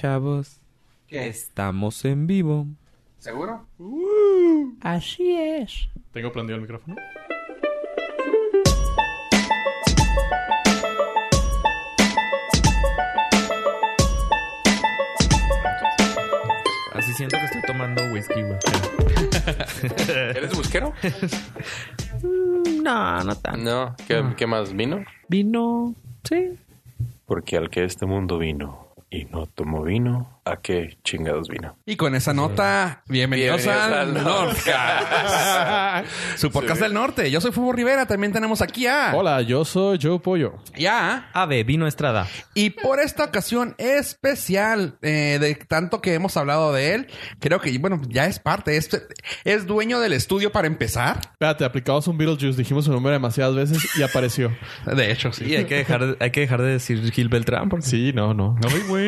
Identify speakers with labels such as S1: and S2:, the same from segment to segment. S1: Pichavos.
S2: ¿Qué?
S1: Estamos en vivo.
S2: ¿Seguro?
S1: Así es.
S3: Tengo prendido el micrófono.
S1: Así siento que estoy tomando whisky, güey.
S2: ¿Eres busquero?
S1: No, no tanto.
S2: No. ¿Qué, qué más? ¿Vino?
S1: Vino. Sí.
S4: Porque al que este mundo vino y no tomó vino, ¿a qué chingados vino?
S5: Y con esa nota, bienvenidos, al Norcas. Su podcast del norte. Yo soy Fubo Rivera. También tenemos aquí a.
S3: Hola, yo soy Joe Pollo.
S5: Ya.
S1: Ave, vino Estrada.
S5: Y por esta ocasión especial, eh, de tanto que hemos hablado de él, creo que, bueno, ya es parte. Es, es dueño del estudio para empezar.
S3: Espérate, aplicamos un Beetlejuice, dijimos su nombre demasiadas veces y apareció.
S5: De hecho, sí.
S1: Sí, hay que dejar, hay que dejar de decir Gil Beltrán porque
S3: Sí, no, no. No, güey.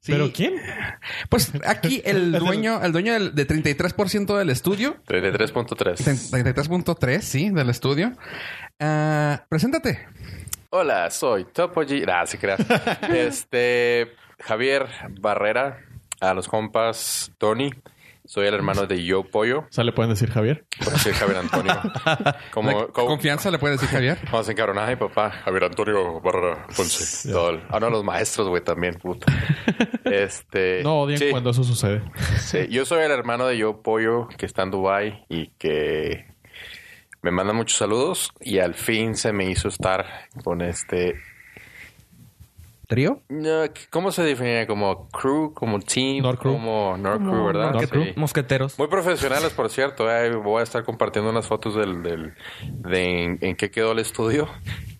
S5: Sí.
S3: ¿Pero quién?
S5: Pues aquí el dueño, el dueño del, de 33% del estudio,
S4: 33.3.
S5: 33.3, sí, del estudio. Ah, preséntate.
S4: Hola, soy Topo G. Nah, se crea. Este, Javier Barrera, a los compas Tony. Soy el hermano de Yo Pollo,
S3: O sea, le pueden decir Javier.
S4: por decir Javier Antonio.
S5: La
S4: Como, como
S5: Confianza le puede decir Javier.
S4: vamos a y papá. Javier Antonio Barrera Ponce. Todo el- Ah, no, los maestros, güey, también, puta. Este.
S3: No odian
S4: sí.
S3: cuando eso sucede.
S4: Sí, yo soy el hermano de Yo Pollo que está en Dubai y que me manda muchos saludos y al fin se me hizo estar con este
S5: ¿Trío?
S4: no, ¿cómo se define como crew, como team,
S3: Nor crew.
S4: como Nor crew, ¿verdad?
S3: Nor
S4: Sí.
S3: crew.
S1: mosqueteros.
S4: Muy profesionales, por cierto. eh, Voy a estar compartiendo unas fotos del, del- de en, en qué quedó el estudio.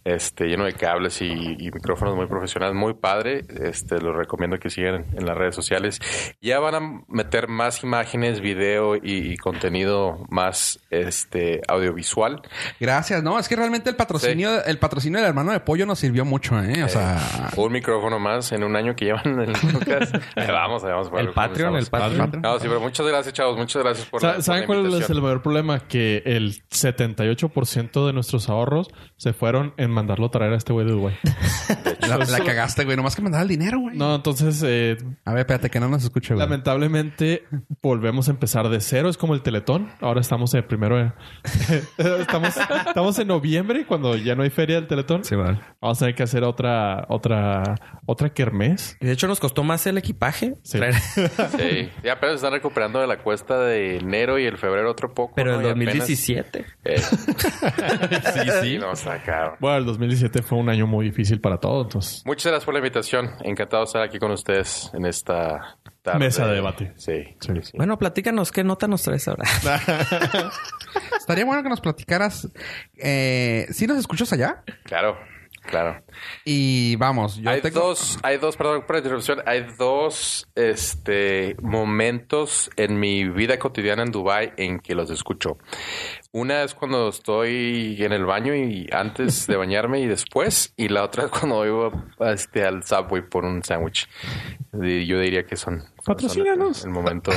S4: Este, lleno de cables y, y micrófonos muy profesionales, muy padre. Este, los recomiendo que sigan en las redes sociales. Ya van a meter más imágenes, video y, y contenido más este audiovisual.
S5: Gracias. No, es que realmente el patrocinio, el patrocinio del hermano de pollo nos sirvió mucho, ¿eh? O sea,
S4: Un micrófono más en un año que llevan en el podcast. Ahí vamos, ahí vamos.
S1: El Patreon, el Patreon.
S4: No, sí, pero muchas gracias, chavos. Muchas gracias por la-
S3: Sa-
S4: por
S3: ¿Saben
S4: la
S3: cuál es
S4: invitación.
S3: el mayor problema? Que el 78% de nuestros ahorros se fueron en mandarlo traer a este güey de Dubai.
S5: la, la cagaste, güey. Nomás que mandaba el dinero, güey.
S3: No, entonces, eh,
S5: A ver, espérate, que no nos escuche, güey.
S3: lamentablemente, volvemos a empezar de cero. Es como el Teletón. Ahora estamos en primero. de- estamos, estamos en noviembre cuando ya no hay feria del Teletón.
S1: vale.
S3: Vamos a tener que hacer otra, otra, otra kermés.
S1: Y De hecho, nos costó más el equipaje.
S3: Sí.
S1: Traer-
S4: Sí, ya apenas están recuperando de la cuesta de enero y el febrero otro poco.
S1: Pero
S4: ¿no?
S1: en
S4: Y apenas-
S1: 2017.
S4: Eh,
S3: Sí,
S4: sí, no, está cabrón.
S3: Bueno, el 2017 fue un año muy difícil para todos. Entonces,
S4: Muchas gracias por la invitación. Encantado de estar aquí con ustedes en esta tarde.
S3: Mesa de debate.
S4: Sí.
S3: sí.
S1: Bueno, platícanos qué nota nos traes ahora.
S5: Estaría bueno que nos platicaras. Eh, si nos escuchas allá.
S4: Claro, claro.
S5: Y vamos, yo
S4: hay
S5: tengo-
S4: dos, hay dos, perdón por la interrupción, hay dos este, momentos en mi vida cotidiana en Dubai en que los escucho. Una es cuando estoy en el baño y antes de bañarme y después, y la otra es cuando voy a- este, al Subway por un sándwich. Y Yo diría que son, son
S3: Patrocínanos.
S4: el momento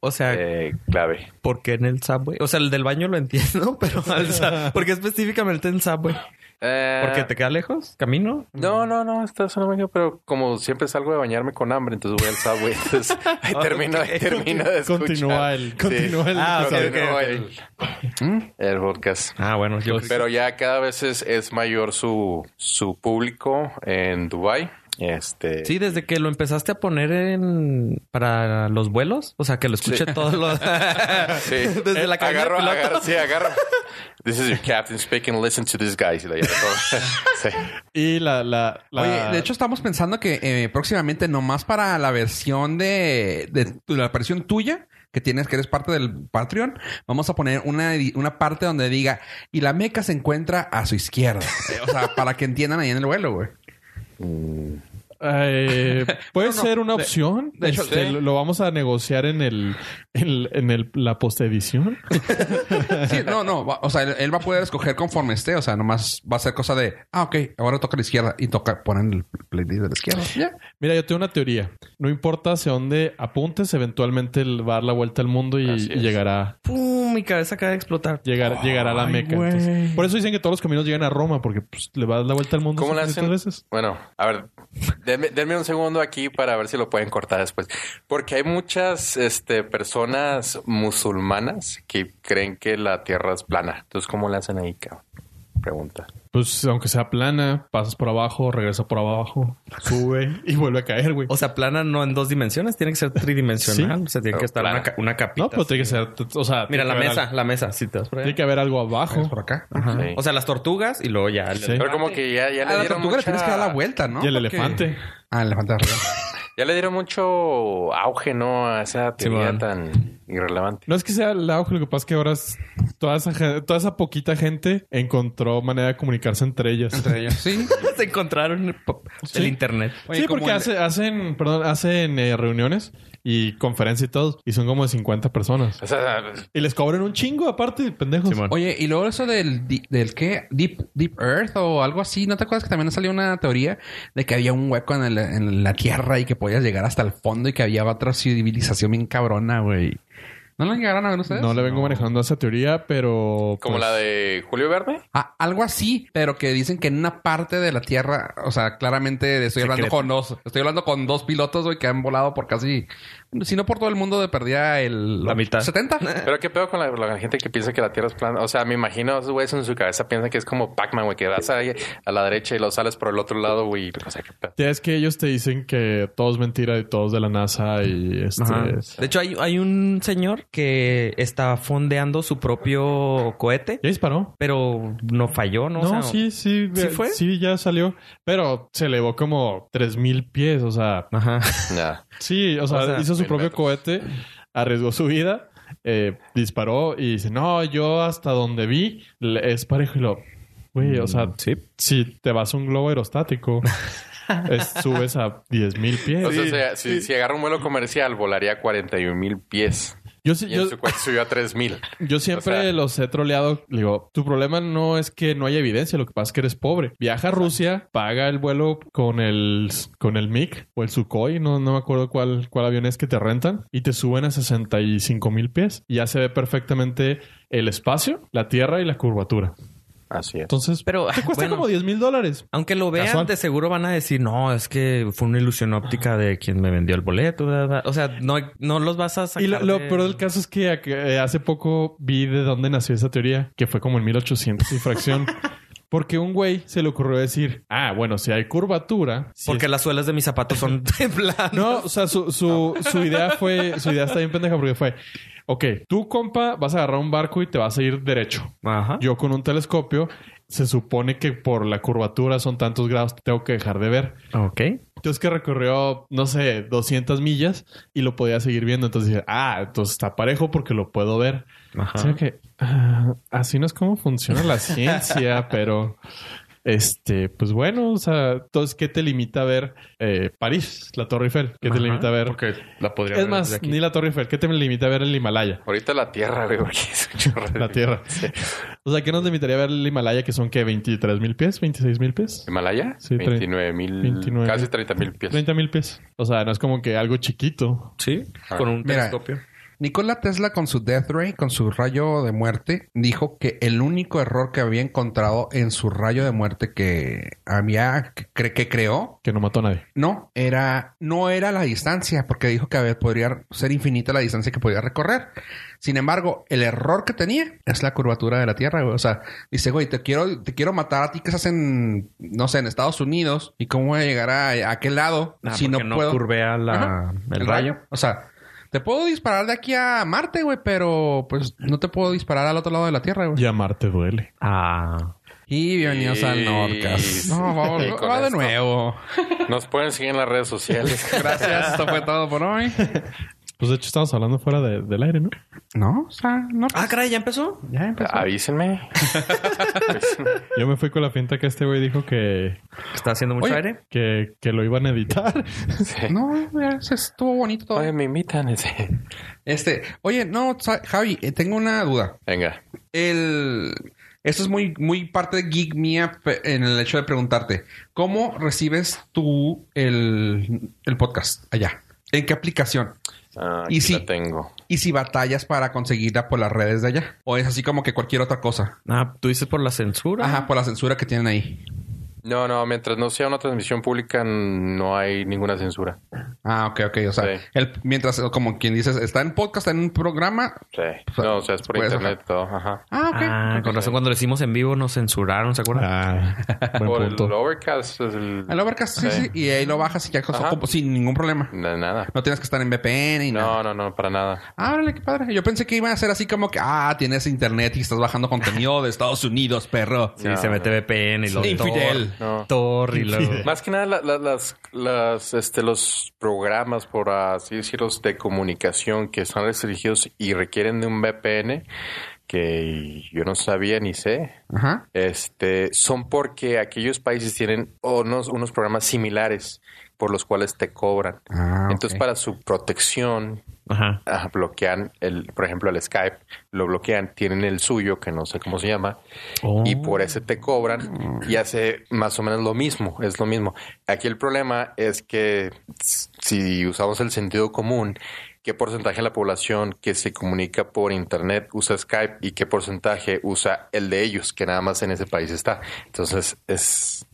S1: O sea,
S4: eh, clave.
S1: ¿por qué en el subway? O sea, el del baño lo entiendo, pero al sub- ¿por qué específicamente en subway?
S4: Eh,
S1: ¿Porque te queda lejos? ¿Camino?
S4: No, no, no, está solo baño, pero como siempre salgo de bañarme con hambre, entonces voy al Subway. Entonces
S1: Ah,
S4: ahí termino, ahí termino de escuchar.
S3: Continúa el-
S4: Sí.
S3: continúa el-
S1: Ah, ok,
S4: Continúa
S1: ok, ok.
S4: el- ¿Mm? el podcast.
S1: Ah, bueno, yo
S4: Pero ya cada vez es, es mayor su, su público en Dubai. Este,
S1: Sí, desde que lo empezaste a poner en para los vuelos, o sea, que lo escuché todo lo Ah,
S4: Sí.
S1: desde la cabina
S4: agarro,
S1: de piloto.
S4: agarro, sí, agarro. This is your captain speaking. Listen to this guy. Y la- Sí.
S3: Y la, la, la-
S5: Oye, de hecho estamos pensando que eh, próximamente nomás para la versión de, de tu- la versión tuya que tienes que eres parte del Patreon, vamos a poner una, edi- una parte donde diga y la meca se encuentra a su izquierda, Eh, o sea, para que entiendan ahí en el vuelo, güey.
S3: eh, puede
S5: No, no.
S3: ser una opción.
S5: de hecho,
S3: Este,
S5: sí.
S3: lo, lo vamos a negociar en el, en, el- en el- la postedición.
S5: Sí, no, no, va- o sea, él, él va a poder escoger conforme esté, o sea, nomás va a ser cosa de, ah, ok, ahora toca a la izquierda y toca ponen el playlist de la izquierda. Ya.
S3: Mira, yo tengo una teoría. no importa hacia dónde apuntes, eventualmente él va a dar la vuelta al mundo y,
S4: Así
S3: y
S4: es.
S3: llegará,
S1: ¡Pum! Mi cabeza acaba de explotar.
S3: llegar, llegará a la
S1: Ay,
S3: Meca.
S1: güey.
S3: Entonces, por eso dicen que todos los caminos llegan a Roma, porque pues, le va a dar la vuelta al mundo
S4: ¿Cómo le
S3: suficientes
S4: hacen?
S3: veces.
S4: Bueno, a ver, denme, denme un segundo aquí para ver si lo pueden cortar después. Porque hay muchas este, personas musulmanas que creen que la tierra es plana. Entonces, ¿cómo le hacen ahí, cabrón? Pregunta.
S3: Pues aunque sea plana, pasas por abajo, regresa por abajo, sube y vuelve a caer, güey.
S1: O sea, plana no en dos dimensiones, tiene que ser tridimensional.
S3: Sí.
S1: O sea, tiene que estar
S4: Plana.
S1: una, ca- una capita.
S3: No, pero tiene que ser, o sea,
S1: Mira,
S3: tiene
S1: la
S3: que haber
S1: mesa,
S3: algo-
S1: la mesa. Si te vas por allá.
S3: tiene que haber algo abajo.
S1: por acá.
S5: Ah,
S4: Sí.
S1: O sea, las tortugas y luego ya.
S3: Sí.
S4: Pero como que ya, ya
S5: A
S4: le
S5: Ah, la
S4: dieron
S5: tortuga le
S4: mucha-
S5: tienes que dar la vuelta, ¿no?
S3: Y el
S5: Porque-
S3: elefante.
S5: Ah, el elefante arriba.
S4: Ya le dieron mucho auge, ¿no? A esa teoría
S1: bueno.
S4: tan irrelevante.
S3: No es que sea el auge, lo que pasa es que ahora es- toda esa, ge- toda esa poquita gente encontró manera de comunicarse entre ellas.
S5: Entre ellos. Sí.
S1: Se encontraron el, pop-
S3: Sí.
S1: el internet.
S5: Oye,
S3: sí,
S5: como
S3: porque
S5: el-
S3: hace- hacen, perdón, hacen eh, reuniones y conferencias y todo, y son como de 50 personas.
S4: O sea,
S3: Y les cobran un chingo aparte, pendejos.
S1: Simón.
S5: Oye, y luego eso del, di- del qué? Deep, Deep Earth o algo así. ¿No te acuerdas que también salió una teoría de que había un hueco en, el- en la tierra y que podías llegar hasta el fondo y que había otra civilización bien cabrona, güey? ¿No la llegaron a ver ustedes?
S3: no le vengo manejando esa teoría, pero...
S4: como
S3: pues,
S4: la de Julio Verne.
S5: Ah, algo así, pero que dicen que en una parte de la Tierra, o sea, claramente estoy hablando con dos, estoy hablando con dos pilotos güey, que han volado por casi, si no por todo el mundo de perdida el
S1: La mitad.
S5: 70.
S4: Pero qué pedo con la, la gente que piensa que la Tierra es plana. O sea, me imagino esos güeyes en su cabeza piensan que es como Pac-Man, güey, que vas ahí a la derecha y lo sales por el otro lado, güey. O sea, qué pedo.
S3: Ya Es que ellos te dicen que todo es mentira y todo es de la NASA y este...
S1: Ajá. De hecho, hay, hay un señor que está fondeando su propio cohete,
S3: ¿Ya disparó?
S1: pero no falló, ¿no? O
S3: No,
S1: sea,
S3: sí, sí.
S1: ¿sí
S3: eh,
S1: fue?
S3: Sí, ya salió. Pero se elevó como 3.000 pies. O sea,
S1: Ajá.
S4: Nah.
S3: sí, o sea,
S1: sea,
S3: hizo su
S4: mil
S3: propio
S4: metros.
S3: cohete, arriesgó su vida, eh, disparó y dice, no, yo hasta donde vi le- es parejo y lo... Güey, o sea,
S1: sí.
S3: si te vas a un globo aerostático, es- subes a 10.000 pies.
S4: O sea, si- si, si agarra un vuelo comercial, volaría a 41 mil pies.
S3: Yo, sí-
S4: Y
S3: yo,
S4: en su cuenta subió a 3 mil.
S3: Yo siempre
S4: O sea-
S3: los he troleado. Le Digo, tu problema no es que no haya evidencia, lo que pasa es que eres pobre. Viaja a Rusia, paga el vuelo con el con el MiG o el Sukhoi, no, no me acuerdo cuál, cuál avión es que te rentan, y te suben a 65 mil pies. Y ya se ve perfectamente el espacio, la tierra y la curvatura.
S4: Así es.
S3: Entonces,
S1: Pero,
S3: te cuesta
S1: bueno.
S3: como 10 mil dólares.
S1: Aunque lo vean,
S3: Casual.
S1: de seguro van a decir, no, es que fue una ilusión óptica de quien me vendió el boleto. bla, bla". O sea, no, no los vas a sacar.
S3: Y lo, lo
S1: de-
S3: peor del caso es que ac- eh, hace poco vi de dónde nació esa teoría, que fue como en 1800 y fracción. Porque un güey se le ocurrió decir, ah, bueno, si hay curvatura... si
S1: Porque las suelas de mis zapatos son de plano.
S3: No, o sea, su, su, su idea fue, su idea está bien pendeja porque fue, ok, tú compa vas a agarrar un barco y te vas a ir derecho.
S1: Ajá.
S3: Yo con un telescopio, se supone que por la curvatura son tantos grados, que tengo que dejar de ver.
S1: Ok.
S3: Entonces que recorrió, no sé, 200 millas y lo podía seguir viendo. Entonces dije, ah, entonces está parejo porque lo puedo ver.
S1: Ajá.
S3: O sea que ah, así no es como funciona la ciencia, pero este, pues bueno, o sea, entonces, ¿qué te limita a ver eh, París, la Torre Eiffel? ¿Qué te
S1: Ajá,
S3: limita a ver?
S4: la podría
S3: Es más, ni la Torre Eiffel, ¿qué te limita a ver el Himalaya?
S4: Ahorita la tierra, güey, porque es un chorro de-
S3: La Tierra.
S4: Sí.
S3: O sea, ¿qué nos limitaría a ver el Himalaya que son que 23 mil pies, 26 mil pies?
S4: ¿Himalaya?
S3: Sí, tre-
S4: 29 mil.
S3: 29,000.
S4: Mm, Casi 30 mil pies.
S3: 30 mil pies. O sea, no es como que algo chiquito.
S1: Sí,
S4: Ah.
S1: con un
S5: Mira.
S1: telescopio.
S5: Nikola Tesla con su Death Ray, con su rayo de muerte, dijo que el único error que había encontrado en su rayo de muerte que había que, cre- que creó,
S3: Que no mató a nadie.
S5: no, era no era la distancia, porque dijo que había- podría ser infinita la distancia que podía recorrer. Sin embargo, el error que tenía es la curvatura de la Tierra, güey. O sea, dice, güey, te quiero, te quiero matar a ti que estás en, no sé, en Estados Unidos. ¿Y cómo voy a llegar a, a aquel lado
S1: Ah,
S5: si no
S1: porque
S5: puedo?
S1: curvea la-
S5: Ajá.
S1: el, rayo.
S5: O sea, te puedo disparar de aquí a Marte, güey, pero pues no te puedo disparar al otro lado de la Tierra, güey.
S3: Y a Marte duele.
S1: Ah.
S5: Y bienvenidos al
S4: Y-
S5: Nordcast. No, vamos,
S4: y con
S5: va de
S4: esto.
S5: nuevo.
S4: Nos pueden seguir en las redes sociales.
S5: Gracias, esto fue todo por hoy.
S3: Pues de hecho estamos hablando fuera de- del aire, ¿no?
S5: No, o sea, no.
S1: Ah, caray, ¿ya empezó?
S5: Ya empezó.
S4: Ah, Avísenme.
S3: Yo me fui con la finta que este güey dijo que,
S1: Está haciendo mucho
S5: Oye.
S1: aire.
S3: que, que lo iban a editar.
S4: Sí.
S5: No, ya se estuvo bonito todo.
S4: Oye, me invitan. sí.
S5: Este, oye, no, sa- Javi, eh, tengo una duda.
S4: Venga.
S5: El esto es muy, muy parte de geek mía pe- en el hecho de preguntarte, ¿cómo recibes tú el, el podcast allá? ¿En qué aplicación?
S4: Ah,
S5: Y
S4: aquí
S5: sí.
S4: la tengo.
S5: Y si batallas para conseguirla por las redes de allá. O es así como que cualquier otra cosa.
S1: Ah, tú dices por la censura.
S5: Ajá, por la censura que tienen ahí.
S4: No, no, mientras no sea una transmisión pública no hay ninguna censura.
S5: Ah, ok, ok. O sea,
S4: Sí.
S5: el- mientras, como quien dices, está en podcast, está en un programa.
S4: Sí. No, o sea, es por
S5: Pues,
S4: internet y todo. Ajá.
S5: Ah, ok.
S1: Ah, con razón, cuando lo hicimos en vivo nos censuraron, ¿se acuerdan?
S3: Ah, buen
S4: Por el
S3: punto.
S4: Overcast es el...
S5: Ahí lo abarcas, sí,
S4: Sí.
S5: sí, y ahí lo bajas y ya
S4: Ajá.
S5: como- sin ningún problema.
S4: Na- Nada.
S5: No tienes que estar en VPN y nada.
S4: No, no, no, para nada.
S5: Ah, órale, qué padre. Yo pensé que iba a ser así como que, ah, tienes internet y estás bajando contenido de Estados Unidos, perro.
S1: Sí,
S4: No,
S1: se mete VPN y luego Tor-
S5: Infidel.
S4: No.
S1: Tor y luego...
S4: Más que nada la- la- las, las, este, los programas, por así decirlo, de comunicación que están restringidos y requieren de un VPN, que yo no sabía ni sé,
S5: Ajá.
S4: este, son porque aquellos países tienen unos, unos programas similares por los cuales te cobran.
S5: Ah,
S4: Entonces,
S5: ok.
S4: para su protección,
S1: Ajá.
S4: ah, bloquean, el, por ejemplo, el Skype, lo bloquean, tienen el suyo, que no sé cómo se llama, y
S5: Oh.
S4: por ese te cobran y hace más o menos lo mismo, es lo mismo. Aquí el problema es que s- si usamos el sentido común, ¿qué porcentaje de la población que se comunica por Internet usa Skype y qué porcentaje usa el de ellos, que nada más en ese país está? Entonces, es,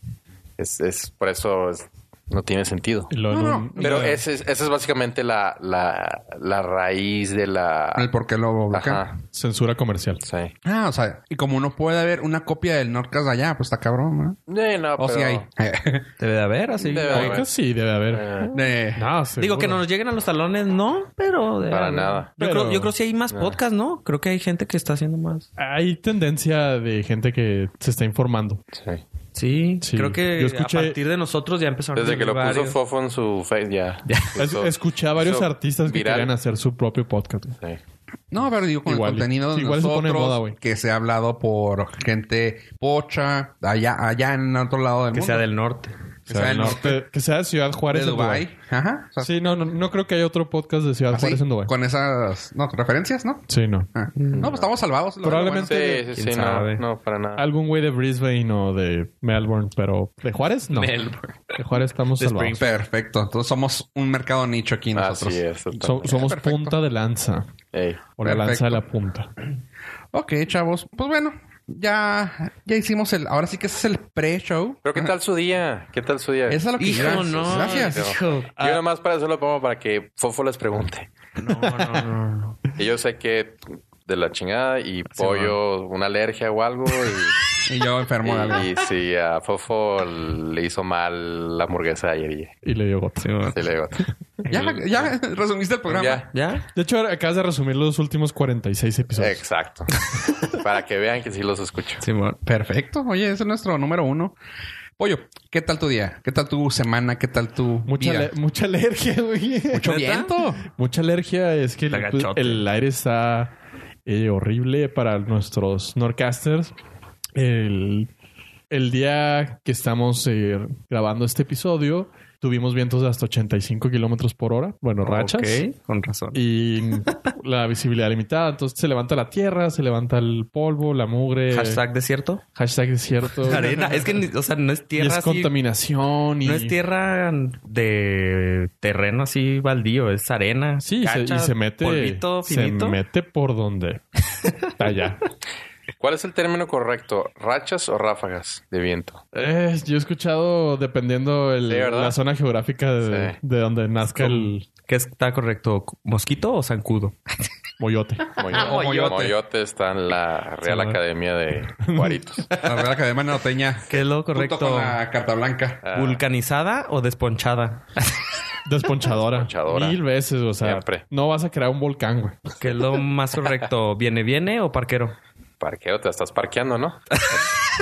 S4: es, es por eso es- no tiene sentido.
S3: Y luego en
S5: No,
S3: un-
S5: no.
S4: Pero ese es- esa es, básicamente la, la, la raíz de la...
S5: El por qué lo bloquean.
S4: Ajá,
S3: Censura comercial.
S4: sí.
S5: Ah, o sea, y como no puede haber una copia del Nordcast allá, pues está cabrón, ¿no?
S4: Eh, no,
S5: O
S1: Oh,
S4: pero-
S5: si hay.
S1: Debe de haber así.
S4: Debe de
S3: Creo
S4: haber.
S3: que sí, debe haber.
S4: Eh,
S5: Eh,
S3: No,
S1: Digo
S3: seguro.
S1: que no nos lleguen a los talones, no, pero... debe
S4: Para
S1: haber.
S4: nada.
S1: Yo,
S3: Pero-
S1: creo, yo creo que sí hay más podcasts, ¿no? Creo que hay gente que está haciendo más.
S3: Hay tendencia de gente que se está informando.
S4: sí.
S1: Sí,
S3: Sí.
S1: creo que
S3: Yo escuché-
S1: a partir de nosotros ya empezaron
S4: Desde que lo
S1: varios.
S4: puso Fofo en su face, ya.
S3: Es-
S4: Pues Eso-
S3: escuché a varios
S4: eso
S3: artistas que
S4: viral.
S3: querían hacer su propio podcast.
S4: Sí.
S5: No, pero digo, con
S3: Igual y-
S5: el contenido de
S3: igual se pone de
S5: nosotros,
S3: moda, güey.
S5: que se ha hablado por gente pocha, allá, allá en otro lado del
S1: Que
S5: mundo.
S1: sea del norte.
S5: Que sea del norte.
S3: Que- que sea de Ciudad
S5: De
S3: Juárez. en
S5: Dubai. Ajá. O sea,
S3: Sí, no, no, no creo que haya otro podcast de Ciudad
S5: así,
S3: Juárez en Dubai.
S5: Con esas no, referencias, ¿no?
S3: Sí, no.
S5: Ah. No, pues estamos salvados. lo-
S3: Probablemente-
S4: Sí, sí, sí,
S1: ¿Quién
S4: no,
S1: sabe?
S4: no, para nada.
S3: Algún güey de Brisbane o de Melbourne, pero de Juárez no.
S1: Melbourne.
S3: De Juárez estamos
S1: De
S3: salvados.
S5: bueno. Perfecto. Entonces somos un mercado nicho aquí nosotros.
S4: Así es. total.
S3: So- somos
S5: Perfecto.
S3: punta de lanza.
S4: Ey.
S3: O la
S5: Perfecto.
S3: lanza de la punta.
S5: Ok, chavos. Pues bueno, ya, ya hicimos el... Ahora sí que ese es el pre-show.
S4: Pero ¿qué tal su día? ¿Qué tal su día?
S5: Eso es lo que
S1: Hijo,
S5: gracias.
S1: no.
S5: Gracias.
S1: Hijo.
S4: Yo nada más para eso lo pongo para que Fofo les pregunte.
S1: ah. No, no, no, no.
S4: Y yo sé que de la chingada y pollo, una alergia o algo. Y,
S5: Y yo enfermo de algo.
S4: y, sí, a Fofo le hizo mal la hamburguesa ayer y
S3: Y le dio gota.
S4: sí, le digo.
S5: Ya, ya resumiste el programa.
S4: Ya.
S1: ¿Ya?
S3: De hecho, ahora acabas de resumir los últimos 46 episodios.
S4: Exacto. para que vean que sí los escucho.
S1: Simón.
S5: Perfecto. Oye, ese es nuestro número uno. Pollo, ¿qué tal tu día? ¿Qué tal tu semana? ¿Qué tal tu
S3: Mucha,
S5: vida?
S3: ale- mucha alergia, güey.
S5: Mucho
S1: ¿Neta?
S5: viento.
S3: Mucha alergia es que
S1: Está
S3: el, pues,
S1: gachote.
S3: el aire está eh, horrible para nuestros Norcasters. El, el día que estamos eh, grabando este episodio, tuvimos vientos de hasta 85 kilómetros por hora. Bueno, rachas.
S1: Ok, con razón.
S3: Y la visibilidad limitada. Entonces se levanta la tierra, se levanta el polvo, la mugre.
S1: Hashtag desierto.
S3: hashtag desierto.
S1: Arena. Es que, ni- o sea, no es
S3: Y
S1: tierra
S3: es
S1: así-
S3: contaminación. Y...
S1: No es tierra de terreno así baldío, es arena.
S3: Sí, y se-
S1: cacha,
S3: y se mete.
S1: Polvito
S3: se
S1: finito.
S3: mete por donde. Allá.
S4: ¿Cuál es el término correcto? ¿Rachas o ráfagas de viento?
S3: Eh, yo he escuchado, dependiendo el-
S4: Sí, ¿verdad?
S3: la zona geográfica de,
S4: Sí.
S3: de donde nazca el
S1: ¿Qué está correcto? ¿Mosquito o zancudo?
S3: moyote.
S4: Moyote.
S1: Moyote.
S4: Moyote está en la Real
S1: Sí,
S4: Academia de Juaritos.
S5: La verdad que además no teña.
S1: ¿Qué es lo
S5: Junto
S1: correcto?
S5: con la carta blanca.
S4: Ah,
S1: ¿Vulcanizada o desponchada?
S3: Desponchadora.
S4: Desponchadora.
S3: Mil veces, o sea.
S4: Siempre.
S3: No vas a crear un volcán, güey.
S1: ¿Qué es lo más correcto? ¿Viene, viene o parquero?
S4: parqueo, te estás parqueando, ¿no?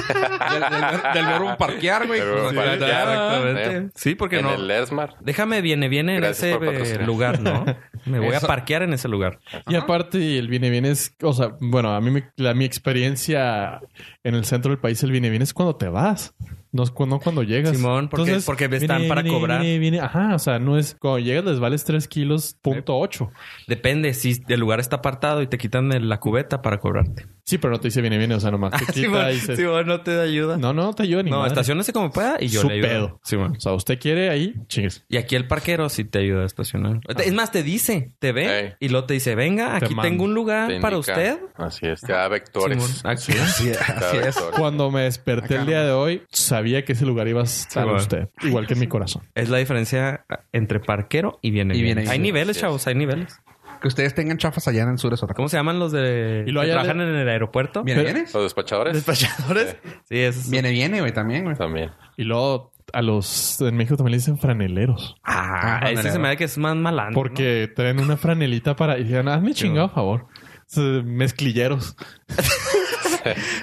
S5: Del, del- del verbo parquear, güey.
S4: Del verbo
S5: Sí,
S4: parquear.
S1: Exactamente.
S4: eh.
S1: Sí, porque
S4: en
S1: no.
S4: el Esmar.
S1: Déjame viene, viene en
S4: Gracias
S1: ese
S4: por patrocinar.
S1: eh, lugar, ¿no? Me voy
S5: Eso-
S1: a parquear en ese lugar.
S3: Y aparte, el viene viene es, o sea, bueno, a mí me- la, mi experiencia en el centro del país, el viene viene es cuando te vas. No es cu- no cuando llegas.
S1: Simón, porque- porque están para
S3: viene,
S1: cobrar.
S3: Viene, viene. Ajá, o sea, no es cuando llegas les vales 3 kilos, punto 8.
S1: Depende si el lugar está apartado y te quitan el- la cubeta para cobrarte.
S3: Sí, pero no te dice viene, viene, o sea, nomás te quita
S1: Simón,
S3: y dices,
S1: Simón, luego no te da ayuda. No,
S3: No, no, te ayuda ni madre.
S1: estacionese como pueda y yo
S3: Su
S1: le ayudo.
S3: pedo.
S1: Sí, man.
S3: O sea, usted quiere ahí, chingues.
S1: Y aquí el parquero sí te ayuda a estacionar. Es más, te dice, te ve
S4: Ah. Ey.
S1: y luego te dice, venga,
S3: Te
S1: aquí
S3: manda,
S1: tengo un lugar
S4: Te
S1: ¿Ah, para
S4: indica. Ah,
S1: usted. Ah,
S4: Así es, te da vectores.
S1: Simón, aquí.
S4: Te da vectores.
S3: Cuando me desperté el día de hoy, sabía que ese lugar iba a estar
S1: bueno.
S3: usted. Igual que en mi corazón.
S1: Es la diferencia entre parquero y viene
S5: Y
S1: bien.
S5: viene
S1: Hay
S5: bien.
S1: niveles,
S4: Así es.
S1: chavos, hay niveles.
S5: Que ustedes tengan chafas allá en el sur es otra cosa.
S1: ¿Cómo se llaman los de
S3: Y luego
S1: que
S3: allá
S1: trabajan en el aeropuerto?
S5: ¿Viene,
S3: Pero-
S5: viene?
S4: Los despachadores.
S1: Despachadores. Sí, esos son-
S5: Viene, viene, güey, también, güey.
S4: También.
S3: Y luego a los en México también le dicen franeleros.
S1: Ah,
S5: Ah,
S1: ese
S5: no,
S1: se
S5: no.
S1: me da que es más malandro.
S3: Porque traen una franelita para. Y dicen, hazme chingado, por favor. Es, eh, Mezclilleros.
S1: ¿no?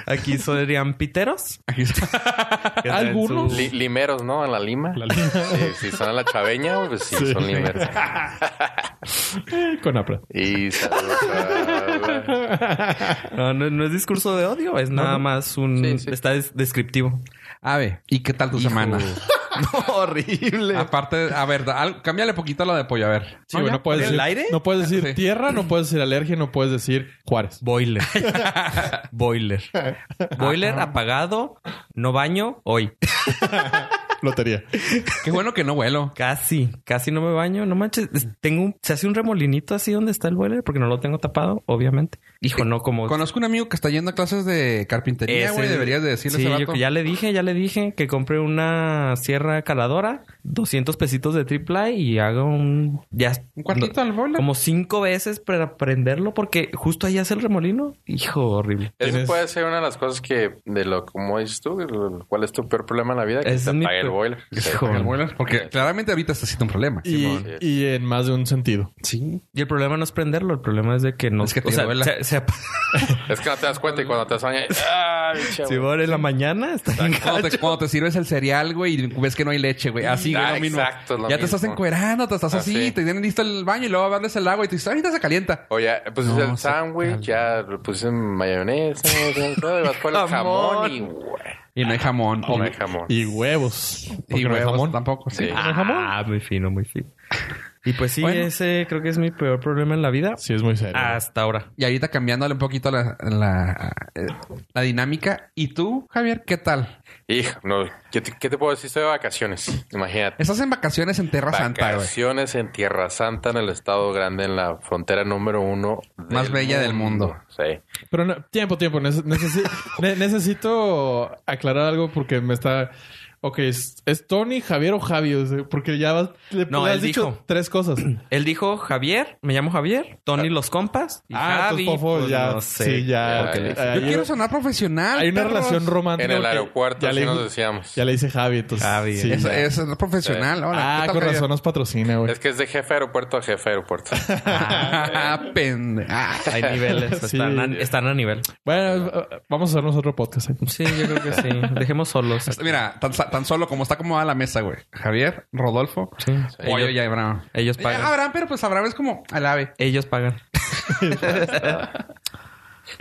S1: Aquí serían piteros.
S5: Aquí está.
S1: que traen
S3: Algunos.
S1: su-
S4: Li- limeros, ¿no? En la lima.
S3: La lima.
S4: Sí, si son a la chaveña, pues sí,
S3: Sí.
S4: son limeros.
S3: Con apra.
S4: Y saludos a-
S1: No, no, no es discurso de odio, es nada más un...
S4: Sí, sí.
S1: Está des- descriptivo.
S5: Ave, ¿y qué tal tu semana?
S1: No, horrible.
S5: Aparte, a ver, da- al- cámbiale poquito a lo de pollo, a ver.
S3: Sí, güey, no puedes
S1: ¿El
S3: decir,
S1: aire?
S3: No puedes decir
S5: Sí.
S3: tierra, no puedes decir alergia, no puedes decir Juárez.
S1: Boiler. Boiler. Boiler apagado, no baño hoy.
S3: Lotería.
S5: Qué bueno que no vuelo.
S1: Casi, casi no me baño, no manches. Es- Tengo un, se hace un remolinito así donde está el boiler porque no lo tengo tapado, obviamente. Hijo, no como
S5: Conozco un amigo que está yendo a clases de carpintería,
S1: Ese-
S5: güey. Deberías de decirle
S1: Sí,
S5: a ese
S1: yo-
S5: vato.
S1: ya le dije, ya le dije que compre una sierra caladora, 200 pesitos de triple y haga un ya
S5: Un cuartito al boiler.
S1: como cinco veces para prenderlo porque justo ahí hace el remolino. Hijo, horrible.
S4: Eso
S3: Tienes-
S4: puede ser una de las cosas que, de lo como dices tú, el- cuál es tu peor problema en la vida, que
S1: Ese
S4: te
S1: es mi
S4: apague el
S1: peor-
S4: boiler. Sí.
S1: Hijo.
S5: El boiler, Porque claramente ahorita se necesita un problema.
S3: Y, y en más de un sentido.
S5: Sí.
S1: Y el problema no es prenderlo, el problema es de que no
S5: Es que te
S1: o sea,
S5: duela.
S1: se, se ap-
S4: Es que no te das cuenta y cuando te das baña,
S5: Ah,
S4: ¡ay, chavo!
S1: si va en la mañana está bien
S5: Cuando te, cuando te sirves el cereal, güey, y ves que no hay leche, güey. Así, güey,
S4: Ah,
S5: lo mismo.
S4: exacto, es lo
S5: ya te
S4: mismo.
S5: estás encuerando, te estás
S4: Ah,
S5: así,
S4: sí.
S5: te tienen listo el baño y luego darles el agua y tú dices, ahorita se calienta.
S4: O ya
S5: No,
S4: pusiste pues el
S5: se
S4: sándwich, ya le pusiste mayonesa, todo, y vas por el jamón y güey,
S5: Y no hay jamón.
S4: no hay jamón.
S3: Y huevos. Porque
S5: Y
S3: no hay
S5: huevos
S3: jamón.
S5: tampoco. Sí.
S4: Sí.
S1: Ah, muy fino, muy fino. Y pues sí,
S5: Bueno.
S1: ese creo que es mi peor problema en la vida
S3: Sí, es muy serio.
S1: hasta ahora.
S5: Y ahorita cambiándole un poquito la, la, eh, la dinámica. ¿Y tú, Javier, qué tal?
S4: Hijo, no, ¿qué te, qué te puedo decir? Estoy de vacaciones, imagínate.
S5: Estás en vacaciones en Tierra Santa, güey.
S4: Vacaciones en Tierra Santa, en el estado grande, en la frontera número uno.
S5: Más bella del mundo.
S4: Sí.
S3: Pero no- tiempo, tiempo. Nece- necesi- ne- necesito aclarar algo porque me está. Ok, es, es Tony, Javier o Javi. o sea, Porque ya vas- le,
S1: No,
S3: le
S1: él
S3: has dicho
S1: dijo.
S3: tres cosas.
S1: Él dijo Javier, me llamo Javier, Tony los compas y Javi,
S3: Ah, entonces, por favor,
S1: pues,
S3: ya.
S1: no sé.
S3: Sí, ya.
S4: Ya, ya.
S3: Hay,
S5: Yo quiero sonar profesional.
S3: hay una
S5: perros.
S3: relación romántica.
S4: En el
S3: que
S4: aeropuerto,
S3: ya
S4: así
S3: le,
S4: nos decíamos.
S3: ya le dice Javi. Entonces,
S1: Javi,
S3: sí,
S5: Es,
S3: ya.
S5: es sonar profesional. Hola,
S3: ah,
S5: ¿qué tal,
S3: con
S5: Javier?
S3: razón nos patrocina, güey.
S4: Es que es de jefe de aeropuerto a jefe de aeropuerto.
S5: Ah, pende. Ah.
S1: Hay niveles,
S3: Sí.
S1: están, a, están a nivel.
S3: Bueno, eh, vamos a hacernos otro podcast. ahí.
S1: Sí, yo creo que sí. Dejemos solos.
S5: Pues Mira, tan, tan solo como está acomodada la mesa, güey. Javier, Rodolfo,
S1: Sí.
S5: Pollo
S1: Ellos,
S5: y Abraham.
S1: ellos pagan.
S5: Ya, Abraham, pero pues Abraham es como al ave.
S1: Ellos pagan.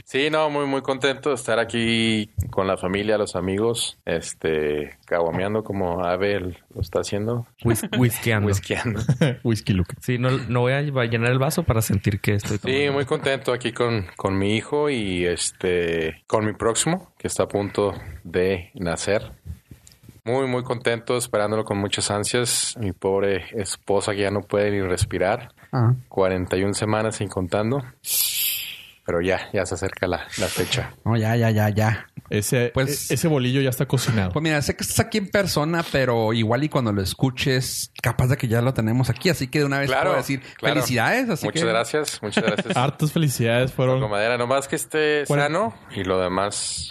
S4: Sí, no, muy, muy contento de estar aquí con la familia, los amigos, este, caguameando como Abel lo está haciendo,
S1: Whis- Whiskeando.
S4: whiskeando.
S3: Whisky Luke.
S1: Sí, no, no voy a llenar el vaso para sentir que estoy
S4: Sí,
S1: tomando.
S4: muy contento aquí con, con mi hijo y este, con mi próximo, que está a punto de nacer. Muy, muy contento, esperándolo con muchas ansias. Mi pobre esposa que ya no puede ni respirar.
S5: Ah.
S4: 41 semanas sin contando. Pero ya, ya se acerca la, la fecha.
S5: No, ya, ya, ya, ya.
S3: Ese,
S5: Pues-
S3: e- ese bolillo ya está cocinado.
S5: Pues mira, sé que estás aquí en persona, pero igual y cuando lo escuches, capaz de que ya lo tenemos aquí. Así que de una vez
S4: Claro,
S5: puedo decir
S4: claro.
S5: felicidades. Así
S4: muchas
S5: que-
S4: gracias, muchas gracias.
S3: Hartas felicidades fueron.
S4: Comadera, nomás que esté
S3: Bueno.
S4: sano y lo demás,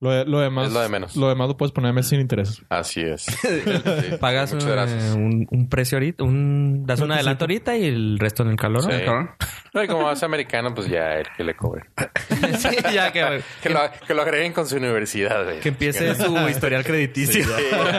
S3: Lo, de- lo demás.
S4: Es lo de menos.
S3: Lo demás lo puedes ponerme sin interés.
S4: así es.
S1: Pagas
S4: muchas
S1: eh,
S4: gracias.
S1: un, un precio ahorita, un, das un adelanto ahorita y el resto en el calor. ¿no?
S4: Sí.
S5: Cabrón.
S4: No, y como vas americano, pues ya el que le cobre.
S1: Sí, ya que,
S4: Que lo, que lo agreguen con su universidad. eh. güey.
S1: que empiece su historial crediticio.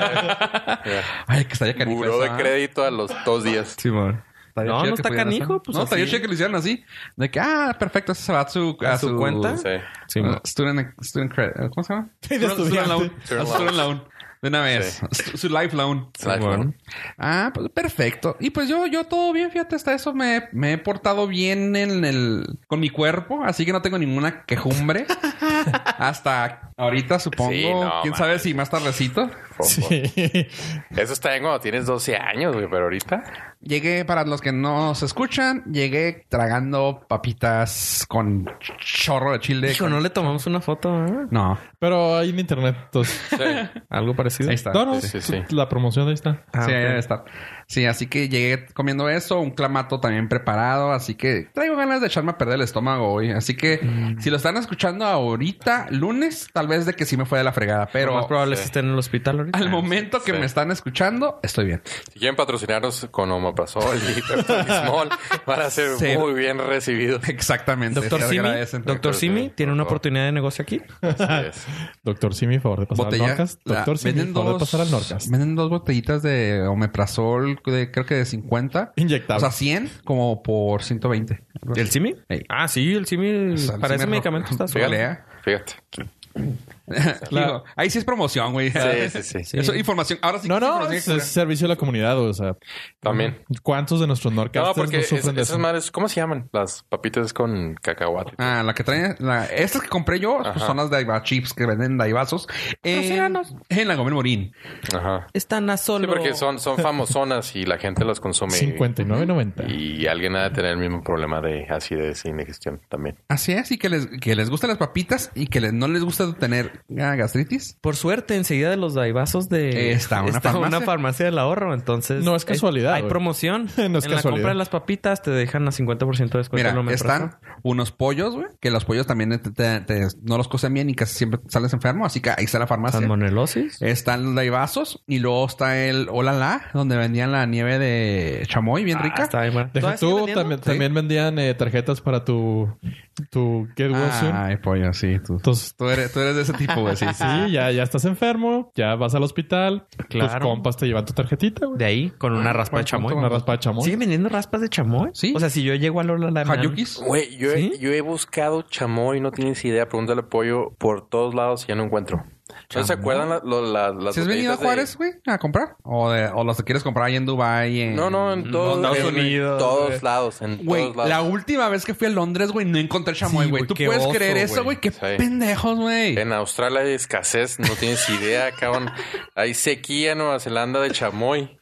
S5: Ay, que estaría canijo.
S4: Buró
S5: eso,
S4: de
S5: ¿ah?
S4: crédito a los dos días.
S1: Simón.
S5: Estaría
S1: No,
S5: chido
S1: no
S5: que
S1: está
S5: pudieran
S1: canijo,
S5: hacer.
S1: pues,
S5: no, estaría
S1: así.
S5: chido que lo hicieran así. De que, ah, perfecto, eso se va a su,
S1: ¿A su cuenta?
S4: Sí.
S5: Ah, student, student credit. ¿Cómo se llama?
S3: De estudiante.
S5: Student loan. De una vez. Su, su lifeline.
S4: Lifeline.
S5: Ah, pues perfecto. Y pues yo, yo todo bien, fíjate, hasta eso me, me he portado bien en el, con mi cuerpo, así que no tengo ninguna quejumbre. hasta ahorita, supongo.
S4: Sí, no,
S5: Quién
S4: man.
S5: sabe si más tardecito.
S3: Sí.
S4: Eso está bien cuando tienes 12 años, güey, pero ahorita.
S5: Llegué, para los que no se escuchan, llegué tragando papitas con chorro de chile.
S1: Hijo,
S5: con-
S1: no le tomamos una foto, ¿eh?
S5: No,
S3: Pero hay en internet. Entonces...
S1: Algo parecido.
S5: ahí está.
S3: No, no.
S4: Sí, sí,
S3: La promoción ahí está.
S1: Ah,
S5: sí, ahí
S1: ok.
S5: debe estar. Sí, así que llegué comiendo eso, un clamato también preparado, así que traigo ganas de echarme a perder el estómago hoy. Así que
S1: Mm.
S5: si lo están escuchando ahorita, lunes, tal vez de que sí me fue de la fregada,
S1: Lo más
S5: pero
S1: probable es
S4: sí.
S1: que estén en el hospital ahorita.
S5: al momento que
S4: Sí.
S5: me están escuchando, estoy bien.
S4: Si quieren patrocinarnos con Omaprazol y Pepto-Bismol, van a ser
S5: Sí.
S4: muy bien recibidos.
S5: Exactamente.
S1: Doctor
S5: se
S1: Simi,
S5: agradecen.
S1: Doctor Simi,
S4: Simi,
S1: tiene una
S4: por favor.
S1: oportunidad de negocio aquí.
S4: Así es.
S3: Doctor Simi, favor de pasar al Norcast.
S5: la-
S3: Doctor Simi,
S5: venden
S3: favor de
S5: dos-
S3: pasar al Norcast.
S5: Venden dos botellitas de omeprazol, de, creo que de 50. O
S3: Inyectable.
S5: sea, 100 como por 120.
S1: ¿El Simi?
S5: Ey.
S1: Ah, sí, el Simi.
S5: O sea, el
S1: para
S5: Simi
S1: ese
S5: ro-
S1: medicamento está suave.
S5: Golea.
S4: Fíjate.
S5: Digo, ahí sí es promoción, güey.
S4: Sí, sí, sí.
S1: Sí.
S5: Eso es información. Ahora sí.
S3: no,
S5: que
S3: no,
S5: información
S3: es,
S5: que-
S3: es servicio a la comunidad. O sea,
S4: También.
S3: ¿cuántos de nuestros Norcasters
S4: No,
S3: no,
S4: porque es-
S3: sufren de eso?
S4: esas madres, ¿cómo se llaman? Las papitas con cacahuate.
S5: Ah, la que traen, la, estas que compré yo pues, son las Daiva Chips que venden Daivazos en,
S1: Patrocínanos.
S5: en la Gómez Morín.
S4: Ajá.
S1: Están a
S4: Sí,
S1: solo.
S4: porque son, son famosonas y la gente las consume.
S3: 59.90.
S4: Y alguien ha de tener el mismo problema de acidez e indigestión también.
S5: Así es, y que les, que les gustan las papitas y que les- no les gusta tener ah, gastritis.
S1: Por suerte, enseguida de los daibazos de.
S5: Está una farmacia.
S1: una farmacia del ahorro. Entonces.
S3: No es casualidad,
S1: Hay
S3: güey.
S1: promoción.
S3: No es
S1: en la
S3: casualidad.
S1: compra de las papitas te dejan a 50% de descuento.
S5: Mira,
S1: en lo menos.
S5: están unos pollos, güey, que los pollos también te- te- te- no los cocen bien y casi siempre sales enfermo, así que ahí está la farmacia.
S1: Salmonelosis.
S5: Están los Daivazos y luego está el Olala, donde vendían la nieve de chamoy bien
S1: Ah,
S5: rica.
S1: está bien buena.
S3: Deja
S1: ¿Todavía sigue
S3: tú,
S1: vendiendo?
S3: también,
S5: Sí.
S3: también vendían eh, tarjetas para tu, tu Get Well Soon.
S5: Ay, pollo, sí, tú.
S3: Entonces,
S5: Tú eres, tú eres de ese tipo, güey. Sí, sí.
S3: sí, ya, ya estás enfermo, ya vas al hospital, tus
S1: Claro.
S3: compas te llevan tu tarjetita, güey.
S1: De ahí, con una raspa de
S5: buen
S1: chamoy.
S5: punto,
S3: Una raspa de chamoy.
S1: ¿Siguen vendiendo raspas de chamoy?
S5: Sí.
S1: O sea, si yo llego a Lola la
S5: Hayukis.
S4: Güey, yo, he-
S1: ¿Sí?
S4: yo he buscado chamoy, no tienes idea. Pregúntale apoyo por todos lados y ya no encuentro. ¿No se acuerdan la- lo- la- las
S5: ¿Si has venido a
S4: botellitas de-
S5: Juárez, güey, a comprar? ¿O, de- o los quieres comprar ahí en Dubai en...
S4: No, no, en todos,
S1: Estados
S4: en
S1: Unidos,
S4: todos
S1: güey.
S4: lados. En
S5: Güey,
S4: todos lados.
S5: la última vez que fui a Londres, güey, no encontré chamoy,
S1: Sí,
S5: güey.
S1: güey,
S5: ¿Tú
S1: qué
S5: puedes
S1: oso,
S5: creer eso,
S1: güey.
S5: güey? Qué
S4: Sí.
S5: pendejos, güey.
S4: En Australia hay escasez, no tienes idea, cabrón. Hay sequía en Nueva Zelanda de chamoy.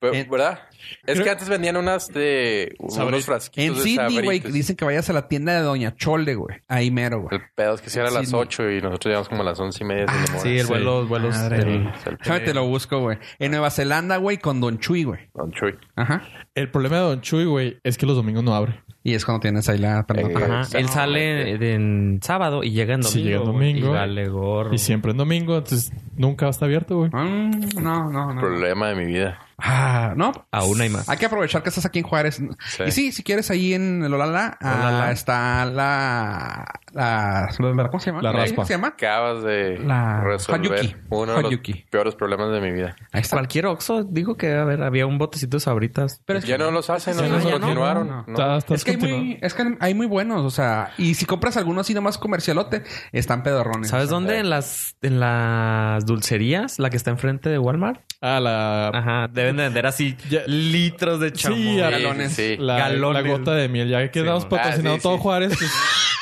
S4: Pero,
S5: En-
S4: ¿Verdad? Es
S3: Creo-
S4: que antes vendían unas de unos
S3: Sabrit-
S4: frasquitos
S5: En
S4: de
S5: Sydney, güey,
S4: Sabritas.
S5: dicen que vayas a la tienda de Doña Chole, güey. Ahí mero, güey.
S4: El pedo es que si era a las
S5: Sydney. Ah,
S4: 8 y nosotros llegamos como a las 11 y media. sin demora.
S1: Sí, el vuelo, los vuelos
S5: Madre
S1: del-
S5: mía. Déjame te lo busco, güey. En Nueva Zelanda, güey, con Don Chuy, güey.
S4: Don Chuy.
S5: Ajá.
S3: El problema de Don Chuy, güey, es que los domingos no abre.
S5: Y es cuando tienes ahí la...
S4: Eh,
S1: Ajá.
S4: Exacto.
S1: Él sale de- en sábado y llega en domingo.
S3: Sí, llega en
S1: güey,
S3: domingo.
S1: Y vale gorro.
S3: Y siempre en domingo, entonces nunca está abierto, güey.
S5: Mm, no, no, no.
S4: Problema de mi vida.
S5: Ah, no.
S1: Aún hay más.
S5: Hay que aprovechar que estás aquí en Juárez. Y sí, si quieres, ahí en el Olala, ah,
S1: Olala.
S5: está la, la, ¿Cómo se llama?
S3: La raspa.
S5: ¿Cómo se llama?
S4: Acabas de
S5: La-
S4: resolver
S5: Hanyuki.
S4: uno de
S5: Hanyuki.
S4: los peores problemas de mi vida.
S5: Ahí está.
S1: Cualquier Oxxo, digo que, a ver, había un botecito de sabritas.
S5: Pero es
S4: ya
S5: que-
S4: no los hacen,
S5: es que
S4: no
S5: sí,
S4: los
S5: ya no,
S4: continuaron.
S5: no, no.
S4: No.
S3: Estás- estás
S5: Es que, hay
S3: continuando.
S5: muy, es que hay muy buenos, o sea, y si compras alguno así nomás comercialote, están pedorrones.
S1: ¿Sabes dónde? En las, en las dulcerías, la que está enfrente de Walmart.
S3: Ah, la...
S1: Ajá. Deben de vender así
S3: Ya-
S1: litros de chamoy.
S3: Sí,
S4: Sí,
S3: galones.
S4: sí, sí.
S3: La,
S1: Galones.
S3: la gota de miel. Ya quedamos
S1: Sí,
S4: man.
S3: patrocinado
S4: Ah, sí,
S3: todo
S4: sí.
S3: Juárez. pues,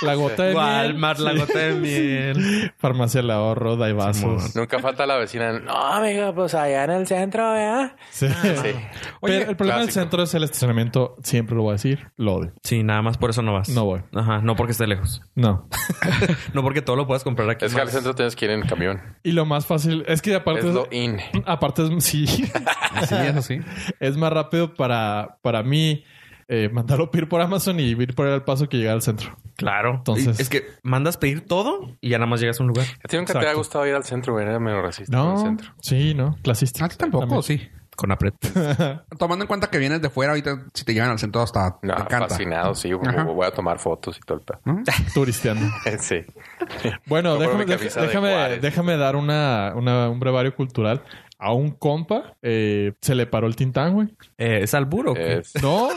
S3: la gota de
S1: Walmart,
S3: miel.
S1: la gota de miel.
S3: Sí. Farmacia del ahorro,
S1: Simón.
S3: Daibazos.
S4: Nunca falta la vecina. No, amiga, pues allá en el centro, ¿verdad?
S3: Sí.
S5: Ah.
S4: Sí.
S5: Oye,
S3: Pero el problema del
S4: clásico.
S3: centro es el estacionamiento. Siempre lo voy a decir. Lo odio.
S1: Sí, nada más por eso no vas.
S3: No voy.
S1: Ajá. No porque esté lejos.
S3: No.
S1: No porque todo lo puedas comprar aquí.
S4: Es que al
S1: más.
S4: centro tienes que ir en camión.
S3: Y lo más fácil es que
S4: Es
S3: aparte...
S4: lo in.
S3: Aparte es... Sí.
S5: Sí, eso sí.
S3: es más rápido para, para mí eh, mandarlo pedir por Amazon y ir por el paso que llegar al centro.
S1: Claro.
S3: Entonces-
S1: Y Es que mandas pedir todo y ya nada más llegas a un lugar.
S4: A ti nunca te
S3: Exacto.
S4: ha gustado ir al centro, güey. Era menos racista en el
S3: No.
S4: centro.
S3: Sí, no. Clasista.
S5: A ti tampoco,
S3: También.
S5: sí.
S1: Con apret.
S5: Tomando en cuenta que vienes de fuera, ahorita si te llevan al centro hasta
S4: No,
S5: te encanta.
S4: fascinado, sí. güey.
S5: Ajá.
S4: Voy a tomar fotos y todo el pedo.
S3: Turisteando.
S4: Sí.
S3: Bueno,
S4: Yo creo
S3: déjame,
S4: que mi camisa de
S3: déjame,
S4: Juárez.
S3: déjame dar una, una- un brevario cultural. A un compa eh, se le paró el tintán, güey.
S1: Eh, ¿Es alburo?
S4: Es-
S3: No.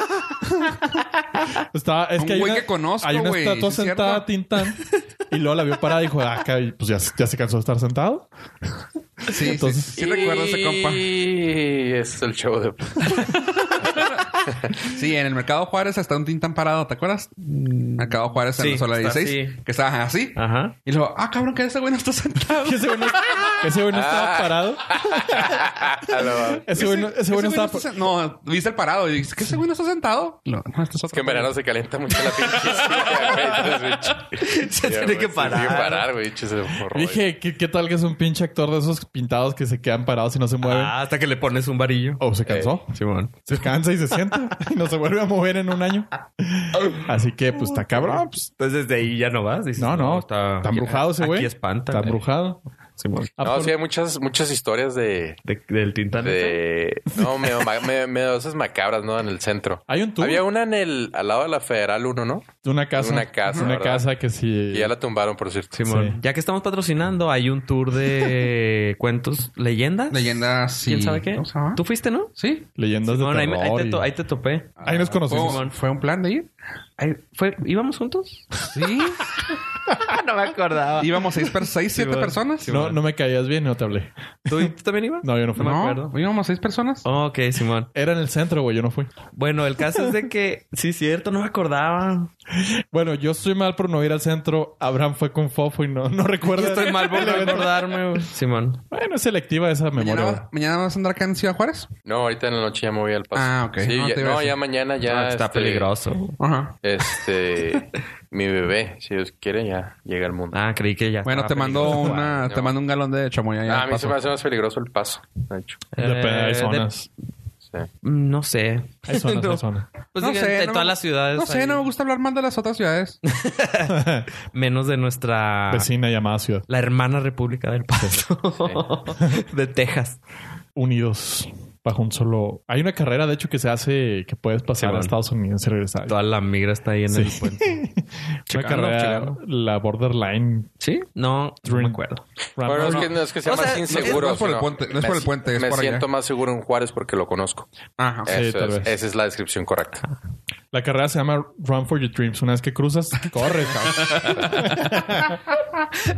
S3: Estaba, es
S5: Un
S3: que hay
S5: güey
S3: una,
S5: que conozco,
S3: hay una
S5: güey,
S3: estatua
S5: sí es cierto.
S3: sentada Tintán y luego la vio parada y dijo, ah, caray, pues ya, ya se cansó de estar sentado.
S5: Sí,
S3: Entonces-
S5: sí, sí, recuerdo a ese compa.
S4: Y ese es el show de...
S5: Sí, en el Mercado Juárez está un tintán parado, ¿te acuerdas? Mercado Juárez en
S1: Sí,
S5: la Sola
S1: está
S5: 16,
S1: así.
S5: que estaba así.
S1: Ajá.
S5: Y luego, ah, cabrón, que ese güey no está sentado.
S3: Que ese güey no, que ese güey no
S5: Ah.
S3: estaba parado.
S4: es
S3: Ese güey no, ese güey no
S5: güey no
S3: estaba.
S5: está sen- No, viste el parado y dices, ¿qué ese güey no está sentado? No, no, este es otro
S4: que en
S5: güey.
S4: verano se calienta mucho la pinche silla, güey. Entonces,
S1: Se
S4: Ya,
S1: tiene
S4: güey,
S1: que
S4: se
S1: parar.
S4: Tiene que parar, güey. Che, se forró, güey.
S3: Dije, ¿qué, qué tal que es un pinche actor de esos pintados que se quedan parados y no se mueven?
S1: Ah, hasta que le pones un varillo.
S3: O se cansó.
S1: Simón.
S3: Se cansa y se sienta y no se vuelve a mover en un año. Así que, pues, está cabrón. pues.
S1: Entonces de ahí ya no vas. Dices,
S3: no, no. Está, embrujado ese güey.
S1: Aquí espanta.
S3: Está
S1: güey.
S3: embrujado.
S1: Simón.
S3: Ah,
S4: No,
S3: por-
S4: sí, hay muchas, muchas historias de.
S1: De- del tintán. ese.
S4: de no, medio, ma- me- medio esas macabras, ¿no? En el centro.
S3: Hay un tour.
S4: Había una en el. Al lado de la Federal 1, ¿no?
S3: de una casa.
S4: una casa,
S3: Una
S4: ¿verdad?
S3: casa que sí.
S4: Y ya la tumbaron, por cierto.
S1: Simón.
S3: Sí.
S1: Ya que estamos patrocinando, hay un tour de cuentos, leyendas.
S5: Leyendas sí.
S1: ¿Quién sabe qué?
S5: ¿Cómo se llama?
S1: ¿Tú fuiste, no?
S5: Sí. Ah,
S3: Leyendas
S1: Simón,
S3: de
S1: ahí, me-
S3: terror.
S1: ahí te, to-
S3: y-
S1: ahí te topé.
S3: Ahí nos conocimos.
S5: ¿Fue- ¿Fue un plan de ir?
S1: Ahí fue, ¿Íbamos juntos?
S5: Sí.
S1: Ah, no me acordaba.
S5: Íbamos seis, per- seis siete
S1: bueno.
S5: personas.
S1: Sí,
S3: no,
S1: bueno.
S3: no me caías bien, no te hablé.
S1: ¿Tú, tú también ibas?
S3: No, yo no fui.
S1: me
S5: No,
S1: acuerdo.
S5: íbamos seis personas.
S1: Ok, Simón.
S3: Era en el centro, güey. Yo no fui.
S1: Bueno, el caso es de que... Sí, cierto. No me acordaba.
S3: Bueno, yo estoy mal por no ir al centro. Abraham fue con Fofo y no, no recuerda.
S1: Estoy mal por no acordarme, güey. Simón.
S3: Bueno, es selectiva esa memoria.
S5: Mañana,
S3: güey.
S5: va- mañana vas a andar acá en Ciudad Juárez.
S4: No, ahorita en la noche ya me voy al paso.
S5: Ah, ok.
S4: Sí,
S5: No,
S4: ya,
S5: te iba a
S4: no,
S5: decir.
S4: ya mañana ya.
S1: Ah, está
S4: este,
S1: peligroso.
S5: Ajá.
S4: Este. mi bebé, si Dios quiere, ya llega al mundo.
S1: Ah, creí que ya.
S5: Bueno,
S1: estaba
S5: te mando
S1: peligroso.
S5: una,
S4: no.
S5: te mando un galón de chamoya. ya
S4: Ah, a mí
S5: paso.
S4: se me hace más peligroso el paso, de hecho. este.
S3: Depende,
S1: Eh,
S3: hay
S1: de-
S3: zonas.
S4: Sí.
S5: Ah,
S1: mm, No sé.
S3: Hay zonas,
S1: No.
S3: hay zonas.
S1: Pues
S5: No
S1: digo,
S5: sé,
S1: en
S5: no
S1: todas
S5: me-
S1: las ciudades.
S5: No sé,
S1: hay
S5: no me gusta hablar mal de las otras ciudades.
S1: Menos de
S4: Ah.
S1: nuestra.
S3: Vecina llamada Ciudad.
S1: La hermana República del Paso. de Texas.
S3: Unidos. Bajo un solo. Hay una carrera, de hecho, que se hace que puedes
S1: Sí,
S3: pasar a
S1: bueno.
S3: Estados Unidos y regresar.
S1: Toda la migra está ahí en
S3: Sí.
S1: el puente.
S3: Una
S1: Checando,
S3: carrera,
S1: checando.
S3: la Borderline.
S1: ¿sí? No, no me
S3: Dream.
S1: acuerdo.
S4: Bueno, es
S3: Ramp-
S4: que no es que sea
S1: O sea,
S4: más
S1: no es-
S4: inseguro.
S5: no es por el
S4: sino
S5: puente, no es
S4: me-
S5: por el puente, es
S4: Me
S5: por allá. Ah,
S4: siento más seguro en Juárez porque lo conozco.
S5: Ajá.
S3: Sí,
S4: Eso
S3: tal
S4: es-
S3: vez.
S4: esa es la descripción
S5: Ah,
S4: correcta.
S3: La carrera se llama Run for Your Dreams. Una vez que cruzas, corre,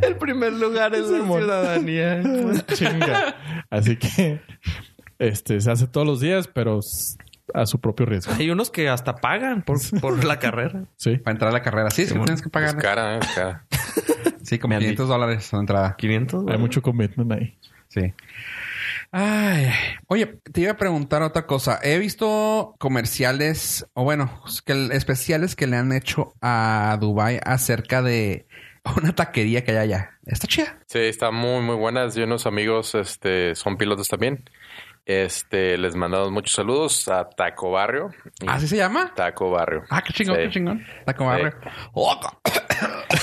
S1: El primer lugar es
S3: la
S1: la ciudadanía.
S3: Chinga. Así que este se hace todos los días, pero s- a su propio riesgo.
S1: Hay unos que hasta pagan por, por la carrera.
S3: Sí.
S5: Para entrar a la carrera. Sí, sí, tienes que
S4: Es
S5: pagar.
S4: cara, ¿eh? es cara.
S5: Sí, como 500 dólares la entrada.
S1: 500.
S3: Hay
S1: güey.
S3: mucho commitment ahí.
S5: Sí. Ay, oye, te iba a preguntar otra cosa. He visto comerciales, o bueno, que- especiales que le han hecho a Dubai acerca de una taquería que hay allá. Está chida.
S4: Sí, está muy, muy buena. Yo unos amigos este, son pilotos también. Este, les mandamos muchos saludos a Taco Barrio. Y
S5: ¿Así se llama?
S4: Taco Barrio.
S5: Ah, qué chingón,
S4: Sí.
S5: qué chingón. Taco Barrio. Oh, co-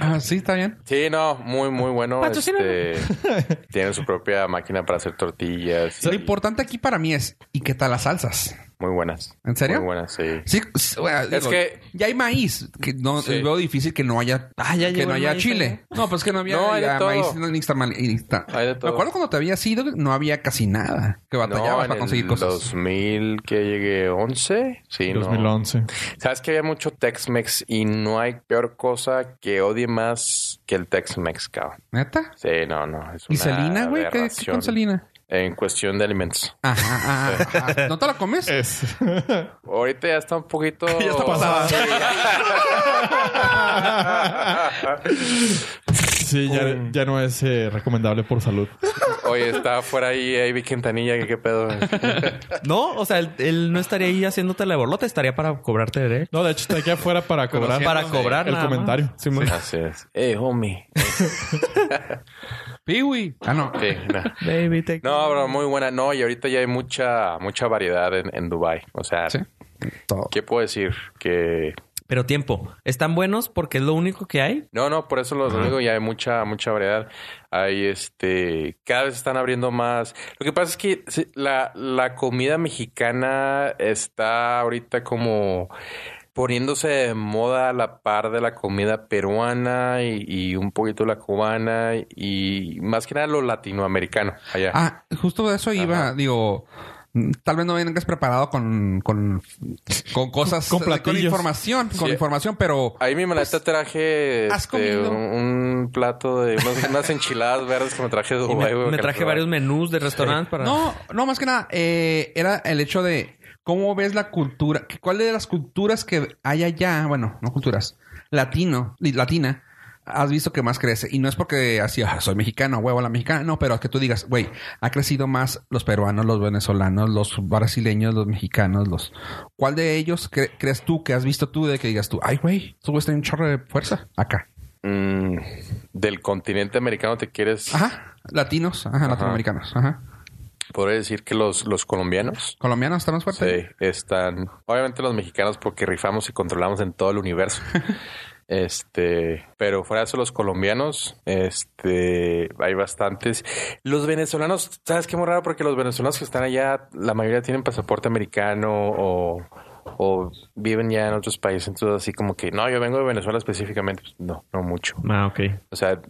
S5: Ah, sí, está bien.
S4: Sí, no, muy, muy bueno.
S1: Patrocíname.
S4: Este, tienen su propia máquina para hacer tortillas.
S5: Lo
S4: y
S5: importante aquí para mí es, ¿y qué tal las salsas?
S4: Muy buenas.
S5: ¿En serio?
S4: Muy buenas, sí.
S5: Sí, s- bueno, digo,
S4: que-
S5: ya hay maíz, que no eh,
S4: Sí.
S5: veo difícil que no haya,
S1: Ah, ya
S5: que
S1: llegó
S5: no
S1: el
S5: haya
S1: maíz ¿eh?
S5: chile. No, pues que no había
S4: No, hay de
S5: ya
S4: todo.
S5: maíz no, nixtamal- nixta-
S4: Hay de
S5: Me
S4: todo.
S5: acuerdo cuando te habías ido, no había casi nada. Que batallabas
S4: en
S5: para conseguir
S4: el
S5: cosas.
S4: 2000 que llegué 11. Sí, no.
S3: 2011.
S4: Sabes que había mucho Tex-Mex y no hay peor cosa que odie más que el Tex-Mex, cabrón.
S5: ¿Neta?
S4: Sí, no, no. Es
S5: ¿Y
S4: una
S5: Selina, güey? ¿Qué, qué
S4: aberración
S5: con Selina?
S4: En cuestión de alimentos.
S5: Ajá, ajá, ajá. ¿No te la comes?
S3: Es.
S4: Ahorita ya está un poquito. ya
S3: está pasada. Sí, ya, ya no es eh, recomendable por salud.
S4: Oye, está fuera ahí Avi Quintanilla, que qué pedo.
S1: No, o sea, él, él no estaría ahí haciéndote la borlota, estaría para cobrarte de
S3: No, de hecho, está aquí afuera para cobrar.
S1: Para cobrar
S3: el
S1: nada más.
S3: comentario. Simón.
S4: Así es. Eh, homie.
S5: Piwi. Ah, no.
S4: Sí, no.
S1: Baby, te
S4: No, bro, muy buena. No, y ahorita ya hay mucha, mucha variedad en, en Dubai. O sea,
S5: Sí. Todo.
S4: ¿qué puedo decir? Que
S1: Pero tiempo. Están buenos porque es lo único que hay.
S4: No, no, por eso los digo, ya hay mucha, mucha variedad. Hay este, cada vez están abriendo más. Lo que pasa es que sí, la, la comida mexicana está ahorita como poniéndose de moda a la par de la comida peruana y, y un poquito la cubana y más que nada lo latinoamericano allá.
S5: Ah, justo de eso iba, digo, Tal vez no vengas preparado con, con, con cosas,
S3: Con platillos.
S5: información, con
S4: Sí.
S5: información, pero
S4: Ahí mi maleta
S1: Pues,
S4: traje
S5: ¿has
S4: este,
S5: comido?
S4: un, un plato de unas, unas enchiladas verdes que me traje de
S1: Y
S4: Dubái,
S1: me,
S4: güey,
S1: me
S4: que
S1: traje
S4: las-
S1: varios menús de restaurantes para...
S5: No, no, más que nada, eh, era el hecho de cómo ves la cultura, que cuál de las culturas que hay allá, bueno, no culturas, latino, li- latina, has visto que más crece. Y no es porque así, "Ah, soy mexicano, huevo la mexicana, no, pero que tú digas, güey, ha crecido más los peruanos, los venezolanos, los brasileños, los mexicanos, los... ¿Cuál de ellos cre- crees tú que has visto tú de que digas tú, ay, güey, tú güeyes tienen un chorro de fuerza acá?
S4: Mm,
S2: Del continente americano te quieres.
S5: Ajá, latinos, ajá, latinoamericanos, ajá.
S4: podría decir que los, los colombianos
S5: Colombianos están más fuertes.
S4: sí, están, obviamente los mexicanos porque rifamos y controlamos en todo el universo. Este, pero fuera de eso, los colombianos, este, hay bastantes. Los venezolanos, ¿sabes qué muy raro? Porque los venezolanos que están allá, la mayoría tienen pasaporte americano o, o viven ya en otros países. Entonces, así como que, no, yo vengo de Venezuela específicamente. Pues, No, no mucho.
S1: Ah, ok.
S4: O sea,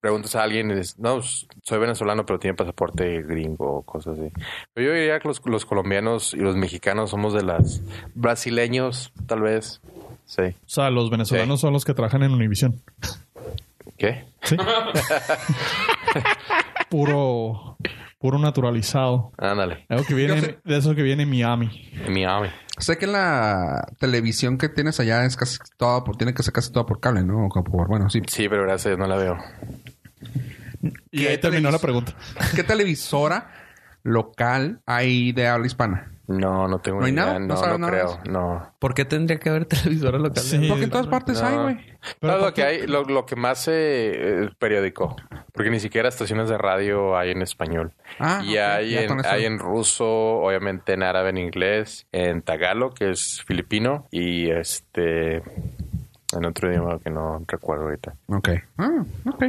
S4: preguntas a alguien y dices, no, s- soy venezolano, pero tiene pasaporte gringo o cosas así. Pero yo diría que los, los colombianos y los mexicanos somos de las brasileños, tal vez. Sí.
S3: O sea, los venezolanos son los que trabajan en Univision.
S4: ¿Qué?
S3: Sí. puro, puro naturalizado.
S4: Ándale.
S3: Algo que viene,
S5: Yo sé.
S3: de eso que viene en Miami.
S4: Miami.
S5: Sé que la televisión que tienes allá es casi toda por, tiene que ser casi toda por cable, ¿no? O por, bueno, sí.
S4: Sí, pero gracias, a Dios no la veo.
S3: Y
S5: ¿Qué
S3: ahí terminó
S5: televis-
S3: la pregunta.
S5: ¿Qué televisora local hay de habla hispana?
S4: No, no tengo
S5: ¿No hay
S4: ni
S5: nada?
S4: idea.
S5: ¿No
S4: No, no,
S5: sabes nada
S4: creo.
S5: más?
S4: No.
S1: ¿Por qué tendría que haber televisora local?
S3: Sí.
S5: Porque en todas partes Pues hay,
S4: No.
S5: güey.
S3: Pero
S4: No, lo
S3: aparte-
S4: que hay, lo, lo que más eh, es periódico, porque ni siquiera estaciones de radio hay en español.
S5: Ah,
S4: y
S5: ok,
S4: hay,
S5: ya con
S4: en,
S5: eso.
S4: hay en ruso, obviamente en árabe, en inglés, en tagalo, que es filipino, y este en otro idioma que no recuerdo ahorita.
S5: Ok. Ah, ok.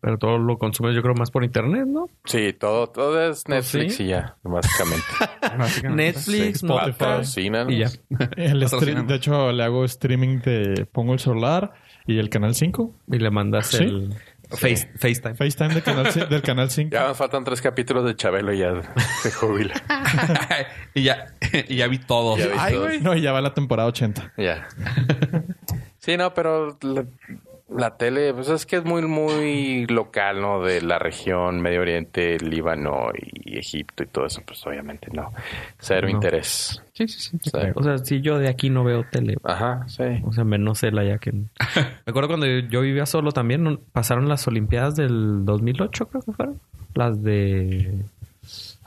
S1: Pero todo lo consumes yo creo más por internet, ¿no?
S4: Sí, todo, todo es
S1: Pues
S4: Netflix
S1: sí.
S4: y ya, básicamente.
S1: Netflix,
S4: Sí,
S1: Spotify.
S4: patrocínanos.
S1: Y ya.
S3: El stream,
S5: Patrocinando.
S3: de hecho, le hago streaming de... Pongo el celular y el canal 5.
S1: Y le mandas
S3: Sí.
S1: el face, FaceTime.
S3: FaceTime del canal, ci- del canal 5.
S4: Ya nos faltan tres capítulos de Chabelo y ya se jubila.
S5: y ya, y ya vi todos.
S4: Ya vi
S5: Ay,
S4: todos.
S5: güey.
S3: No, y ya va la temporada 80.
S4: Ya. Sí, no, pero la, la tele, pues es que es muy, muy local, ¿no? De la región, Medio Oriente, Líbano y Egipto y todo eso, pues obviamente no. Cero
S1: No.
S4: interés.
S5: Sí, sí, sí.
S4: O sea,
S1: O sea, si yo de aquí no veo tele.
S4: Ajá, sí.
S1: O sea, menos él allá que... Me acuerdo cuando yo vivía solo también, ¿no? pasaron las Olimpiadas del 2008, creo que fueron. Las de...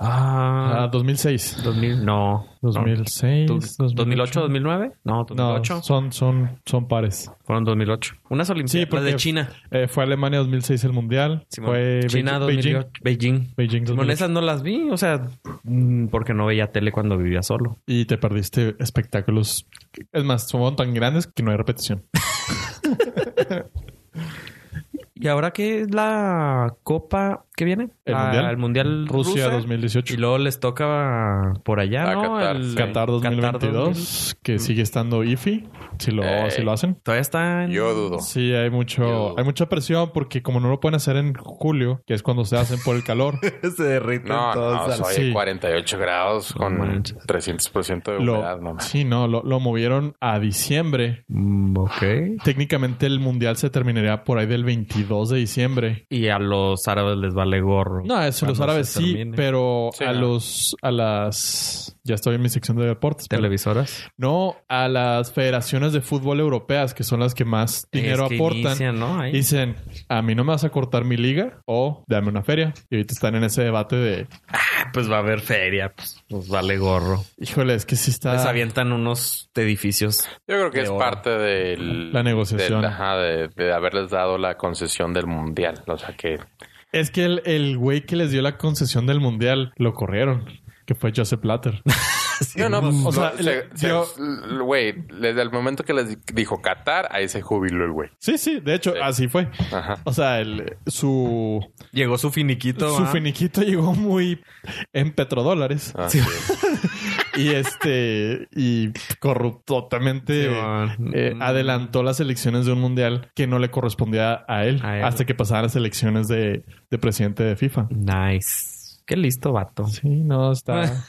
S3: Ah,
S1: Ah,
S3: 2006.
S1: 2000, no.
S3: 2006,
S1: Tu-
S3: 2008.
S1: 2008, 2009. No,
S3: No,
S1: 2008.
S3: son, son, son pares.
S1: Fueron 2008. Unas Olimpiadas las de China.
S3: eh, fue Alemania 2006 el mundial.
S1: Simón.
S3: fue
S1: China
S3: Beijing- Beijing.
S1: 2008. Beijing.
S3: Beijing
S1: Simón,
S3: 2008.
S1: esas no las vi, o sea, mm, porque no veía tele cuando vivía solo.
S3: Y te perdiste espectáculos. Es más, son tan grandes que no hay repetición.
S1: ¿Y ahora qué es la copa que viene?
S3: El
S1: La-
S3: Mundial.
S1: El Mundial
S3: Rusia
S1: rusa.
S3: 2018.
S1: Y luego les toca por allá,
S4: A
S1: ¿no?
S4: Qatar.
S1: El-
S3: Qatar 2022,
S1: 2000.
S3: que sigue estando IFI, si lo,
S4: Eh.
S3: si lo hacen.
S1: Todavía está en...
S4: Yo dudo.
S3: Sí, hay mucho,
S4: Yo-
S3: hay mucha presión porque como no lo pueden hacer en julio, que es cuando se hacen por el calor,
S1: Se derriten
S4: No, no,
S1: todos.
S4: soy
S3: sí.
S4: 48 grados con
S1: manches.
S4: 300% de humedad,
S3: lo,
S4: no mames.
S3: sí, no, lo, lo movieron a diciembre.
S1: Mm, ok.
S3: Técnicamente el mundial se terminaría por ahí del 22 de diciembre.
S1: Y a los árabes les vale gorro.
S3: No, eso los
S1: Cuando
S3: árabes
S1: se
S3: sí,
S1: termine.
S3: pero
S4: Sí,
S3: a
S4: no.
S3: los, a las, ya estoy en mi sección de deportes. pero-
S1: Televisoras.
S3: no, a las federaciones de fútbol europeas, que son las que más dinero
S1: Es que
S3: aportan.
S1: inician, ¿no? Ahí.
S3: Dicen, a mí no me vas a cortar mi liga o dame una feria. Y ahorita están en ese debate de,
S1: Pues va a haber feria, pues, pues vale gorro.
S3: híjole, es que sí está...
S1: Les avientan unos edificios.
S4: Yo creo que
S1: De
S4: es
S1: oro.
S4: parte del-
S3: La negociación.
S4: del- ajá, de, de haberles dado la concesión del mundial. O sea que
S3: Es que el, el güey que les dio la concesión del mundial lo corrieron, que fue Joseph Platter.
S4: No, no, pues,
S3: O sea,
S4: lo-
S3: le-
S4: se- se-
S3: yo-
S4: l- güey, desde el momento que les di- dijo Qatar, ahí se jubiló el güey.
S3: sí, sí, de hecho, así fue.
S4: Ajá.
S3: O sea, el, su,
S1: Llegó su finiquito.
S3: su
S1: ¿ah?
S3: finiquito llegó muy en petrodólares.
S4: Ah,
S3: y este y corrupto totalmente
S1: Sí, man.
S3: eh,
S1: Mm.
S3: adelantó las elecciones de un mundial que no le correspondía a él,
S1: A él.
S3: hasta que pasaran las elecciones de, de presidente de FIFA.
S1: Nice. Qué listo, vato.
S3: Sí, no, está,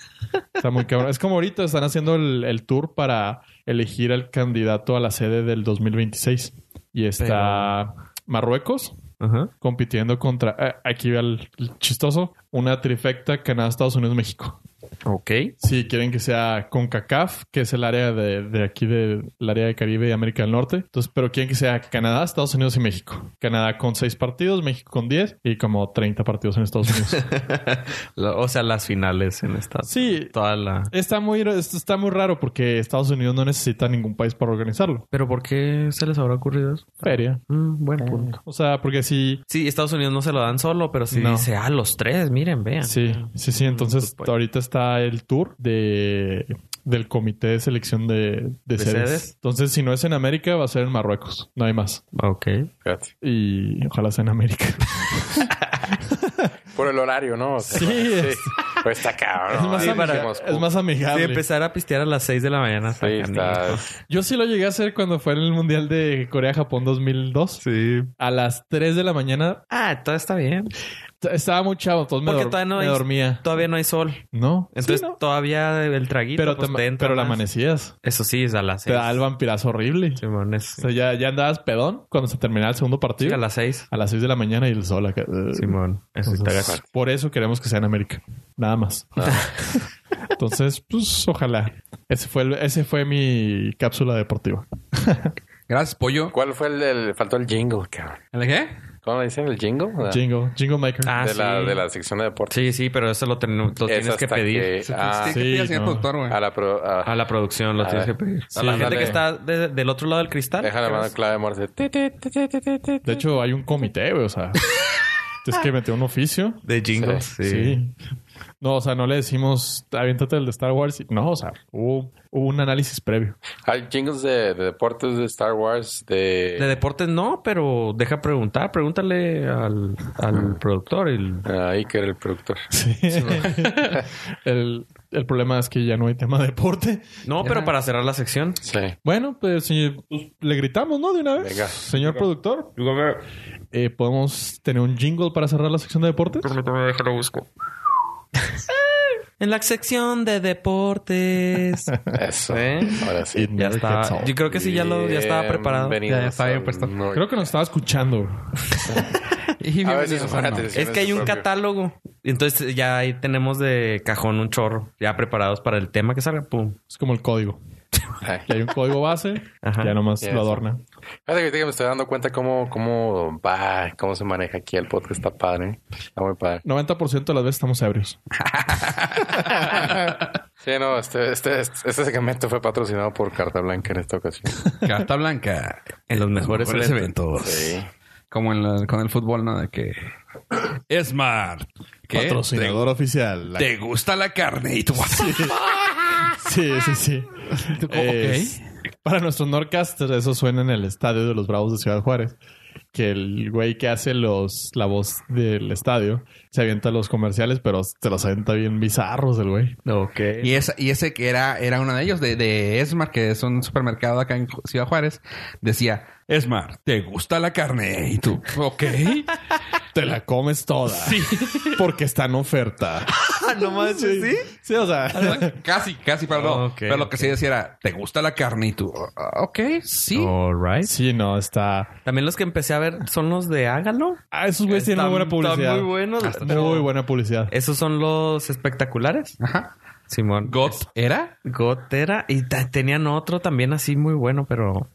S3: está muy cabrón. Es como ahorita están haciendo el, el tour para elegir al candidato a la sede del 2026. Y está Marruecos
S1: Ajá.
S3: compitiendo contra, eh, aquí ve al el chistoso, una trifecta Canadá, Estados Unidos, México.
S1: Ok.
S3: Sí, quieren que sea CONCACAF, que es el área de, de aquí del área de Caribe y América del Norte. Entonces, pero quieren que sea Canadá, Estados Unidos y México. Canadá con seis partidos, México con 10 y como 30 partidos en Estados Unidos.
S1: La- o sea, las finales en esta.
S3: sí,
S1: Toda la.
S3: está muy, está muy raro porque Estados Unidos no necesita ningún país para organizarlo.
S1: Pero ¿por qué se les habrá ocurrido eso?
S3: Feria.
S1: Mm,
S3: Ah.
S1: buen punto.
S3: O sea, porque si
S1: Sí, Estados Unidos no se lo dan solo, pero sí
S3: No.
S1: dice, ah, los tres, miren, vean.
S3: Sí, sí, sí. Entonces,
S1: Good point.
S3: ahorita está el tour de del comité de selección de, de sedes.
S1: sedes?
S3: Entonces, si no es en América, va a ser en Marruecos. No hay más.
S1: Ok.
S4: Fíjate.
S3: Y ojalá sea en América.
S4: Por el horario, ¿no? O sea,
S3: Sí, este, es-
S4: Pues está cabrón.
S3: es, más
S4: Ahí
S3: amiga-
S4: para Moscú.
S3: es
S1: Sí,
S3: más
S1: pues,
S3: amigable.
S1: empezar a pistear a las 6 de la mañana.
S4: Sí, está.
S3: Yo sí lo llegué a hacer cuando fue en el Mundial de Corea-Japón 2002.
S1: Sí.
S3: A las 3 de la mañana
S1: Ah, todo está bien.
S3: t- estaba muy chavo, entonces me,
S1: Porque
S3: dor-
S1: todavía no
S3: me
S1: hay-
S3: dormía.
S1: Todavía no hay sol.
S3: No,
S1: Entonces
S3: Sí, ¿no?
S1: todavía el traguito
S3: pero,
S1: pues,
S3: te-
S1: te entra
S3: pero la
S1: más.
S3: amanecías.
S1: Eso sí, es a las 6.
S3: Te da el vampirazo horrible.
S1: Simón, es-
S3: O sea, ya, ya andabas pedón cuando se terminaba el segundo partido.
S1: a las 6.
S3: A las 6 de la mañana y el sol acá.
S1: Simón. Eso sí te
S3: Entonces,
S1: agacha.
S3: por eso queremos que sea en América. Nada más.
S1: Ah.
S3: Entonces, pues ojalá. Ese fue, el- ese fue mi cápsula deportiva.
S5: Gracias, pollo.
S4: ¿Cuál fue el del. Faltó el jingle, cabrón.
S5: ¿El qué?
S4: ¿Cómo le dicen? ¿El jingle? Ah,
S3: Jingo, Jingo Maker.
S1: Ah,
S4: de,
S1: sí.
S4: la, de la sección de deportes.
S1: Sí, sí, pero eso lo, ten- lo tienes
S4: Es
S1: que
S4: hasta
S1: pedir.
S4: que- ah,
S5: sí, ¿qué
S3: sí,
S5: pides, señor
S3: no.
S5: productor, güey?
S4: a la pro- a-
S1: A la producción lo
S4: A
S1: tienes
S4: ver.
S1: que pedir. a
S3: Sí,
S1: la gente
S4: ándale.
S1: que está de- del otro lado del cristal.
S4: Deja la mano clave de Morse. Ti, ti, ti, ti, ti, ti, ti.
S3: De hecho, hay un comité, güey. O sea, es que metió un oficio.
S1: De jingles.
S3: Sí. No, o sea, no le decimos, aviéntate el de Star Wars. y- No, o sea, hubo, hubo un análisis previo.
S4: Hay jingles de, de deportes de Star Wars, de,
S1: De deportes no, pero deja preguntar. Pregúntale al, al productor. El...
S4: Ah, Iker, el productor.
S3: Sí. el, el problema es que ya no hay tema de deporte.
S1: No, pero para cerrar la sección.
S4: Sí.
S3: Bueno, pues, sí, pues, le gritamos, ¿no? De una vez.
S4: Venga.
S3: Señor productor, eh, ¿podemos tener un jingle para cerrar la sección de deportes?
S1: En la sección de deportes.
S4: Eso.
S1: ¿Eh?
S4: Ahora sí.
S1: Ya está. Yo creo que sí, ya, lo, ya estaba preparado.
S4: Bienvenidos
S5: Ya estaba bien
S4: al
S5: puesto.
S4: Nor-
S3: Creo que nos estaba escuchando.
S5: Y
S4: A veces
S5: bienvenidos
S4: son
S5: a-
S4: gratis.
S1: Es que hay un
S4: propio.
S1: catálogo. Entonces ya ahí tenemos de cajón un chorro. Ya preparados para el tema que salga. Pum.
S3: Es como el código.
S4: Ay.
S3: Que hay un código base,
S1: Ajá.
S3: ya nomás
S4: Ya sé.
S3: lo adorna.
S4: Fíjate que ahorita que me estoy dando cuenta cómo, cómo va, cómo se maneja aquí el podcast. Está padre. ¿eh? Está muy padre.
S3: 90% de las veces estamos ebrios.
S4: Sí, no, este, este, este, este segmento fue patrocinado por Carta Blanca en esta ocasión.
S5: Carta blanca.
S1: En los mejores
S5: Mejores
S1: eventos.
S5: eventos.
S4: Sí.
S5: Como en la- con el fútbol, ¿no? De que... Smart. ¿Qué? ¿Te,
S3: Patrocinador oficial. La-
S5: te gusta la carne? Y tú...
S3: Sí, sí, sí. Es- Para nuestros Norcasters, eso suena en el estadio de los Bravos de Ciudad Juárez. Que el güey que hace los la voz del estadio se avienta los comerciales, pero te los avienta bien bizarros el güey.
S1: Ok.
S5: Y, esa, y ese que era, era uno de ellos, de, de Esmar, que es un supermercado acá en Ju- Ciudad Juárez, decía, Esmar, ¿te gusta la carne? Y tú, ok.
S3: Te la comes toda. Porque está en oferta.
S1: no manches, ¿sí?
S3: Ah, Sí, o sea.
S5: casi, casi, perdón.
S1: Ok,
S5: Pero lo que sí decía era, ¿te gusta la carne? Y tú, "Ah, ok, sí.
S1: All right.
S3: Sí, no, está.
S1: También los que empecé a ver son los de Hágalo.
S3: Ah, esos güeyes tienen
S1: Están-
S3: muy buena publicidad.
S1: están muy buenos.
S3: Pero muy buena publicidad.
S1: Esos son los espectaculares.
S5: Ajá.
S1: Simón.
S5: ¿Got era?
S1: Gotera. Y ta- tenían otro también así muy bueno, pero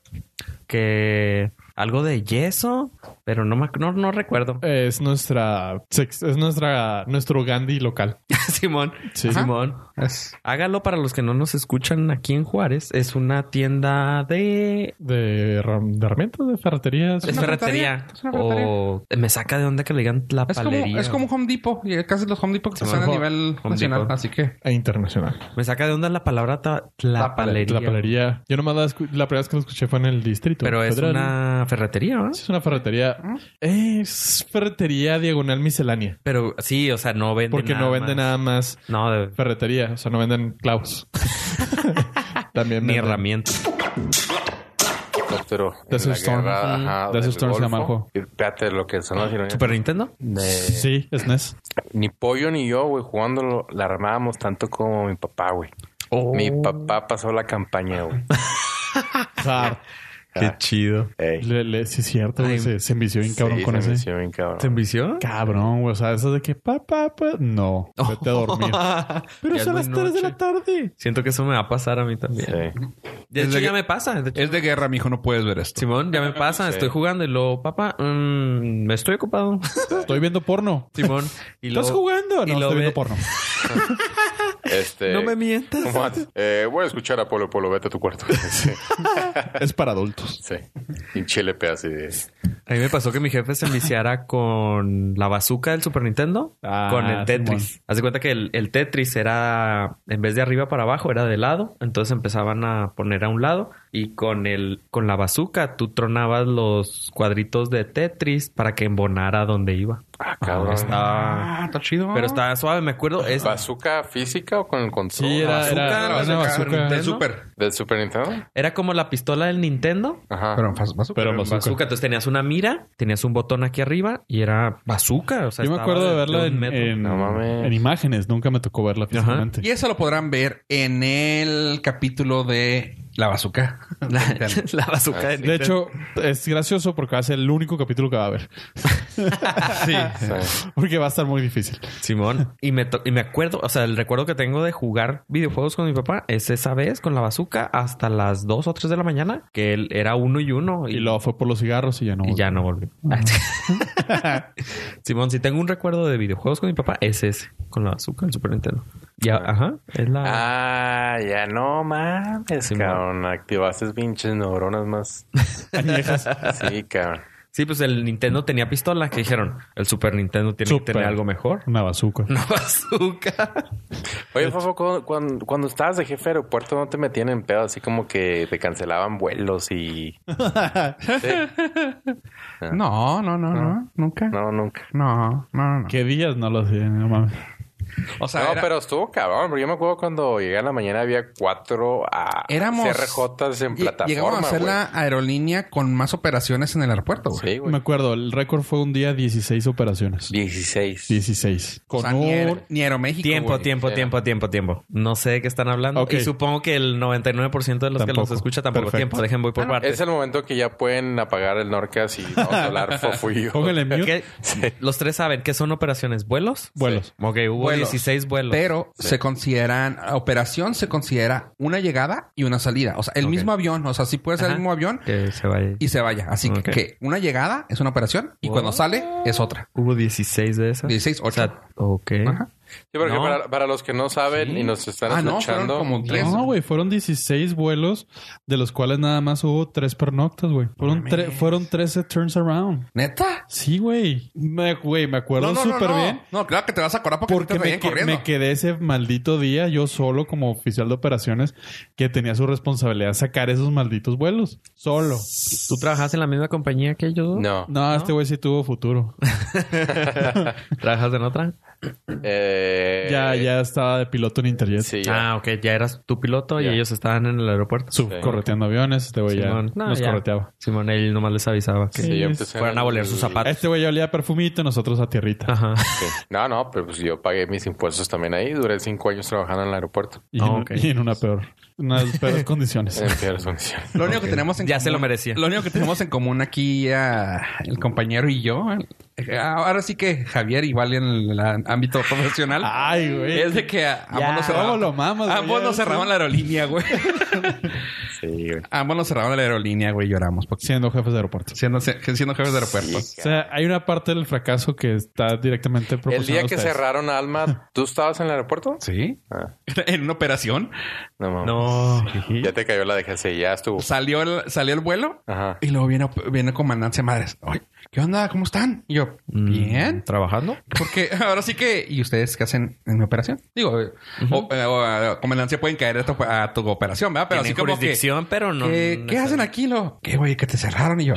S1: que algo de yeso, pero no, me ac- no, no recuerdo.
S3: Es nuestra. sex- Es nuestra. Nuestro Gandhi local.
S1: Simón.
S3: Sí.
S1: Simón.
S5: Es-
S1: Hágalo para los que no nos escuchan aquí en Juárez. Es una tienda de...
S3: De, ram- de herramientas, de ferreterías.
S1: Es
S5: una
S1: ferretería.
S5: ferretería, es una ferretería.
S1: O me saca de onda que le digan la
S5: Es como,
S1: palería.
S5: es como Home Depot. y Casi los Home Depot que
S1: Sí,
S5: están a
S1: Home-
S5: nivel
S1: Home
S5: nacional.
S1: Depot.
S5: Así que...
S3: E internacional.
S1: Me saca de onda la palabra ta-
S5: La pale-
S1: tlapalería.
S3: La palería. Yo nomás la, escu- la primera vez que lo escuché fue en el distrito.
S1: Pero es
S3: federal.
S1: una ¿Mm? ferretería, ¿no?
S3: Sí, Es una ferretería. Es ferretería diagonal miscelánea.
S1: Pero sí, o sea, no venden
S3: Porque no vende
S1: más.
S3: nada más
S1: No, de-
S3: ferretería. O sea, no venden clavos. También
S1: ni
S3: venden-
S1: herramientas.
S4: helicóptero.
S3: Desert
S4: en la
S3: Storm.
S4: guerra,
S3: Mm.
S4: ajá,
S3: Desert
S4: del
S3: Storm se llama el
S4: Golfo. Y Espérate, lo que son las ironías.
S1: ¿Super Nintendo?
S4: De-
S3: Sí, es E NES.
S4: Ni pollo ni yo, güey, jugándolo, la armábamos tanto como mi papá, güey.
S3: Oh,
S4: Mi papá pasó la campaña, güey.
S3: Zar.
S1: Qué chido.
S4: Ey.
S3: Le, le- sí, es cierto, güey.
S1: Ay.
S3: Se, se envició bien cabrón
S4: Sí,
S3: con
S4: se me
S3: ese.
S4: hizo bien cabrón.
S1: ¿Te envició?
S3: Cabrón, güey. O sea, eso de que papá, pa, no. Vete a dormir. Pero
S1: Ya
S3: son
S1: es
S3: las
S1: muy
S3: 3
S1: noche.
S3: de la tarde.
S1: Siento que eso me va a pasar a mí también.
S4: Sí.
S1: De
S5: Es
S1: hecho,
S5: de
S1: ya
S5: que-
S1: me pasa. De hecho,
S5: Es de guerra, mijo, no puedes ver esto.
S1: Simón, ya me pasa. Estoy jugando y luego, papá, mm, me estoy ocupado.
S3: Estoy viendo porno.
S1: Simón. Y
S3: ¿Estás
S1: luego-
S3: jugando?
S1: y
S3: No,
S1: lo
S3: estoy viendo
S1: ve-
S3: porno.
S4: Este,
S1: No me mientas.
S4: ¿cómo vas? Eh, voy a escuchar a Polo Polo, vete a tu cuarto. sí,
S3: Es para adultos.
S4: sí. Y chelepe así de...
S1: A mí me pasó que mi jefe se viciara con la bazooka del Super Nintendo,
S3: Ah,
S1: con el Tetris.
S3: Simón.
S1: Haz de cuenta que el, el Tetris era, en vez de arriba para abajo, era de lado. Entonces empezaban a poner a un lado y con el, con la bazooka tú tronabas los cuadritos de Tetris para que embonara donde iba.
S4: Ah, cabrón.
S1: Está,
S5: Ah, está chido.
S1: pero está suave, me acuerdo. Es,
S4: ¿Bazooka física o con el control? Ah,
S3: Sí, era,
S1: bazooka,
S3: era- era una
S1: bazooka,
S3: bazooka.
S1: Nintendo.
S5: Del super.
S4: ¿Del Super Nintendo?
S1: era como la pistola del Nintendo.
S4: Ajá.
S5: Pero en faz- bazooka.
S3: Pero
S1: Pero en
S3: bazooka.
S1: bazooka. Entonces tenías una mira, tenías un botón aquí arriba y era bazooka. O sea,
S3: Yo me
S1: estaba
S3: acuerdo de verla
S1: un
S3: en,
S1: metro.
S3: en-
S4: No mames.
S3: en imágenes. Nunca me tocó verla físicamente.
S5: Y eso lo podrán ver en el capítulo de La Bazooka.
S1: La, la bazooka de
S3: De
S1: Nintendo.
S3: hecho, es gracioso porque va a ser el único capítulo que va a haber.
S5: sí.
S4: Sí.
S3: Porque va a estar muy difícil.
S1: Simón. Y me, to- y me acuerdo, o sea, el recuerdo que tengo de jugar videojuegos con mi papá es esa vez con la bazooka hasta las 2 o 3 de la mañana, que él era uno y uno y,
S3: Y luego fue por los cigarros y ya no.
S1: y ya no volvió. Simón, si tengo un recuerdo de videojuegos con mi papá, es ese, con la bazooka, el Super Nintendo. Ya, ajá, es la...
S4: Ah, ya no mames,
S1: Simón.
S4: cabrón. Activaste pinches neuronas más. sí, cabrón.
S1: Sí, pues el Nintendo tenía pistola, que dijeron, el Super Nintendo tiene
S3: Super.
S1: que tener algo mejor.
S3: Una bazooka.
S1: Una bazooka.
S4: Oye, Fofo, cu- cuando, cuando estabas de jefe de aeropuerto, ¿no te metían en pedo? Así como que te cancelaban vuelos y...
S5: No, no, no, no. Nunca. No,
S4: No, nunca.
S5: no, no. no.
S3: ¿Qué días no lo hacía? No mames.
S5: O sea,
S4: no,
S5: era-
S4: pero estuvo cabrón. porque Yo me acuerdo cuando llegué a la mañana había cuatro a
S5: éramos...
S4: CRJs en
S5: lle-
S4: plataforma,
S5: Llegamos a ser
S4: güey.
S5: la aerolínea con más operaciones en el aeropuerto, güey.
S4: Sí, güey.
S3: Me acuerdo, el récord fue un día 16 operaciones.
S4: 16.
S3: 16.
S5: O
S3: Con
S5: sea, ni,
S3: un-
S5: Aer- ni Aeroméxico,
S1: Tiempo,
S5: güey.
S1: tiempo,
S4: Sí.
S1: tiempo, tiempo, tiempo. No sé de qué están hablando.
S3: Ok.
S1: Y supongo que el 99% de los que
S3: Tampoco.
S1: los escucha tampoco
S3: Perfecto.
S1: tiempo. Dejen, voy por partes.
S4: Es el momento que ya pueden apagar el Norcas y vamos a hablar Fofo y yo.
S3: Póngale mute.
S1: ¿Qué? Los tres saben que son operaciones, vuelos.
S3: Vuelos.
S1: Ok, hubo
S5: Vuelos.
S1: 16 vuelos.
S5: Pero se consideran, a operación se considera una llegada y una salida. O sea, el
S1: Ok.
S5: mismo avión. O sea, sí puede ser
S1: Ajá.
S5: el mismo avión
S1: que se vaya.
S5: y se vaya. Así que-
S1: Ok.
S5: que, una llegada es una operación y cuando sale es otra.
S1: Hubo 16 de esas.
S5: 16,
S1: O
S5: 8.
S1: sea, ok.
S5: Ajá.
S4: Sí, porque
S1: No.
S4: para, para los que no saben y nos están
S5: Ah, no,
S4: escuchando,
S5: fueron como tres.
S3: No, güey, fueron 16 vuelos, de los cuales nada más hubo 3 pernoctas, güey. Fueron, tre- fueron 13 turns around.
S5: ¿Neta?
S3: Sí, güey. Me, güey, me acuerdo súper bien.
S5: No, claro que te vas a acordar porque, ahorita
S3: Porque me,
S5: venían
S3: que-
S5: corriendo.
S3: me quedé ese maldito día yo solo como oficial de operaciones que tenía su responsabilidad sacar esos malditos vuelos. Solo.
S1: ¿Tú trabajas en la misma compañía que yo?
S4: no.
S3: No, este güey sí tuvo futuro.
S1: ¿Trabajas en otra?
S4: Eh,
S3: ya, ya estaba de piloto en Interjet.
S4: Sí, ya.
S1: Ah, ok. Ya eras tu piloto
S4: Ya.
S1: y ellos estaban en el aeropuerto.
S3: Sub- Correteando aviones, este güey ya
S1: Simón. No,
S3: nos
S1: ya.
S3: correteaba.
S1: Simón, él nomás les avisaba que
S4: Sí, yo empecé
S1: fueran a voler
S4: en-
S1: sus zapatos.
S3: Este güey ya olía a perfumito, nosotros a tierrita.
S1: Ajá.
S4: Sí. No, no, pero pues yo pagué mis impuestos también ahí. Duré cinco años trabajando en el aeropuerto.
S3: Y,
S1: Ah,
S3: en,
S1: ok.
S3: y en una peor, unas peores condiciones.
S5: Eh,
S4: En peores condiciones.
S5: Lo único que tenemos en
S1: Ya se lo merecía.
S5: Lo único que tenemos en común aquí ah, el compañero y yo. eh, Ahora sí que Javier igual en el ah, ámbito profesional.
S3: Ay, güey.
S5: es de que a- ambos nos
S3: ¿Cómo
S5: cerraban,
S3: lo mamas, güey?
S5: ambos
S3: Ya
S5: nos
S3: ves,
S5: cerraban la aerolínea, güey.
S4: Sí, güey.
S5: ambos nos cerraban la aerolínea, güey. Lloramos porque
S3: Siendo jefes de aeropuerto.
S5: siendo, siendo jefes de aeropuerto.
S3: O sea, hay una parte del fracaso que está directamente
S4: El
S3: proporcionada
S4: día que
S3: a ustedes.
S4: cerraron a Alma, ¿tú estabas en el aeropuerto?
S5: Sí.
S4: Ah.
S5: en una operación
S4: No, mames.
S1: No.
S4: Ya te cayó la de GC, ya estuvo.
S5: salió el, salió el vuelo
S4: Ajá.
S5: y luego viene, viene comandancia madres. Oye, ¿qué onda? ¿Cómo están? Y yo,
S3: Mm.
S5: bien.
S1: Mm, ¿Trabajando?
S5: Porque ahora sí que, ¿y ustedes qué hacen en mi operación? Digo, eh, o- eh, o, eh, comandancia pueden caer a tu, a tu operación, ¿verdad? Pero
S1: Tienen
S5: así como que,
S1: jurisdicción, pero no.
S5: que, ¿qué hacen aquí? Lo, ¿Qué, güey? Que te cerraron y yo.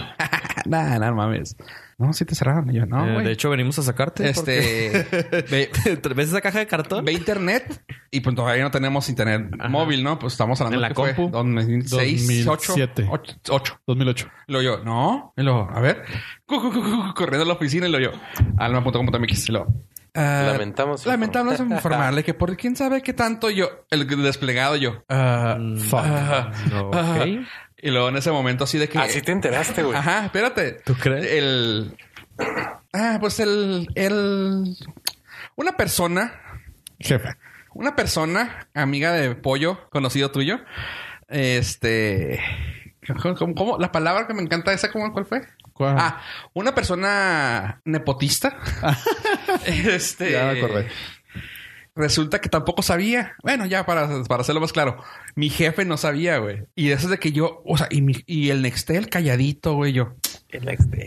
S5: Nah, nah, no mames. No, sí te cerraron. Y yo, no,
S1: Eh,
S5: güey.
S1: de hecho, venimos a sacarte.
S5: este... ve-
S1: porque- ¿Ves esa caja de cartón?
S5: Ve internet y pues todavía no tenemos internet móvil, ¿no? Pues estamos hablando
S1: En la
S5: que fue
S1: compu.
S5: 2006,
S3: 2007.
S5: 8, 8.
S3: 2008.
S5: Y luego yo, no. Y luego, a ver, cu, cu, cu, cu, corriendo a la oficina y lo yo, alma.com.mx. Y luego, ah,
S4: Lamentamos inform-
S5: Lamentamos informarle que por quién sabe qué tanto yo, el desplegado yo. ah, ah,
S1: Ok.
S5: ah. Y luego en ese momento así de que...
S4: Así te enteraste, güey.
S5: Ajá, espérate.
S1: ¿Tú crees?
S5: El. Ah, pues el. El. Una persona.
S3: Jefe.
S5: Una persona, amiga de pollo, conocido tuyo. Este. ¿Cómo? cómo? La palabra que me encanta esa, ¿cómo, ¿cuál fue?
S3: ¿Cuál?
S5: Ah, una persona nepotista. este.
S3: Ya me acordé.
S5: Resulta que tampoco sabía. Bueno, ya para, para hacerlo más claro, mi jefe no sabía, güey. Y eso es de que yo, o sea, y, mi- y el Nextel calladito, güey, yo.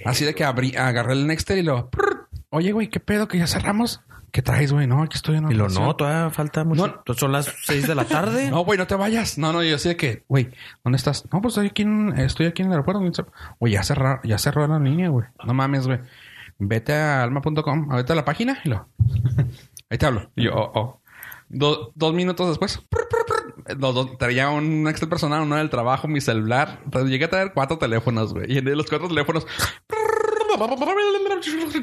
S5: Así de que abrí, agarré el Nextel y lo. prr. Oye, güey, ¿qué pedo que ya cerramos? ¿Qué traes, güey? No, aquí estoy en
S1: Y lo
S5: operación.
S1: no, todavía falta mucho. Son las 6 de la tarde.
S5: No, güey, no te vayas. No, no, yo así de que, güey, ¿dónde estás? No, pues estoy aquí en, estoy aquí en el aeropuerto. Güey, ya cerraron, ya cerró la línea, güey. No mames, güey. Vete a alma.com, ahorita a la página y lo. Ahí te hablo. Y yo, oh, oh. Do- dos minutos después, prr, prr, prr, no, do- traía un Excel personal, uno del trabajo, mi celular. Entonces, llegué a traer cuatro teléfonos, güey. Y en los cuatro teléfonos,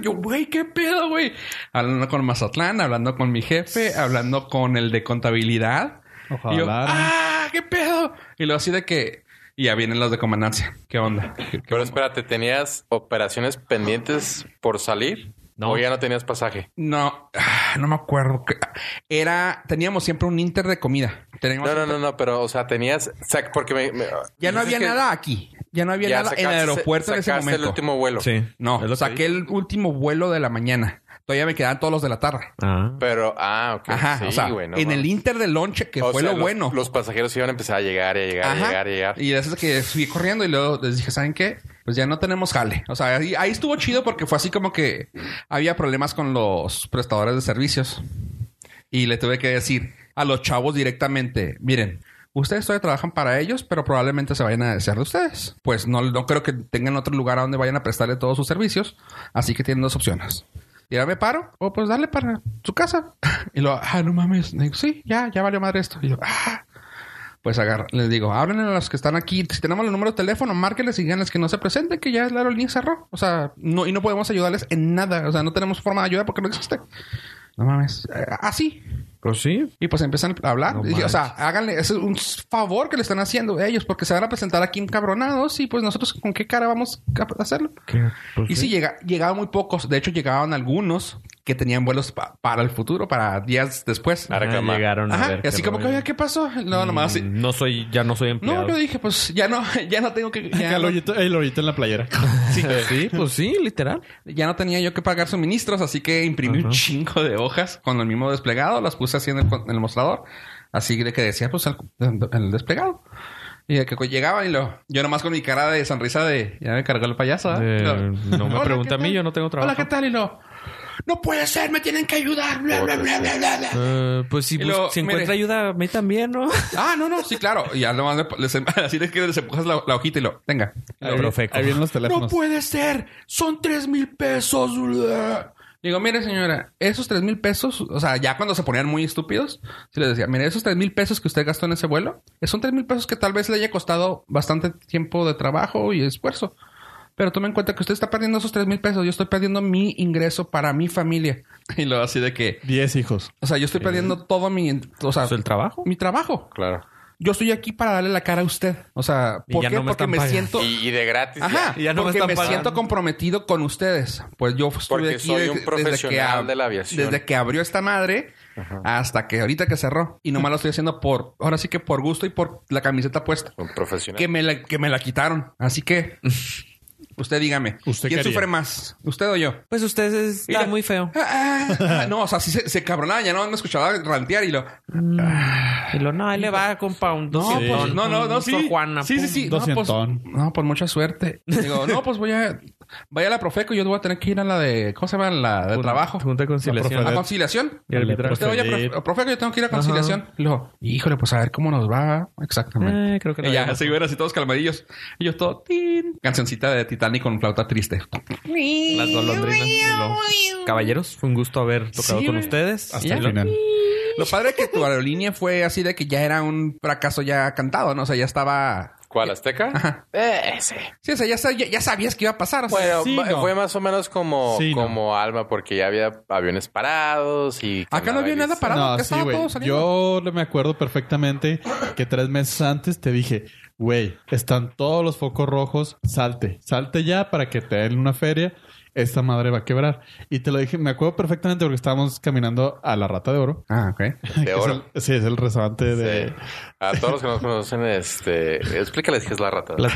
S5: yo, güey, qué pedo, güey. Hablando con Mazatlán, hablando con mi jefe, hablando con el de contabilidad.
S3: Ojalá.
S5: Y yo, ah, qué pedo. Y luego así de que. Y ya vienen los de comandancia. ¿Qué onda?
S4: Pero espérate, ¿tenías operaciones pendientes por salir?
S1: No.
S4: ¿O ya no tenías pasaje?
S5: No, ah, no me acuerdo. qué- Era, teníamos siempre un inter de comida. Teníamos-
S4: No, no, no, no, pero, o sea, tenías... o sea, porque me, me-
S5: Ya no
S4: dices
S5: había
S4: que
S5: nada aquí. Ya no había
S4: ya
S5: nada en el
S4: sacaste-
S5: aeropuerto en ese
S4: sacaste
S5: momento.
S4: el último vuelo.
S1: Sí.
S5: No,
S1: Es lo que
S5: saqué
S1: dije.
S5: el último vuelo de la mañana. Todavía me quedaban todos los de la tarde.
S1: Ah.
S4: Pero, ah, ok.
S5: Ajá,
S4: sí,
S5: o sea,
S4: güey, no
S5: en el
S4: mames.
S5: inter de lonche, que
S4: O
S5: fue
S4: sea,
S5: lo
S4: los-
S5: bueno.
S4: Los pasajeros iban a empezar a llegar y a llegar,
S5: Ajá.
S4: y a llegar, y a llegar.
S5: Y eso es que fui corriendo y luego les dije, ¿saben qué? Pues ya no tenemos jale. O sea, ahí, ahí estuvo chido porque fue así como que había problemas con los prestadores de servicios. Y le tuve que decir a los chavos directamente, miren, ustedes todavía trabajan para ellos, pero probablemente se vayan a desear de ustedes. Pues no, no creo que tengan otro lugar a donde vayan a prestarle todos sus servicios. Así que tienen dos opciones. Tirarme paro o pues darle para su casa. Y lo, ah, no mames. Le digo, sí, ya, ya valió madre esto. Y yo, ah, pues agarra, les digo, háblenle a los que están aquí. Si tenemos los números de teléfono, márquenles y díganles que no se presenten, que ya la aerolínea cerró. O sea, no, y no podemos ayudarles en nada. O sea, no tenemos forma de ayudar porque no existe. No mames. Eh, Así.
S1: Pues sí.
S5: Y pues empiezan a hablar.
S1: No
S5: Y dije, o sea, háganle, ese es un favor que le están haciendo a ellos porque se van a presentar aquí encabronados y pues nosotros con qué cara vamos a hacerlo.
S1: Pues
S5: Y sí, llega, llegaban muy pocos. De hecho, llegaban algunos que tenían vuelos pa- para el futuro, para días después.
S4: A reclamar.
S1: Ah, llegaron a
S5: Ajá.
S1: ver
S5: Y así
S1: qué
S5: como que,
S1: rollo.
S5: oye, ¿qué pasó? No, nomás así.
S1: Mm, No soy, ya no soy empleado.
S5: No, yo dije, pues ya no, ya no tengo que.
S3: Acá
S5: Ya,
S3: el
S5: no,
S3: hoyito, el hoyito en la playera.
S1: Sí, pues sí, literal.
S5: ya no tenía yo que pagar suministros, así que imprimí un
S1: Ajá.
S5: chingo de hojas con el mismo desplegado, las puse así en el, en el mostrador. Así de que decía, pues el, el desplegado. Y de que llegaba y lo. Yo nomás con mi cara de sonrisa de. Ya me cargó el payaso.
S1: De,
S5: ¿eh?" Y lo,
S1: "No me
S5: "Hola,
S1: pregunte
S5: ¿qué
S1: a mí,
S5: tal?
S1: yo no tengo trabajo".
S5: Hola, ¿qué tal? Y lo. No puede ser, me tienen que ayudar. Bla, bla, bla, bla, bla, bla".
S1: Eh, pues si,
S5: Y
S1: bus-
S5: luego,
S1: si encuentra
S5: mire.
S1: ayuda, a mí también, ¿no?
S5: Ah, no, no, sí, claro. Y ya nomás le- les, así es que les empujas la, la hojita y lo. Venga.
S3: Ahí,
S1: Profeco.
S3: ahí vienen los teléfonos.
S5: No puede ser. Son tres mil pesos. Digo, mire, señora, esos tres mil pesos, o sea, ya cuando se ponían muy estúpidos, si les decía, mire, esos tres mil pesos que usted gastó en ese vuelo, eh, son tres mil pesos que tal vez le haya costado bastante tiempo de trabajo y esfuerzo. Pero tome en cuenta que usted está perdiendo esos tres mil pesos. Yo estoy perdiendo mi ingreso para mi familia. Y luego así de que,
S3: 10 hijos.
S5: o sea, yo estoy perdiendo todo mi, o sea,
S1: Pues el trabajo.
S5: mi trabajo.
S4: Claro.
S5: Yo estoy aquí para darle la cara a usted. O sea,
S1: Y
S5: ¿por
S1: ya
S5: qué?
S1: no me
S5: Porque
S1: están
S5: me
S1: pagando.
S5: siento...
S4: Y, y de gratis.
S5: Ajá,
S1: Y ya no me
S5: porque me,
S1: están pagando.
S5: siento comprometido con ustedes. Pues yo estuve
S4: Porque
S5: aquí
S4: soy
S5: de-
S4: un
S5: desde
S4: profesional
S5: que ab-
S4: de la aviación.
S5: Desde que abrió esta madre hasta que ahorita que cerró. Y nomás lo estoy haciendo por, ahora sí que por gusto y por la camiseta puesta.
S4: Un profesional.
S5: Que me la, que me la quitaron. Así que usted dígame,
S3: ¿Usted
S5: ¿quién
S3: qué haría?
S5: sufre más? ¿Usted o yo?
S1: Pues usted es- está
S5: Mira.
S1: muy feo.
S5: Ah, ah, ah, no, o sea, sí se, se cabronaba, ya no me escuchaba rantear y lo.
S1: Y lo, no, ahí le va, compa, un
S5: No,
S1: doscientón,
S5: pues, no, no,
S1: un
S5: no, sí.
S1: Sor Juana,
S5: sí, sí,
S1: pum.
S5: sí. No, pues,
S3: Doscientón.
S5: no, pues mucha suerte. Digo, no, pues voy a. Vaya a la Profeco, yo voy a tener que ir a la de, ¿cómo se llama? La de
S1: Jun-
S5: trabajo.
S1: Junta de conciliación.
S5: A conciliación.
S1: Y arbitraje.
S5: Usted, oye, profe- Profeco, yo tengo que ir a conciliación. Y luego, híjole, pues a ver cómo nos va. Exactamente.
S1: Eh, creo que no.
S5: Y ya, así güey, así todos calmadillos. Y yo todo, tin. Cancioncita de Titanic con flauta triste.
S1: Las golondrinas. y luego- Caballeros, fue un gusto haber tocado
S5: Sí,
S1: con
S5: güey.
S1: ustedes.
S5: Hasta el final. Lo padre que tu aerolínea fue así de que ya era un fracaso ya cantado, ¿no? O sea, ya estaba...
S4: ¿Cuál, Azteca?
S5: Ajá.
S4: Eh, sí.
S5: Sí, o sea, ya, sa- ya- ya sabías que iba a pasar. o sea.
S4: Bueno,
S3: Pues Sí,
S4: ma-
S3: no.
S4: fue más o menos como,
S3: Sí, no.
S4: como Alma, porque ya había aviones parados y...
S5: Acá no había nada
S4: para
S5: parado.
S3: No,
S5: acá
S3: sí,
S5: estaba
S3: güey.
S5: todo saliendo.
S3: Yo me acuerdo perfectamente que tres meses antes te dije, güey, están todos los focos rojos, salte, salte ya para que te den una feria. Esta madre va a quebrar. Y te lo dije, me acuerdo perfectamente porque estábamos caminando a la Rata de Oro.
S5: Ah, ok.
S3: que
S4: De oro.
S3: Es el- sí, es el restaurante de...
S4: Sí. A todos los que nos conocen, este, explícales qué es la rata.
S3: Bueno,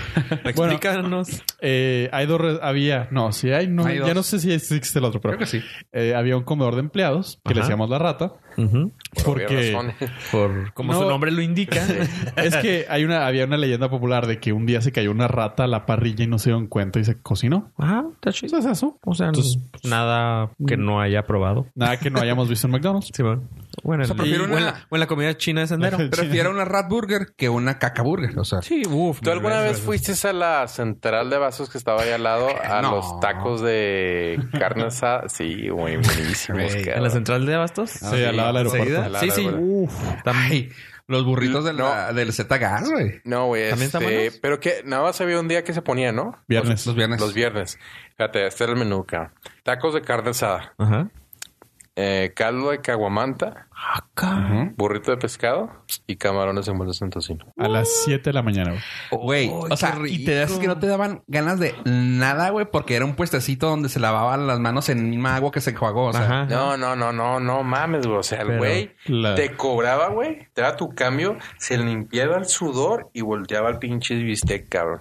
S1: Explícanos.
S3: eh, hay dos... re- Había... No, sí hay... No,
S5: Hay
S3: ya
S5: dos.
S3: no sé si existe el otro, pero...
S5: Creo que sí.
S3: eh, había un comedor de empleados que le
S1: Ajá.
S3: llamamos La Rata.
S1: Ujú.
S3: porque...
S1: Por como
S3: No.
S1: su nombre lo indica.
S3: Es que hay una, había una leyenda popular de que un día se cayó una rata a la parrilla y no se dieron cuenta y se cocinó.
S1: Ajá, Ah, está
S3: Pues
S1: chido.
S3: es eso.
S1: O sea, pues,
S3: Entonces,
S1: nada que no haya probado.
S3: Nada que no hayamos visto en McDonald's.
S1: Sí, bueno. Bueno,
S5: O sea,
S1: en-
S5: prefiero
S1: y-
S5: una-
S1: o en la, o en la comida china de sendero.
S5: Prefiero una rat burger que una caca burger. O sea,
S1: sí, uff.
S4: ¿Tú alguna vez fuiste a la central de vasos que estaba ahí al lado a
S5: No.
S4: los tacos de carne asada? Sí, muy buenísimos.
S5: Güey,
S4: cabrón.
S1: ¿En la central de Abastos?
S5: Ah,
S3: Sí, al lado del aeropuerto.
S1: ¿Seguida?
S4: Al lado
S1: Sí,
S4: del
S1: sí.
S4: aeropuerto.
S1: Uf. Tam-
S5: ay, los burritos de la- del Z Gas, güey.
S4: No, güey.
S1: ¿También están
S4: este,
S1: buenos?
S4: pero que nada más había un día que se ponía, ¿no?
S3: Viernes.
S5: Los
S1: Pues
S5: viernes.
S4: Los viernes. Fíjate, este era el menú, cabrón. Tacos de carne asada,
S1: Ajá.
S4: eh, caldo de caguamanta,
S1: Acá.
S5: Ujú.
S4: burrito de pescado y camarones envueltos en tocino.
S3: A las 7 de la mañana. güey.
S5: Güey, o sea,
S1: qué
S5: y te das
S1: rico.
S5: que no te daban ganas de nada, güey, porque era un puestecito donde se lavaban las manos en misma agua que se enjuagó. O sea,
S1: Ajá.
S4: No, no, no, no, no mames, güey. O sea, el
S1: Pero
S4: güey
S3: la-
S4: te cobraba, güey. Te daba tu cambio, se limpiaba el sudor y volteaba el pinche bistec, cabrón.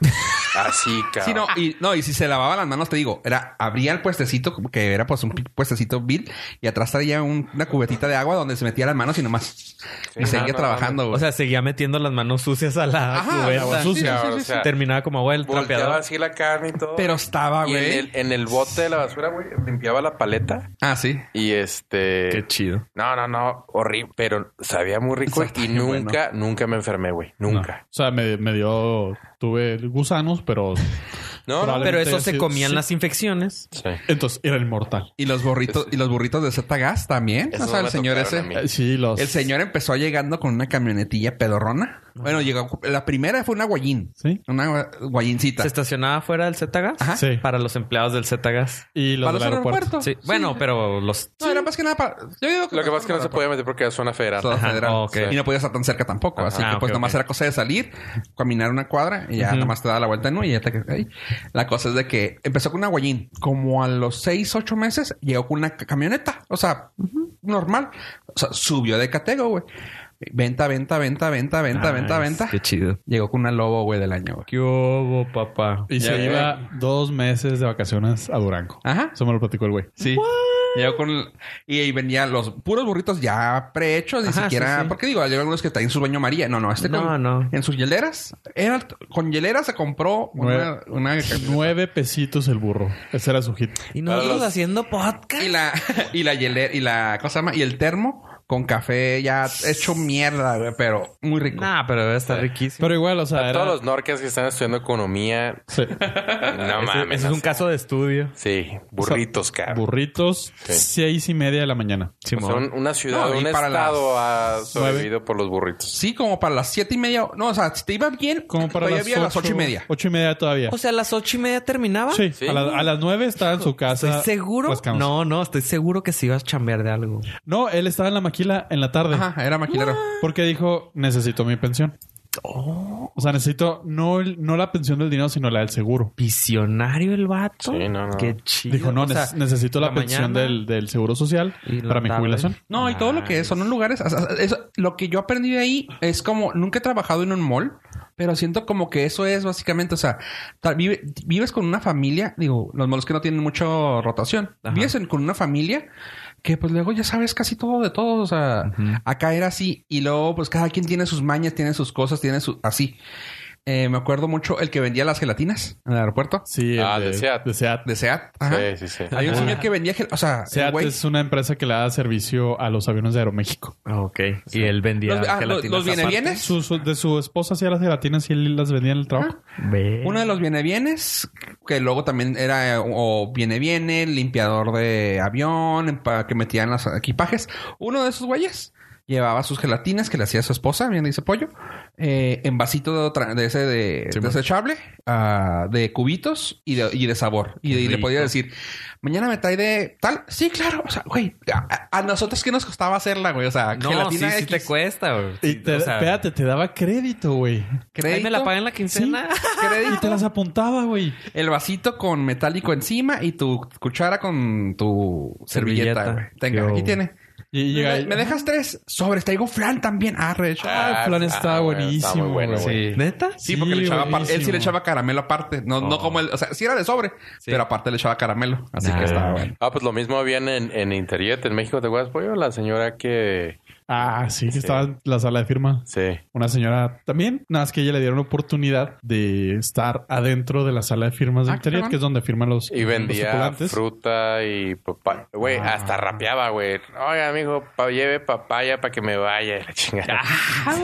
S4: Así, cabrón.
S5: Sí, no, y, no, y si se lavaba las manos, te digo, era, abría el puestecito, como que era pues un pi- puestecito vil, y atrás traía un- una cubetita de agua donde se metía las manos y nomás. y
S4: no,
S5: seguía
S4: no,
S5: trabajando, güey.
S1: O sea, seguía metiendo las manos sucias a la
S5: Ajá,
S1: cubeta.
S5: la agua
S4: sucia. Sí, sí, sí,
S1: O
S4: sí.
S1: sea, Terminaba como agua el
S4: Volteaba
S1: trapeador.
S4: así la carne y todo.
S5: pero estaba,
S4: y en
S5: güey.
S4: el, en el bote de la basura, güey, limpiaba la paleta
S5: Ah, sí.
S4: y este...
S1: Qué chido.
S4: No, no, no, horrible, pero sabía muy rico
S5: Está
S4: y
S5: bien
S4: nunca, nunca me enfermé, güey, nunca.
S3: O sea, me, me dio... Tuve gusanos, pero...
S4: No, no,
S3: Probable.
S1: Pero eso
S3: Sí,
S1: se
S3: sí.
S1: comían las infecciones.
S4: sí.
S3: Entonces, era inmortal.
S5: Y los burritos, y los burritos de Z Gas también.
S4: Esos
S5: o sea,
S4: no
S5: el
S4: me
S5: señor ese.
S4: tocaron a mí.
S3: Eh, Sí, los...
S5: El señor empezó llegando con una camionetilla pedorrona. Bueno, llegó. La primera fue una guayín.
S3: Sí.
S5: Una gua- guayincita.
S1: Se estacionaba fuera del Zetagas
S5: Ajá.
S3: Sí.
S1: para los empleados del Zetagas.
S3: Y los
S5: Para
S3: del
S5: los
S3: aeropuerto.
S5: aeropuertos.
S1: Sí. Bueno, pero los
S5: No, era más que nada para. Yo digo
S4: Lo que pasa es que no se podía meter porque era zona federal.
S5: Estado
S1: Ajá,
S5: federal.
S1: ok.
S5: Y no podía estar tan cerca tampoco.
S1: Ajá,
S5: así que
S1: ah,
S5: pues
S1: ok,
S5: nomás
S1: ok.
S5: era cosa de salir, caminar una cuadra y ya
S1: Ujú.
S5: nomás te da la vuelta en uno y ya te quedas ahí. La cosa es de que empezó con una guayín. Como a los seis, ocho meses llegó con una ca- camioneta. O sea, normal. O sea, subió de catego, güey. Venta, venta, venta, venta, venta, venta,
S1: Nice.
S5: venta.
S1: Qué chido.
S5: Llegó con una lobo, güey, del año, güey.
S1: ¿Qué hubo, papá?
S3: Y
S5: Ya,
S3: se
S5: güey.
S3: iba dos meses de vacaciones a Durango.
S5: Ajá.
S3: Eso me lo platicó el güey.
S5: Sí. Llegó con... Y ahí venían los puros burritos ya prehechos, ni
S1: Ajá,
S5: siquiera...
S1: sí, sí.
S5: Porque digo, hay algunos que traen su baño María. No, no, este
S1: No,
S5: con-
S1: no.
S5: En sus hieleras. Era, con hieleras se compró una...
S3: Nueve.
S5: una-
S3: Nueve pesitos el burro. Ese era su hit.
S1: Y
S4: nosotros los-
S1: haciendo podcast.
S5: y la... Y la hielera... Y la... ¿Cómo se llama? Y el termo con café ya hecho mierda, güey, pero muy rico.
S1: Nah, pero debe estar riquísimo.
S3: Pero igual, o sea, era...
S4: Todos los norcas que están estudiando economía,
S3: Sí.
S4: no
S1: Ese-
S4: mames.
S1: ese es un
S4: así.
S1: caso de estudio.
S4: Sí, burritos, cabrón.
S3: Burritos,
S4: Sí.
S3: seis y media de la mañana.
S1: Simón.
S4: Son una ciudad,
S5: No, y
S4: un
S5: para las
S4: estado ha sobrevivido por los burritos.
S5: Sí, como para las siete y media... No, o sea, si te iba bien...
S3: Como para
S5: todavía
S3: las,
S5: había
S3: ocho,
S5: las ocho y media.
S3: Ocho y media todavía.
S1: sea, a las ocho y media terminaba.
S3: sí, Ah, pues,
S4: Sí.
S3: A, la- a las nueve estaba en su casa.
S1: ¿Estoy seguro?
S3: rascándose. No.
S1: No, no, estoy seguro que sí ibas a chambear de algo.
S3: él estaba en la maquila en la tarde.
S5: Ajá, era maquilero.
S3: Porque dijo, necesito mi pensión. O sea, necesito no, el- no la pensión del dinero, sino la del seguro.
S1: Visionario el vato.
S4: Sí, no, no.
S1: Qué chido.
S3: Dijo, no,
S1: O sea,
S3: ne- necesito la,
S1: la
S3: pensión
S1: mañana
S3: del, del seguro social
S1: y la
S3: para mi
S1: tarde.
S3: jubilación.
S5: No, y todo lo que
S1: Nice.
S5: son los lugares. o sea, eso- lo que yo aprendí de ahí es como nunca he trabajado en un mall, pero siento como que eso es básicamente, o sea, ta- vive- vives con una familia, digo, los malls que no tienen mucha rotación,
S1: Ajá.
S5: vives en- con una familia que pues luego ya sabes casi todo de todo, o sea, acá era así y luego pues cada quien tiene sus mañas, tiene sus cosas, tiene su así. eh, me acuerdo mucho el que vendía las gelatinas en el aeropuerto
S3: Sí,
S4: Ah,
S3: el
S4: de Seat.
S3: De Seat.
S5: de SEAT. Ajá.
S4: Sí, sí, sí.
S5: Hay un señor que vendía gel- O sea, el
S3: Seat
S5: güey-
S3: es una empresa que le da servicio a los aviones de Aeroméxico.
S1: Ah, ok. Y él vendía
S5: Los- ah, los,
S1: gelatinas
S5: los viene
S1: aparte.
S5: bienes.
S3: Su- su- de su esposa hacía las gelatinas y él las vendía en el trabajo.
S1: Ah. Ve.
S5: Uno de los viene bienes, que luego también era eh, o viene viene, limpiador de avión, empa- que metían los equipajes. Uno de esos güeyes llevaba sus gelatinas que le hacía su esposa, bien dice pollo, eh, en vasito de, otra- de ese de,
S3: Sí,
S5: desechable, ah, de cubitos y de, y de sabor. Y, y le podía decir, mañana me trae de tal. Sí, claro. O sea, güey, a, a nosotros qué nos costaba hacerla, güey. O sea,
S1: No, sí,
S5: gelatina
S1: sí
S5: X,
S1: te cuesta, güey.
S3: Y
S1: Sí,
S3: te,
S1: o sea,
S3: espérate, te daba crédito, güey.
S1: Ahí
S5: crédito,
S1: me la pagan la quincena.
S5: crédito.
S3: Y te las apuntaba, güey.
S5: El vasito con metálico encima y tu cuchara con tu servilleta.
S1: Servilleta.
S5: güey. Tenga,
S1: Yo-
S5: aquí tiene.
S3: Y llega
S5: ¿Me, me dejas tres sobres. Traigo flan también. Ah, re hecho.
S3: Ah, el plan está
S4: bueno, está
S3: buenísimo,
S4: muy bueno,
S3: güey.
S4: güey.
S1: ¿Neta?
S5: Sí, porque le echaba apar- él sí
S3: buenísimo.
S5: le echaba caramelo aparte. No, no como el... O sea, sí era de sobre, pero aparte le echaba caramelo. Así
S1: Nah.
S5: que estaba bueno.
S4: Ah, pues lo mismo habían en, en Interjet, en México, ¿te acuerdas, pollo? La señora que...
S3: Ah, sí, que estaba en la sala de firma.
S4: Sí.
S3: Una señora también, nada más que ella le dieron oportunidad de estar adentro de la sala de firmas de
S5: Ah,
S3: Internet,
S5: cabrón.
S3: que es donde firman los,
S4: Y
S3: los
S4: vendía
S3: tripulantes.
S4: fruta y papaya. Güey, hasta rapeaba, güey. Oiga, amigo, pa- lleve papaya para que me vaya. La chingada.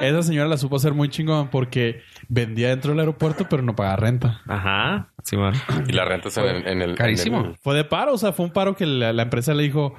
S3: Esa señora la supo hacer muy chingón porque vendía dentro del aeropuerto, pero no pagaba renta.
S1: Ajá. Simón.
S4: Y la rentas en, el- en el...
S5: Carísimo.
S4: en el-
S3: Fue de paro, o sea, fue un paro que la, la empresa le dijo: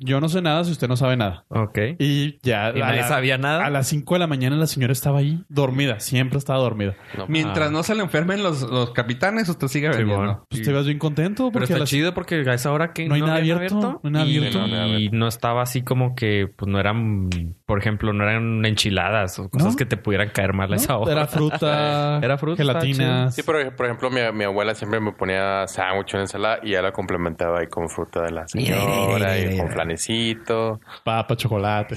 S3: Yo no sé nada si usted no sabe nada.
S1: Ok.
S3: Y ya
S1: Y nadie sabía nada.
S3: A las 5 de la mañana la señora estaba ahí, dormida, siempre estaba dormida.
S4: no,
S5: Mientras no se le enfermen los, los capitanes, usted sigue
S1: Sí,
S5: vendiendo.
S1: bueno.
S3: Pues te vas bien contento
S1: Pero
S3: porque a
S1: está
S3: las-
S1: chido porque a esa hora que
S3: No hay nada
S1: habían
S3: abierto, no hay nada
S1: y,
S3: abierto.
S1: y no, estaba así como que, pues no eran, por ejemplo, no eran enchiladas o cosas
S3: ¿No?
S1: que te pudieran caer mal a
S3: ¿no?
S1: esa hora.
S3: Era fruta,
S1: Era fruta,
S3: gelatinas.
S4: Sí, pero por ejemplo, mi, mi abuela siempre me ponía sándwich en ensalada y ya la complementaba ahí con fruta de la señora y con flanecito.
S3: papa, chocolate.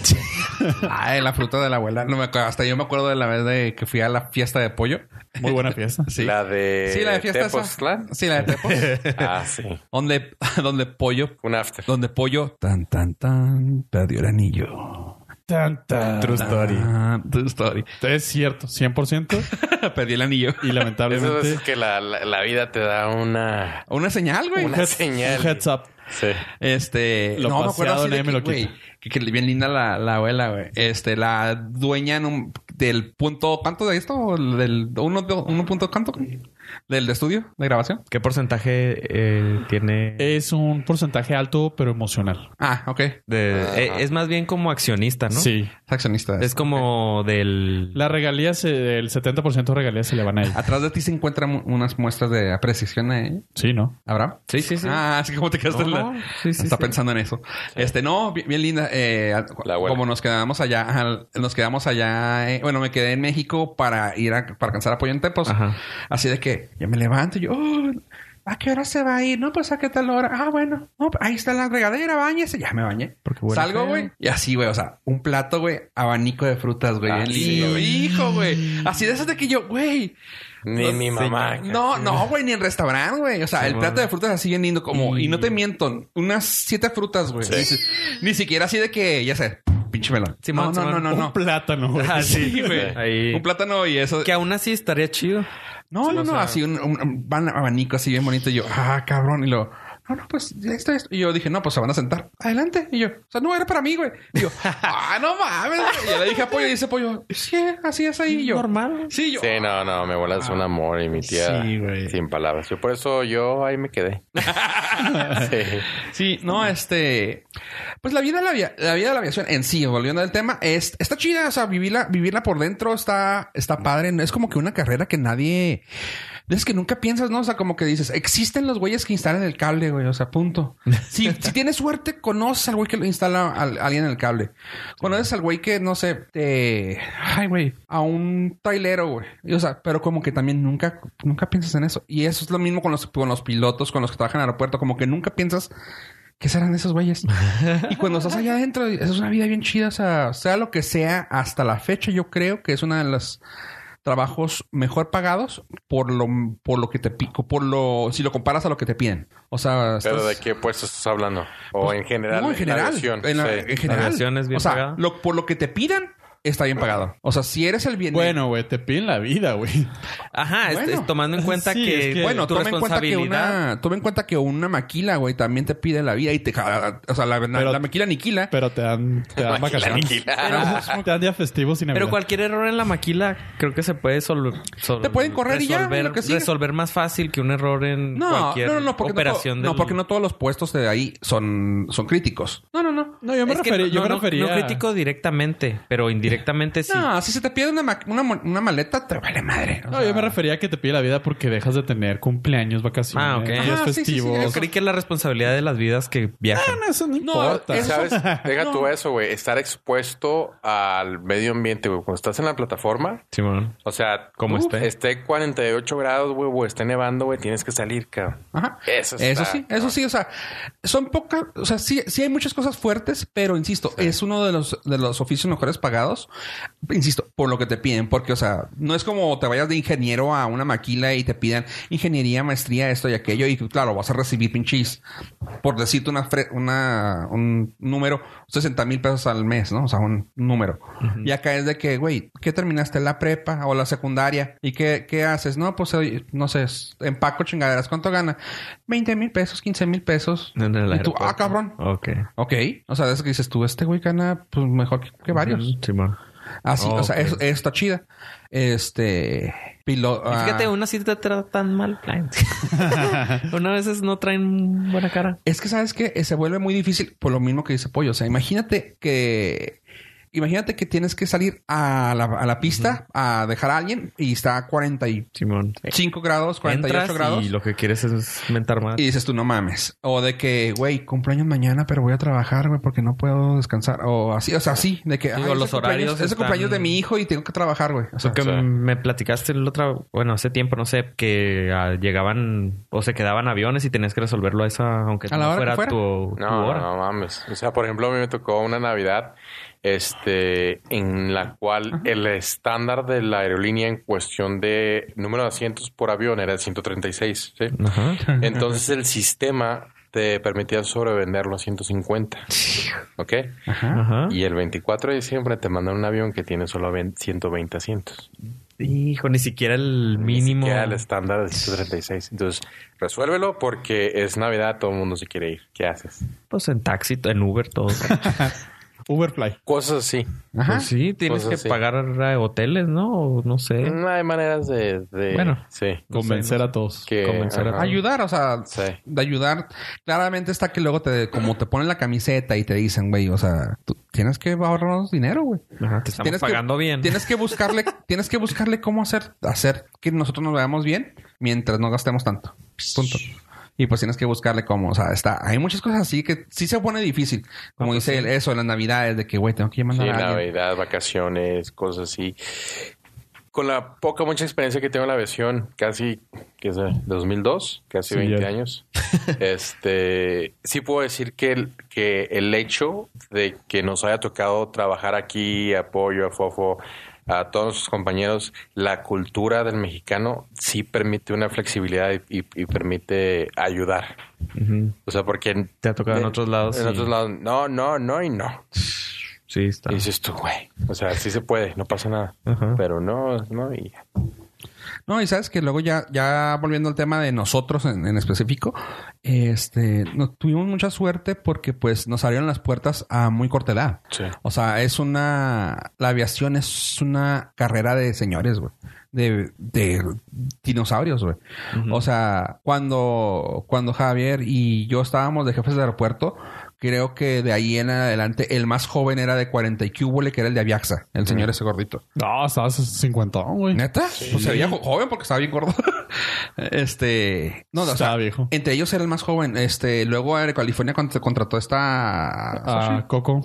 S5: Ay, la fruta de la abuela. No me acuerdo. Hasta yo me acuerdo de la vez de que fui a la fiesta de pollo.
S3: Muy buena fiesta.
S5: Sí.
S4: La de
S5: Sí, la de fiesta esa.
S4: Tepoztlán.
S5: Sí, la de Tepos.
S4: Ah, sí.
S5: donde, donde pollo...
S4: Un after.
S5: Donde pollo... Tan, tan, tan... Perdió el anillo.
S3: Tanta. True story.
S5: Ah, true story.
S3: Es cierto, 100%.
S5: Perdí el anillo.
S3: Y
S4: Eso
S3: lamentablemente,
S4: es que la, la- la vida te da una...
S5: Una señal, güey.
S4: Una señal.
S3: un heads up.
S4: Sí.
S5: Este,
S3: Lo
S5: no me
S3: paseado
S5: acuerdo así de
S3: nadie me
S5: que,
S3: lo
S5: güey,
S3: quita.
S5: que, que bien linda la, la abuela, güey. Este, la dueña en un- del punto, ¿cuánto de esto? Del uno, de- uno punto, ¿cuánto? Del de estudio, de grabación.
S1: ¿Qué porcentaje eh, tiene?
S3: Es un porcentaje alto, pero emocional.
S5: Ah, ok. Es
S1: de- eh, es más bien como accionista, Ah, ¿no?
S3: Sí.
S5: accionista.
S1: Es como del...
S3: La regalía, se- el 70% de regalías se le van a
S1: Ah.
S3: ella.
S5: Atrás de ti se encuentran mu- unas muestras de apreciación, ¿eh?
S3: Sí, ¿no?
S5: ¿Habrá?
S1: Sí, sí, sí.
S5: Ah, así como te quedaste en la...
S1: No, sí, sí,
S5: Está
S1: sí.
S5: pensando en eso. Este, no, bi- bien, linda. eh, a-
S4: La abuela.
S5: como nos quedamos allá, al- nos quedamos allá. eh, bueno, me quedé en México para ir a, para alcanzar apoyo en Tepos.
S1: Ajá.
S5: Así de que ya me levanto y yo, "Oh, ¿a qué hora se va a ir? No, pues a qué tal hora. Ah, bueno, no, pues, ahí está la regadera, bañese. Ya me bañé.
S1: Porque huele
S5: Salgo,
S1: feo.
S5: güey. Y así, güey, o sea, un plato, güey, abanico de frutas, güey.
S4: Ah,
S5: bien
S4: sí,
S5: lindo,
S4: güey.
S5: Hijo, güey. Así de esas de que yo, güey.
S4: Ni mi mamá.
S5: No, no, güey, ni en restaurante, güey. O sea, el plato de frutas así bien lindo, como, y no te miento, unas siete frutas, güey. Ni si- Ni siquiera así de que, ya sé, pinche melón.
S1: Simón,
S5: no, no,
S1: Simón.
S5: no, no,
S3: Un
S5: no.
S3: plátano, güey.
S1: Ah, sí, güey.
S4: güey.
S1: Ahí.
S5: Un plátano y eso.
S1: Que aún así estaría chido.
S5: No, no, no, así un, un- un- van abanico así bien bonito. Y yo, ah, cabrón. Y luego, no, no, pues esto, esto. Y yo dije, no, pues se van a sentar. Adelante. Y yo, o sea, no, era para mí, güey. Y yo, ah, no mames. güey. Y yo le dije a Pollo y dice Pollo, sí, así es ahí. Y yo,
S1: Normal.
S5: sí, yo.
S4: Sí, no, no, mi abuela es un amor y mi tía
S3: Sí, güey.
S4: sin palabras. Yo por eso yo ahí me quedé. sí.
S5: Sí, no, este. Pues la vida de la, avia- la vida de la aviación en sí, volviendo al tema, es, está chida. O sea, vivirla, vivirla por dentro está, está padre. No Es como que una carrera que nadie. Es que nunca piensas, ¿no? O sea, como que dices, existen los güeyes que instalan el cable, güey. O sea, punto. Si, si tienes suerte, conoces al güey que lo instala al- alguien el cable. Conoces al güey que, no sé, te. Ay, güey. A un trailero, güey. Y, o sea, pero como que también nunca, nunca piensas en eso. Y eso es lo mismo con los, con los pilotos, con los que trabajan en el aeropuerto. Como que nunca piensas ¿Qué serán esos güeyes? y cuando estás allá adentro, es una vida bien chida. O sea, sea lo que sea, hasta la fecha yo creo que es una de los trabajos mejor pagados por lo, por lo que te pico, por lo, si lo comparas a lo que te piden. O sea,
S4: Pero
S5: estás-
S4: de qué puesto estás hablando? O en general.
S5: No, en
S4: la
S5: general.
S4: versión,
S5: en la-
S4: sí.
S5: en general.
S1: aviación es bien
S5: o sea,
S1: pagada.
S5: lo- por lo que te pidan, está bien pagado. O sea, si eres el bien.
S3: Bueno, güey, te piden la vida, güey.
S1: Ajá, es-
S5: Bueno.
S1: es tomando en cuenta
S3: Sí,
S1: que,
S3: es que-
S5: Bueno,
S1: tu
S5: toma en cuenta que
S1: responsabilidad.
S5: una, toma en cuenta que una maquila, güey, también te pide la vida y te, ca- o sea, la, la-
S3: Pero-
S5: la maquila aniquila.
S3: Pero te dan, te dan vacaciones. te dan días festivos sin
S1: Pero cualquier error en la maquila creo que se puede sol- sol-
S5: Te pueden correr y ya,
S1: resolver,
S5: lo que sigue.
S1: resolver más fácil que un error en
S5: No,
S1: cualquier
S5: no, no, no, porque no
S1: operación
S5: to-
S1: del-
S5: no, porque no todos los puestos de ahí son, son críticos. No, no, no.
S3: No, yo me
S1: Es que
S3: refería.
S1: no-
S3: yo me
S1: no-
S3: refería
S1: no critico directamente, pero indirectamente sí.
S5: No, si se te pierde una, ma- una, mo- una maleta, te vale madre. O
S3: No,
S5: sea,
S3: yo me refería a que te pide la vida porque dejas de tener cumpleaños, vacaciones,
S1: Ah, ok.
S3: días
S5: Ah, sí, sí, sí,
S3: festivos.
S1: Yo creí que es la responsabilidad de las vidas que viajan.
S3: No, eso no importa.
S5: importa. eso-
S4: ¿Sabes? Deja tú eso, güey. Estar expuesto al medio ambiente, güey. Cuando estás en la plataforma,
S1: Simón.
S4: o sea,
S1: Como
S4: uf,
S1: esté.
S4: esté 48 grados, güey, o esté nevando, güey, tienes que salir, cabrón.
S5: Ajá.
S4: Eso,
S5: Eso
S4: está-
S5: sí, eso sí, o sea, son pocas, o sea, sí, sí hay muchas cosas fuertes, pero insisto, es uno de los de los oficios mejores pagados, insisto, por lo que te piden, porque, o sea, no es como te vayas de ingeniero a una maquila y te pidan ingeniería, maestría, esto y aquello, y claro, vas a recibir pinches, por decirte una, fre- una un número, 60 mil pesos al mes, ¿no? O sea, un número. Y acá es de que, güey, ¿qué terminaste la prepa o la secundaria? ¿Y qué, qué haces? No, pues, oye, no sé, empaco chingaderas, ¿cuánto gana? 20 mil pesos, 15 mil pesos.
S1: En el
S5: Y tú, ah,
S1: aeropuerto.
S5: cabrón.
S1: Ok.
S5: Ok. O sea, de eso que dices tú, este güey gana pues, mejor que, que varios.
S1: Ujú, Simón.
S5: Así,
S1: Oh,
S5: o sea,
S1: ok.
S5: eso, eso está chida. Este. Piloto.
S1: Y Fíjate, una sí te trata tan mal. Ay, una veces no traen buena cara.
S5: Es que sabes que se vuelve muy difícil por lo mismo que dice Pollo. O sea, imagínate que. Imagínate que tienes que salir a la, a la pista a dejar a alguien y está a 45
S1: Simón.
S5: grados, 48
S1: Eh, Entras
S5: grados.
S1: Y lo que quieres es mentar más.
S5: Y dices tú, no mames. O de que, güey, cumpleaños mañana, pero voy a trabajar, güey, porque no puedo descansar. O así, o sea, así. De que,
S1: Sí,
S5: "Ay,
S1: o los
S5: ese cumpleaños-
S1: horarios
S5: Ese
S1: están-
S5: cumpleaños de mi hijo y tengo que trabajar, güey. O sea,
S1: Lo que
S4: o sea.
S1: me platicaste el otro, bueno, hace tiempo, no sé, que ah, llegaban o se quedaban aviones y tenías que resolverlo a esa, aunque
S5: A la
S1: no
S5: hora que
S1: fuera,
S5: fuera.
S1: tu, tu
S4: No,
S1: hora.
S4: no mames. O sea, por ejemplo, a mí me tocó una Navidad este, en la cual el estándar de la aerolínea en cuestión de número de asientos por avión era el 136. ¿sí?
S1: Ajá.
S4: Entonces el sistema te permitía sobrevenderlo a 150. ¿Ok?
S1: Ajá.
S4: Y el 24 de diciembre te mandan un avión que tiene solo ven- 120 asientos.
S1: Hijo, ni siquiera el
S4: Ni
S1: mínimo.
S4: siquiera el estándar de 136. Entonces, resuélvelo porque es Navidad, todo el mundo se quiere ir. ¿Qué haces?
S1: Pues en taxi, en Uber, todo.
S3: Uberfly.
S4: Cosas así.
S5: Ajá.
S1: Pues sí, tienes
S4: Pues
S1: que
S4: así.
S1: pagar a hoteles, ¿no? O no sé.
S5: Mm.
S4: No hay maneras de. de-
S1: Bueno.
S4: Sí.
S3: Convencer a todos.
S4: Que,
S1: Comenzar a-
S4: ajá.
S5: Ayudar, o sea,
S4: Sí.
S5: de ayudar. Claramente está que luego te, como te ponen la camiseta y te dicen, güey, o sea, tú tienes que ahorrarnos dinero, güey.
S1: Ajá, te estamos
S5: Tienes que-
S1: pagando bien.
S5: Tienes que buscarle, tienes que buscarle cómo hacer, hacer que nosotros nos veamos bien mientras no gastemos tanto. Punto. Y pues tienes que buscarle cómo, o sea, está, hay muchas cosas así que sí se pone difícil. Como dice él, eso, en las navidades, de que, güey, tengo que
S4: Sí,
S5: mandar a alguien.
S4: Navidad, vacaciones, cosas así. Con la poca, mucha experiencia que tengo en la aviación, casi, que es de 2002, casi
S3: Sí,
S4: 20
S3: ya.
S4: años, este, sí puedo decir que el, que el hecho de que nos haya tocado trabajar aquí, apoyo a Fofo, a todos nuestros compañeros, la cultura del mexicano sí permite una flexibilidad y, y- y permite ayudar.
S1: Ujú.
S4: O sea, porque...
S1: Te ha tocado en otros lados.
S4: En
S1: sí.
S4: otros lados, no, no, no y no.
S1: Sí, está.
S4: Y dices tú, güey. O sea, sí se puede, no pasa nada.
S1: Ajá.
S4: Pero no, no, y ya.
S5: No, y sabes que luego ya, ya volviendo al tema de nosotros en, en específico, este, no, tuvimos mucha suerte porque pues nos abrieron las puertas a muy corta edad.
S4: Sí.
S5: O sea, es una, la aviación es una carrera de señores, güey. De, de dinosaurios, güey. O sea, cuando, cuando Javier y yo estábamos de jefes de aeropuerto, creo que de ahí en adelante el más joven era de 40 y cúbole, que era el de Aviaxa, el señor ese gordito.
S3: No, estabas cincuentón, güey.
S5: ¿Neta? Pues se veía jo- joven porque estaba bien gordo. este. No, o sea,
S3: Estaba viejo.
S1: eh,
S5: Entre ellos era el más joven. Este, luego Aerocalifornia California contrató esta.
S3: A Ah, Coco,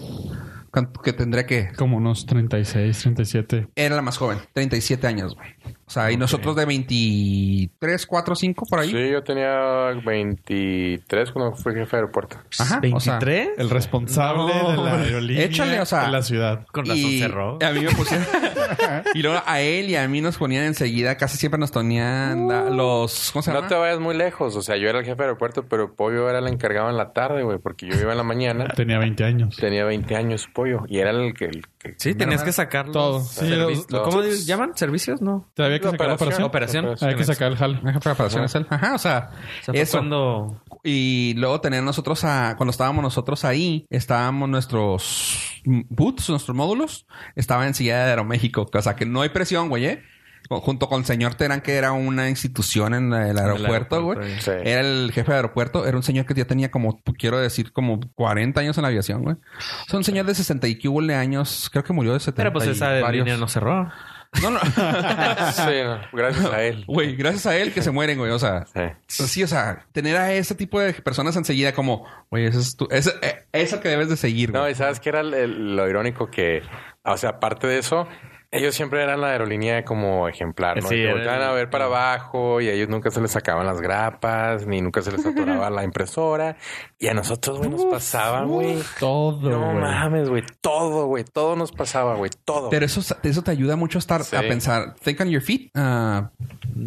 S5: can- Que tendría que.
S3: como unos 36, 37.
S5: Era la más joven, 37 años, güey. O O sea, y nosotros de 23, 4, 5 por ahí.
S4: Sí, yo tenía 23 cuando fui jefe de aeropuerto.
S5: Ajá. o sea,
S1: ¿23?
S3: El responsable
S1: No,
S3: de la
S1: hombre.
S3: aerolínea
S5: Échale, o sea,
S3: de la ciudad.
S1: Con razón
S5: y
S1: cerró.
S5: A mí me pusieron. y luego a él y a mí nos ponían enseguida, casi siempre nos ponían
S1: Uh.
S5: la- los. ¿Cómo se llama?
S4: No te vayas muy lejos. O sea, yo era el jefe de aeropuerto, pero Pollo era el encargado en la tarde, güey, porque yo iba en la mañana.
S6: Tenía 20 años.
S4: Tenía 20 años Pollo y era el que... el que-
S1: Sí, tenías que sacar los-
S3: Todo. Sí,
S1: servi-
S3: los-
S1: ¿Cómo les llaman? ¿Servicios? No.
S3: Te había que
S4: La
S3: sacar la operación.
S1: Operación.
S3: Hay que sacar el jal.
S5: Ajá, preparaciones él. Ajá, o sea,
S1: O sea, fue
S5: eso.
S1: cuando
S5: Y luego tener nosotros a, cuando estábamos nosotros ahí, estábamos nuestros boots, nuestros módulos, estaba en silla de Aeroméxico. O sea que no hay presión, güey, ¿eh? Con- Junto con el señor Terán, que era una institución en el aeropuerto, güey.
S1: aeropuerto,
S4: sí.
S5: Era el jefe de aeropuerto. Era un señor que ya tenía como, quiero decir, como 40 años en la aviación, güey. O sea, un señor de 60 y cubo de años. Creo que murió de 70
S1: Pero pues
S5: y
S1: esa
S5: varios.
S1: línea no cerró.
S5: No, no.
S4: Sí, no, gracias a él.
S5: Güey, gracias a él que se mueren, güey. O sea,
S4: Sí.
S5: Sí, o sea, tener a ese tipo de personas enseguida como, güey, eso es tu, eso, eh, eso que debes de seguir.
S4: No,
S5: güey".
S4: y sabes que era el- el- lo irónico que, o sea, aparte de eso, ellos siempre eran la aerolínea como ejemplar, ¿no?
S1: Sí,
S4: Y te
S1: era
S4: volteaban
S1: el-
S4: a ver para abajo y a ellos nunca se les sacaban las grapas, ni nunca se les atoraba la impresora. Y a nosotros, güey, nos pasaban, güey.
S3: Todo,
S4: No
S3: güey.
S4: mames, güey. Todo, güey. Todo nos pasaba, güey. Todo.
S5: Pero eso, eso te ayuda mucho a estar
S4: Sí.
S5: a pensar, think on your feet, ah,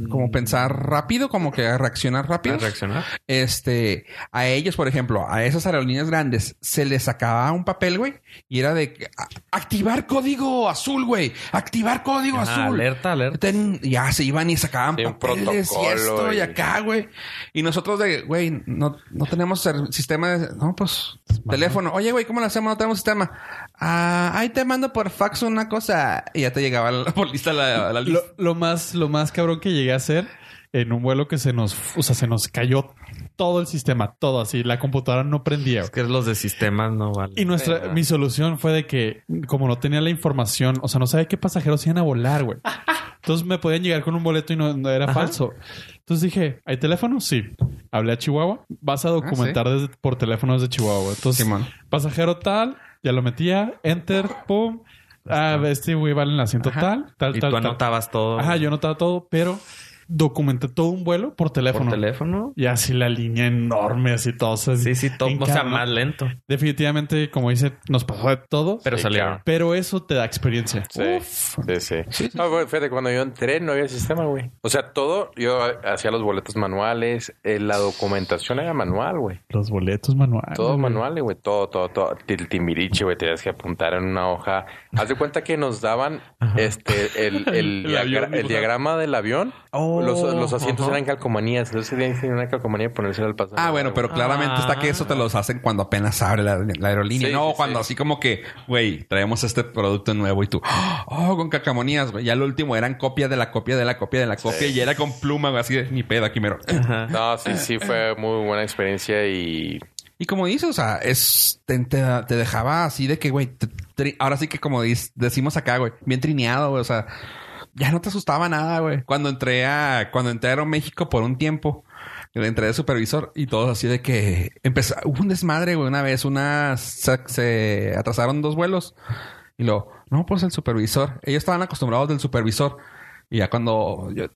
S5: como pensar rápido, como que a reaccionar rápido.
S1: ¿Para reaccionar?
S5: Este, a ellos, por ejemplo, a esas aerolíneas grandes, se les acababa un papel, güey, y era de que, "A- activar código azul, güey, activar código
S1: Ah,
S5: azul.
S1: alerta, alerta.
S5: Ten- ya se iban y sacaban
S4: Sí, un
S5: papeles y esto
S4: protocolo
S5: y
S4: y-
S5: acá, güey. Y nosotros de, güey, no, no tenemos ser- sistema de... No, pues, teléfono. Oye, güey, ¿cómo lo hacemos? No tenemos sistema. Ah, ahí te mando por fax una cosa. Y ya te llegaba la, por lista la, la
S3: Lo,
S5: lista.
S3: lo más, lo más cabrón que llegué a hacer en un vuelo que se nos, o sea, se nos cayó todo el sistema, todo así. La computadora no prendía.
S1: Es que los de sistemas no valen.
S3: Y nuestra,
S4: Sí, no.
S3: mi solución fue de que, como no tenía la información, o sea, no sabía qué pasajeros iban a volar, güey. Entonces me podían llegar con un boleto y no, no era falso. Entonces dije, ¿hay teléfono? Sí. Hablé a Chihuahua.
S1: Ah,
S3: Vas a documentar desde, por teléfono desde Chihuahua. Entonces,
S5: Simón.
S3: pasajero tal, ya lo metía, enter, pum. Ah, este güey vale en el asiento tal, tal,
S1: Y
S3: tal,
S1: tú
S3: tal.
S1: anotabas todo.
S3: Ajá, yo anotaba todo, pero documenté todo un vuelo por teléfono.
S1: por teléfono.
S3: Y así la línea enorme, así todo.
S1: Sí, sí, todo. O sea, más lento.
S3: Definitivamente, como dice, nos pasó de todo. Pero,
S1: Pero
S4: Sí,
S1: salieron.
S4: claro.
S3: eso te da experiencia. Uh,
S4: Sí, sí, sí. No, güey, fíjate, cuando yo entré no había sistema, güey. O sea, todo, yo hacía los boletos manuales, eh, la documentación era manual, güey.
S3: Los boletos manuales.
S4: Todo manual, güey. Todo, todo, todo. El timbiriche, güey. Tenías que apuntar en una hoja. Haz de cuenta que nos daban este el, el, diagra- el diagrama del avión. los, los asientos eran calcomanías. Entonces tenías que tener una calcomanía y ponérsela al pasaje.
S5: Ah, bueno, pero claramente está que eso te los hacen cuando apenas abre la, la aerolínea.
S4: Ah. Sí,
S5: no,
S4: sí,
S5: cuando
S4: sí.
S5: así como que, güey, traemos este producto nuevo y tú, oh, con cacamonías, güey. Ya lo último eran copia de la copia de la copia de la copia y era con pluma, güey, así de ni pedo aquí mero.
S4: No, sí, sí, fue muy buena experiencia y
S5: Y como dices, o sea, es, te, te- te dejaba así de que, güey, te- tri- ahora sí que como dis- decimos acá, güey, bien trineado, güey, o sea, ya no te asustaba nada, güey. Cuando entré a, cuando entré a Aeroméxico por un tiempo, entré de supervisor y todos así de que empezó, hubo un desmadre, güey, una vez, una, se, se atrasaron dos vuelos y lo, no, pues el supervisor, ellos estaban acostumbrados del supervisor y ya cuando yo,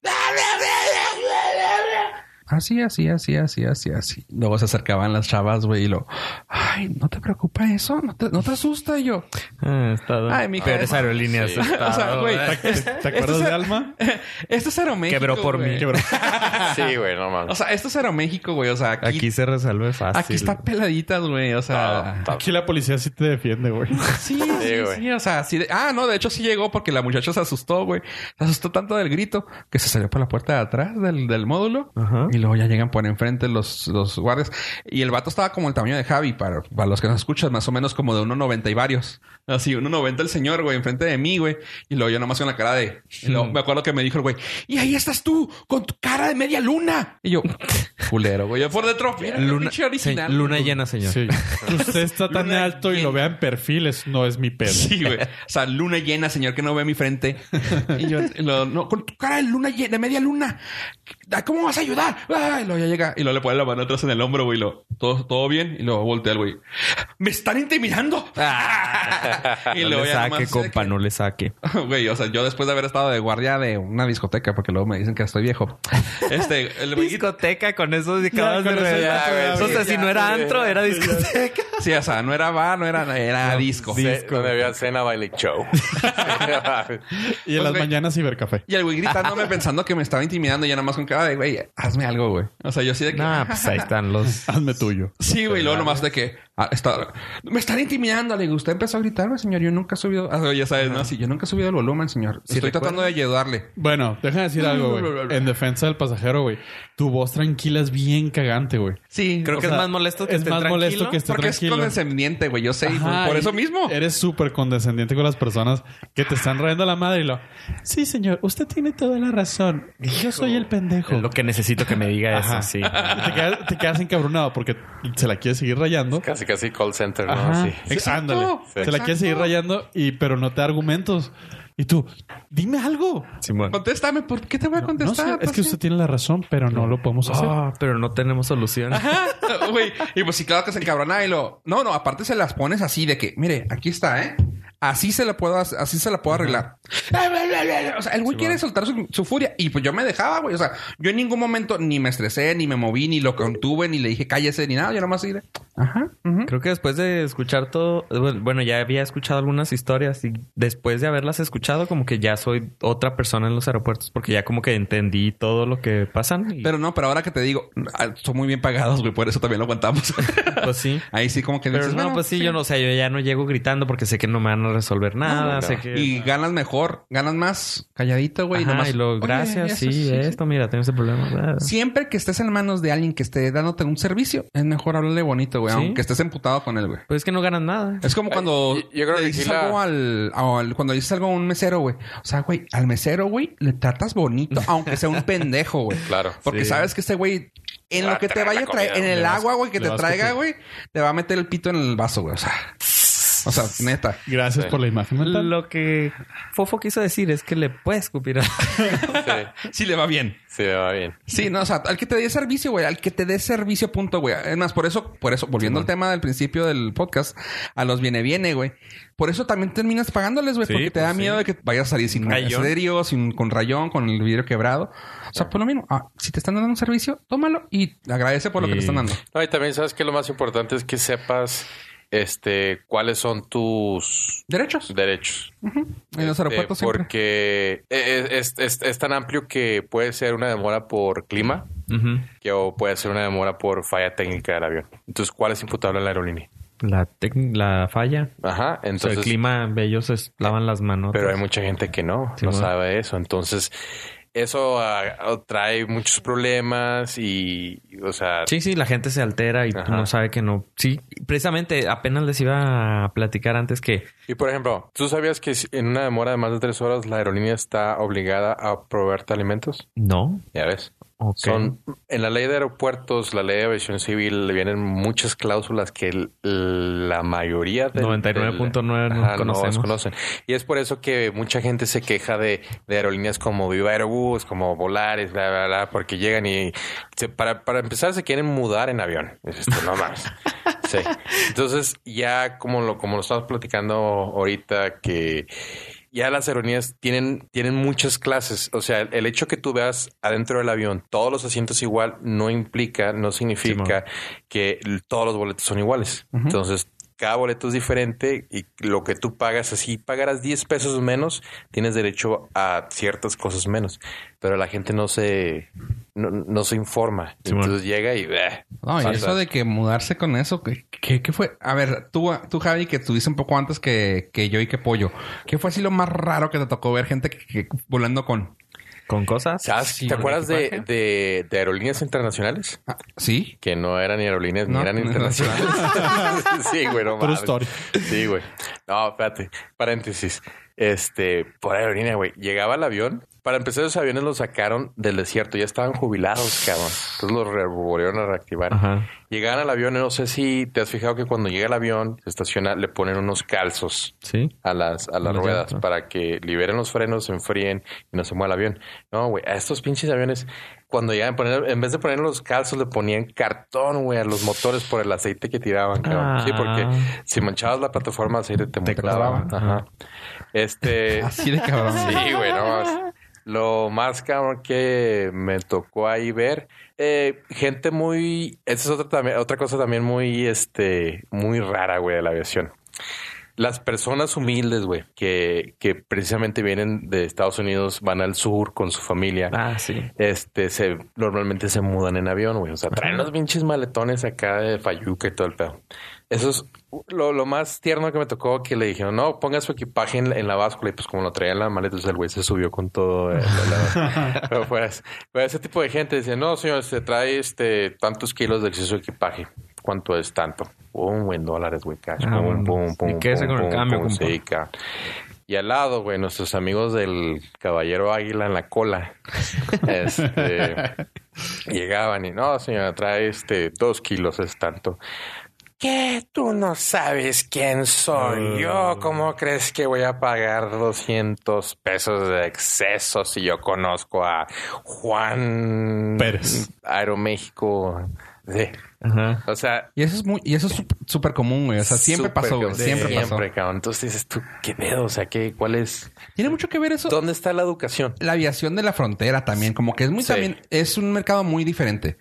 S5: Así, así, así, así, así, así. Luego se acercaban las chavas, güey, y lo... Ay, ¿no te preocupa eso? ¿No te, no te asusta? Y yo...
S1: Ah, estado.
S5: Ay, mi
S1: Peores
S5: cara.
S1: aerolíneas.
S4: Sí.
S1: estado,
S5: O sea, güey,
S1: ¿verdad?
S3: ¿Te acuerdas de Alma?
S5: Esto es Aeroméxico,
S1: Quebró por
S5: güey.
S1: mí.
S4: sí, güey, no
S5: O
S4: mames.
S5: sea, esto es Aeroméxico, güey. O sea, aquí...
S1: Aquí se resuelve fácil.
S5: aquí está peladitas, güey. O sea...
S3: Aquí la policía sí te defiende, güey.
S5: Sí,
S4: Sí,
S5: sí,
S4: güey.
S5: sí. O sea, sí. de- Ah, no, de hecho sí llegó porque la muchacha se asustó, güey. Se asustó tanto del grito que se salió por la puerta de atrás del, del módulo.
S1: Ajá.
S5: Y luego ya llegan por enfrente los, los guardias. Y el vato estaba como el tamaño de Javi, para, para los que nos escuchan, más o menos como de 1.90 y varios. Así, 1.90 el señor, güey, enfrente de mí, güey. Y luego yo nomás con la cara
S1: Hmm.
S5: de... y luego me acuerdo que me dijo el güey, y ahí estás tú, con tu cara de media luna. Y yo... culero, güey. Yo por dentro, mira, qué
S1: Luna,
S5: pinche original.
S1: se- luna llena, señor.
S3: Sí. Que usted está tan
S5: Luna
S3: alto y lo vea en perfiles, no es mi pedo.
S5: Sí, güey. O sea, luna llena, señor, que no ve mi frente. Y yo, y lo- no, con tu cara de luna llena, de media luna. Ah, ¿Cómo vas a ayudar? Ah, y luego ya llega y luego le pone la mano atrás en el hombro, güey. y Lo, ¿todo, todo bien. Y luego voltea el güey. ¡Me están intimidando! y
S1: Ah. No
S5: luego
S1: le
S5: ya nomás
S1: saque,
S5: se
S1: compa,
S5: que-
S1: no le saque.
S5: Güey, o sea, yo después de haber estado de guardia de una discoteca, porque luego me dicen que estoy viejo. Este, el güey.
S1: Discoteca con esos acabas
S3: con
S1: de
S3: eso ya,
S1: revelar.
S4: güey,
S1: Entonces,
S4: sí,
S1: si
S4: ya,
S1: no era
S4: sí,
S1: antro,
S4: ya.
S1: era discoteca.
S5: Sí, o sea, no era bar, no era, era disco.
S4: Se- donde había cena, baile y show.
S3: Y en
S5: Pues,
S3: las
S5: güey.
S3: mañanas cibercafé.
S5: Y el güey gritándome pensando que me estaba intimidando y ya nada más con cara de, güey, hazme algo, güey. O sea, yo sí de que...
S1: Nah, pues ahí están los.
S3: Hazme tuyo.
S5: Sí, güey, luego nomás de que ah, está- me están intimidando. Le digo, usted empezó a gritarme, señor. Yo nunca he subido. Ah, ya sabes, no, sí, yo nunca he subido el volumen, señor.
S1: Sí,
S5: Estoy tratando de ayudarle.
S3: Bueno, déjame decir algo, güey. En defensa del pasajero, güey. Tu voz tranquila es bien cagante, güey.
S5: Sí,
S1: Creo
S5: o
S1: que
S5: sea,
S1: es más molesto que
S3: es
S1: esté
S3: más
S1: tranquilo.
S3: molesto que esté
S5: porque
S3: tranquilo.
S5: es condescendiente, güey. Yo sé, y
S3: Ajá,
S5: por
S3: y
S5: eso mismo.
S3: Eres súper condescendiente con las personas que te están rayando la madre y lo. Sí, señor, usted tiene toda la razón. Yo soy el pendejo.
S1: Lo que necesito que me diga eso, sí.
S3: Te quedas, te quedas encabronado porque se la quieres seguir rayando.
S4: casi, casi call center, ¿no?
S3: Ajá.
S4: Sí.
S3: Sí,
S5: Exacto.
S3: ándale.
S5: Sí.
S3: Se la quieres
S5: Exacto.
S3: seguir rayando, y, pero no te da argumentos. Y tú, dime algo.
S1: Simón.
S5: Contéstame, ¿por qué te voy a
S3: No
S5: contestar?
S3: sé, es
S5: Pues,
S3: que usted tiene la razón, pero no lo podemos hacer.
S1: Ah, pero no tenemos solución.
S5: sí. Güey, y pues sí, claro que se encabrona y lo. No, no, aparte se las pones así de que, mire, aquí está, ¿eh? Así se la puedo, hac- así se la puedo arreglar. O sea, el güey quiere soltar su, su furia. Y pues yo me dejaba, güey. O sea, yo en ningún momento ni me estresé, ni me moví, ni lo contuve, ni le dije cállese, ni nada. Yo nomás así de, Ajá. ujú.
S1: Creo que después de escuchar todo, bueno, ya había escuchado algunas historias y después de haberlas escuchado, como que ya soy otra persona en los aeropuertos porque ya como que entendí todo lo que pasan. y,
S5: Pero no, pero ahora que te digo, ah, son muy bien pagados, güey. Por eso también lo aguantamos.
S1: pues sí.
S5: Ahí sí, como que
S1: Pero
S5: dices,
S1: no,
S5: bueno,
S1: pues sí, yo no, o sea, yo ya no llego gritando porque sé que no me van a resolver nada, sé que...
S5: Y ganas mejor, ganas más calladito, güey.
S1: Ajá,
S5: nomás,
S1: y luego,
S5: "Oye,
S1: gracias,
S5: eso
S1: sí, eh, esto, mira, tengo ese problema.
S5: Siempre que estés en manos de alguien que esté dándote un servicio, es mejor hablarle bonito, güey.
S1: Sí.
S5: Aunque estés emputado con él, güey.
S1: Pues es que no ganan nada.
S5: Es como cuando
S4: yo- yo creo
S5: le
S4: que
S5: dices
S4: sí la-
S5: algo al, al- Cuando dices algo a un mesero, güey. O sea, güey, al mesero, güey, le tratas bonito, aunque sea un pendejo, güey.
S4: Claro.
S5: Porque
S1: Sí.
S5: sabes que este güey, en
S4: Va
S5: lo
S4: a
S5: que te
S4: traer
S5: vaya a
S4: la
S5: traer, en
S4: comida,
S5: el
S3: le vas-
S5: agua, güey, que
S3: le
S5: te
S3: vas a
S5: traiga,
S3: escupir.
S5: güey, te va a meter el pito en el vaso, güey. O sea, o sea, neta.
S3: Gracias por la imagen mental.
S1: Lo que Fofo quiso decir es que le puedes escupir a...
S4: Sí,
S5: Sí le va bien.
S4: sí, va bien.
S5: Sí, no, o sea, al que te dé servicio, güey, al que te dé servicio, punto, güey. Es más, por eso, por eso, volviendo al tema del principio del podcast, a los viene viene, güey. Por eso también terminas pagándoles, güey,
S1: Sí,
S5: porque te da
S1: pues sí.
S5: miedo de que vayas a salir sin
S1: Rayón.
S5: serio, sin con rayón, con el vidrio quebrado. O sea, por lo mismo, ah, si te están dando un servicio, tómalo y agradece por lo que te
S1: Y-
S5: están dando.
S4: No, y también sabes que lo más importante es que sepas este cuáles son tus
S5: Derechos.
S4: derechos.
S5: En los
S4: Este,
S5: aeropuertos siempre.
S4: Porque eh, es, es- es- es tan amplio que puede ser una demora por clima
S1: Ujú.
S4: que o puede ser una demora por falla técnica del avión. Entonces, ¿cuál es imputable a la aerolínea?
S1: La, tec- la falla.
S4: Ajá,
S1: O sea,
S4: entonces...
S1: el clima, ellos se lavan las manos.
S4: Pero hay mucha gente que no,
S1: Sí,
S4: no
S1: bueno.
S4: sabe eso. Entonces, eso ah, trae muchos problemas y, o sea,
S1: Sí, sí, la gente se altera y
S4: Ajá.
S1: no sabe que no. Sí, precisamente apenas les iba a platicar antes que
S4: Y por ejemplo, ¿tú sabías que si- en una demora de más de tres horas la aerolínea está obligada a proveerte alimentos?
S1: no.
S4: Ya ves.
S1: Ok.
S4: Son en la ley de aeropuertos, la ley de aviación civil, le vienen muchas cláusulas que l- la mayoría del-
S1: 99.9 no
S4: Ajá,
S1: conocemos.
S4: desconocen. Y es por eso que mucha gente se queja de, de aerolíneas como Viva Aerobús, como Volaris, bla, bla, bla, porque llegan y se- para, para empezar se quieren mudar en avión. Es esto, no más. Sí. Entonces, ya como lo, como lo estamos platicando ahorita, que ya las aerolíneas tienen, tienen muchas clases. O sea, el, el hecho que tú veas adentro del avión todos los asientos igual no implica, no significa que l- todos los boletos son iguales. Entonces, cada boleto es diferente y lo que tú pagas, así pagarás 10 pesos menos, tienes derecho a ciertas cosas menos. Pero la gente no se, no, no se informa.
S1: Simón.
S4: Entonces llega y... bleh,
S5: No, y
S4: pasa.
S5: eso de que mudarse con eso, ¿qué, qué, qué fue? A ver, tú, tú, Javi, que estuviste un poco antes que, que yo y que Pollo, ¿qué fue así lo más raro que te tocó ver gente que, que- volando con?
S1: Con cosas.
S4: ¿Sabes?
S5: Sí,
S4: ¿Te
S5: el
S4: acuerdas de,
S5: equipaje.
S4: de- de aerolíneas internacionales?
S5: Ah, ¿Sí?
S4: Que no eran ni aerolíneas
S5: No,
S4: ni eran
S5: no eran
S4: internacionales. sí, güey, no
S3: True
S4: mames.
S3: story.
S4: Sí, güey. No, espérate. Paréntesis. Este, por aerolínea, güey. Llegaba el avión, pa- para empezar, esos aviones los sacaron del desierto. Ya estaban jubilados, cabrón. Entonces los re- volvieron a reactivar.
S1: Ajá.
S4: Llegaban al avión. No sé si te has fijado que cuando llega el avión, se estaciona, le ponen unos calzos
S1: Sí.
S4: a las, a las
S1: Las
S4: ruedas
S1: llantas.
S4: para que liberen los frenos, se enfríen y no se mueva el avión. No, güey, a estos pinches aviones, cuando llegaban, a poner, en vez de poner los calzos, le ponían cartón, güey, a los motores por el aceite que tiraban, cabrón.
S1: Ah.
S4: Sí, porque si manchabas la plataforma de aceite te, mutilaban. Ajá. Este.
S5: Así de cabrón.
S4: Sí, güey, no mames. Lo más cabrón que me tocó ahí ver, eh, gente muy, esa es otra, también- otra cosa también muy, este, muy rara, güey, de la aviación. Las personas humildes, güey, que, que precisamente vienen de Estados Unidos, van al sur con su familia,
S1: Ah, sí.
S4: este, se, normalmente se mudan en avión, güey. O sea, traen los pinches maletones acá de Fayuca y todo el pedo. Eso es lo, lo más tierno que me tocó que le dijeron, no, ponga su equipaje en, la- en la báscula. Y pues como lo traía en la maleta, entonces el güey se subió con todo. el- la- pero pues, pero ese tipo de gente dice, no, señor, se trae este tantos kilos de exceso de equipaje. ¿Cuánto es tanto? Un buen dólares, güey, cash.
S1: Ah, bueno.
S4: Pum, pum, pum,
S1: Y quédese
S4: pum,
S1: con el
S4: pum,
S1: cambio,
S4: pum,
S1: compa.
S4: sí, ca- y al lado, güey, nuestros amigos del Caballero Águila en la cola. Este, llegaban y no, señora, trae este dos kilos, es tanto. ¿Qué? Tú no sabes quién
S5: Ah.
S4: soy yo. ¿Cómo crees que voy a pagar 200 pesos de exceso si yo conozco a Juan
S3: Pérez.
S4: Aeroméxico? Sí.
S1: Ajá.
S4: O sea,
S5: Y eso es muy, y eso es sup- súper común, güey. O sea, siempre
S4: súper,
S5: pasó, güey.
S4: cabrón.
S5: Siempre,
S4: Siempre,
S5: pasó.
S4: cabrón. Entonces dices tú, ¿qué pedo? O sea, ¿qué, ¿cuál es?
S5: Tiene mucho que ver eso.
S4: ¿Dónde está la educación?
S5: La aviación de la frontera también, como que es muy
S4: Sí.
S5: también, es un mercado muy diferente.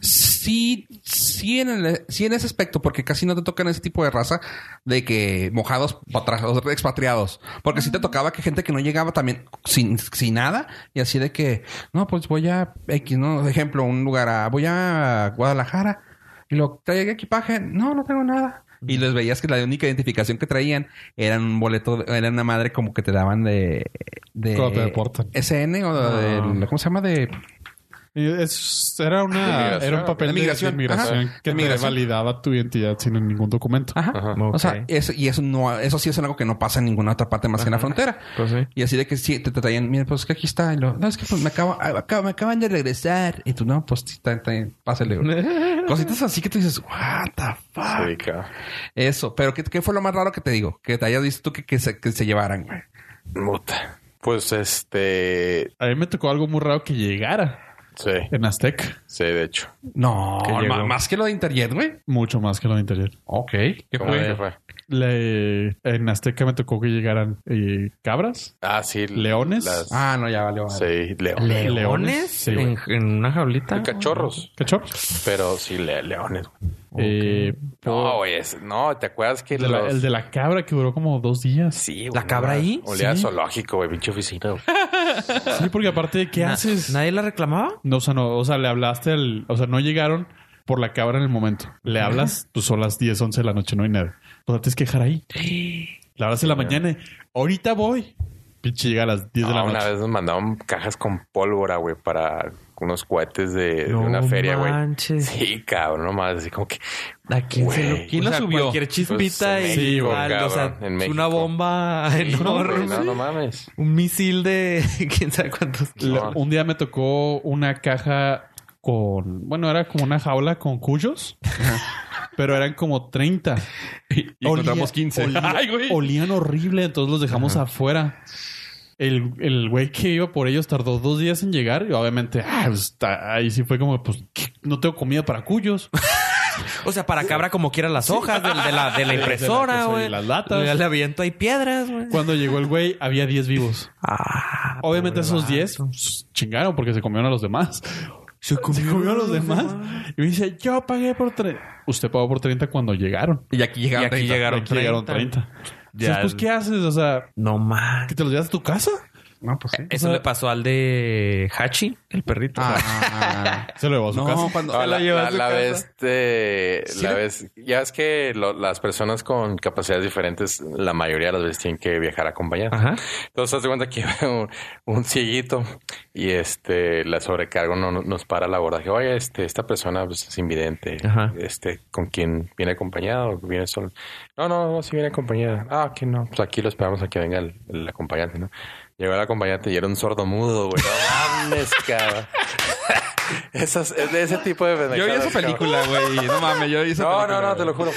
S5: Sí, sí en, el- sí en ese aspecto, porque casi no te tocan ese tipo de raza de que mojados pa' atrás, o sea, expatriados. Porque sí te tocaba que gente que no llegaba también sin, sin nada y así de que, no, pues voy a X, ¿no? De ejemplo, un lugar a, voy a Guadalajara y lo traía equipaje, no, no tengo nada. Y les veías que la única identificación que traían era un boleto, era una madre como que te daban de... de
S3: Cuando te deportan. Ah.
S5: SN o del- ¿cómo se llama? De
S3: Y es- era una,
S4: Inmigración.
S3: era un papel
S5: De
S3: de
S5: migración. Ajá.
S3: migración,
S5: De
S3: que te
S5: migración.
S3: validaba tu identidad sin ningún documento.
S5: ajá. O sea,
S1: Ok.
S5: eso, y eso no, eso sí es algo que no pasa en ninguna otra parte más que en la frontera.
S1: Pues sí.
S5: Y así de que sí, te, te traían, mira, pues que aquí está. Y lo, no, es que pues me, acabo, ah, acabo- me acaban de regresar. Y tú, no, pues sí, está, está bien, pásale. güey. Cositas así que tú dices, what the fuck.
S4: Sí, cabrón.
S5: Eso, pero ¿qué, qué fue lo más raro que te digo? Que te hayas visto tú que, que se, que se llevaran, güey.
S4: Puta. Pues este.
S3: A mí me tocó algo muy raro que llegara
S4: Sí,
S3: en Aztec.
S4: sí, de hecho.
S5: No,
S1: Que
S5: ma-
S1: llegó.
S5: más que lo de Interjet, güey.
S3: Mucho más que lo de interior.
S5: Ok. ¿Qué
S4: ¿Cómo
S5: fue?
S4: que fue?
S3: Le- en Azteca me tocó que llegaran eh, cabras.
S4: Ah, sí.
S3: ¿Leones?
S4: las-
S5: Ah, no, ya valió. vale.
S4: Sí, leones.
S1: ¿Leones?
S3: Leones, sí, güey.
S1: ¿En, en una jaulita?
S4: Cachorros.
S3: ¿Cachó?
S4: Pero sí, le- leones. güey.
S3: Eh,
S4: No, güey. es- No, ¿te acuerdas que
S3: el, de la,
S4: los-
S3: el de la cabra que duró como dos días.
S4: Sí, güey,
S1: ¿La
S4: no,
S1: cabra ahí?
S4: Olía
S3: Sí.
S4: zoológico, güey. Pinche oficina. güey.
S3: Sí, porque aparte de qué
S1: Na-
S3: haces.
S1: ¿Nadie la reclamaba?
S3: No, o sea, no, o sea, le hablaste al, o sea, no llegaron por la cabra en el momento. Le hablas, pues son las 10, 11 de la noche, no hay nada. O sea, tienes que dejar ahí. Le hablas en la mañana, y, ahorita voy. Pinche llega a las 10 de la
S4: No, una
S3: noche.
S4: vez nos mandaban cajas con pólvora, güey, para unos cohetes de, de una
S1: No
S4: feria, güey.
S1: manches.
S4: Sí, cabrón, nomás. Así como que.
S1: ¿A quién se lo
S4: Güey.
S1: ¿Quién
S5: O
S1: la
S5: sea,
S1: subió?
S5: cualquier
S1: Cualquier chispita
S4: Pues, en
S1: y
S4: México,
S1: tal, o sea,
S4: cabrón, en
S1: es una
S4: México.
S1: bomba
S4: Sí,
S1: enorme.
S4: güey, no, no mames.
S1: Un misil de quién sabe cuántos.
S3: Le-
S4: No.
S3: un día me tocó una caja con, bueno, era como una jaula con cuyos, pero eran como 30.
S5: Y encontramos 15.
S3: olía- Olían horrible, entonces los dejamos afuera. El, el güey que iba por ellos tardó dos días en llegar y obviamente ah, pues, está- ahí sí fue como, pues ¿qué? no tengo comida para cuyos.
S1: O sea, para cabra como quiera las hojas del- de, la, de la
S3: de la que
S1: impresora,
S3: soy,
S1: güey.
S3: las latas.
S1: Le, le aviento ahí piedras, güey.
S3: Cuando llegó el güey había 10 vivos.
S1: Ah,
S3: Obviamente
S1: pobre
S3: esos 10
S1: vato.
S3: pues, chingaron porque se comieron a los demás. Se comieron, a los demás. Y me dice, yo pagué por 30. Usted pagó por 30 cuando llegaron.
S5: Y aquí llegaron.
S1: Y aquí
S5: 30.
S1: llegaron
S3: Aquí llegaron
S1: 30.
S3: 30. Entonces, pues, ¿qué haces? O sea,
S1: No más.
S3: ¿que te los llevas a tu casa?
S5: No, pues sí.
S1: Eso
S3: sea-
S1: le pasó al de Hachi. el perrito. Eh, o sea,
S5: Ah,
S3: Se lo llevó a su
S5: no,
S3: casa.
S5: cuando...
S4: No, la,
S1: lleva a
S4: la-
S1: su
S4: la
S1: casa.
S4: vez, eh,
S1: ¿Sí
S4: la
S1: era?
S4: vez, ya es que lo- las personas con capacidades diferentes, la mayoría de las veces tienen que viajar acompañadas.
S1: Ajá.
S4: Entonces, haz de cuenta que iba un, un cieguito y este, la sobrecarga no, no- nos para la abordaje. Oye, este, esta persona pues, es invidente.
S1: Ajá.
S4: Este, ¿con quién viene acompañado? o ¿Viene solo? No, no, no, si viene acompañada. Ah, que no. Pues aquí lo esperamos a que venga el, el acompañante, ¿no? Llegó el acompañante y era un sordo mudo, güey. No mames, cabrón. Esas, es de ese tipo de
S5: Yo vi esa
S4: pendejadas, cabrón.
S5: película, güey. No mames, yo vi esa
S4: No,
S5: película.
S4: no, no, te lo juro.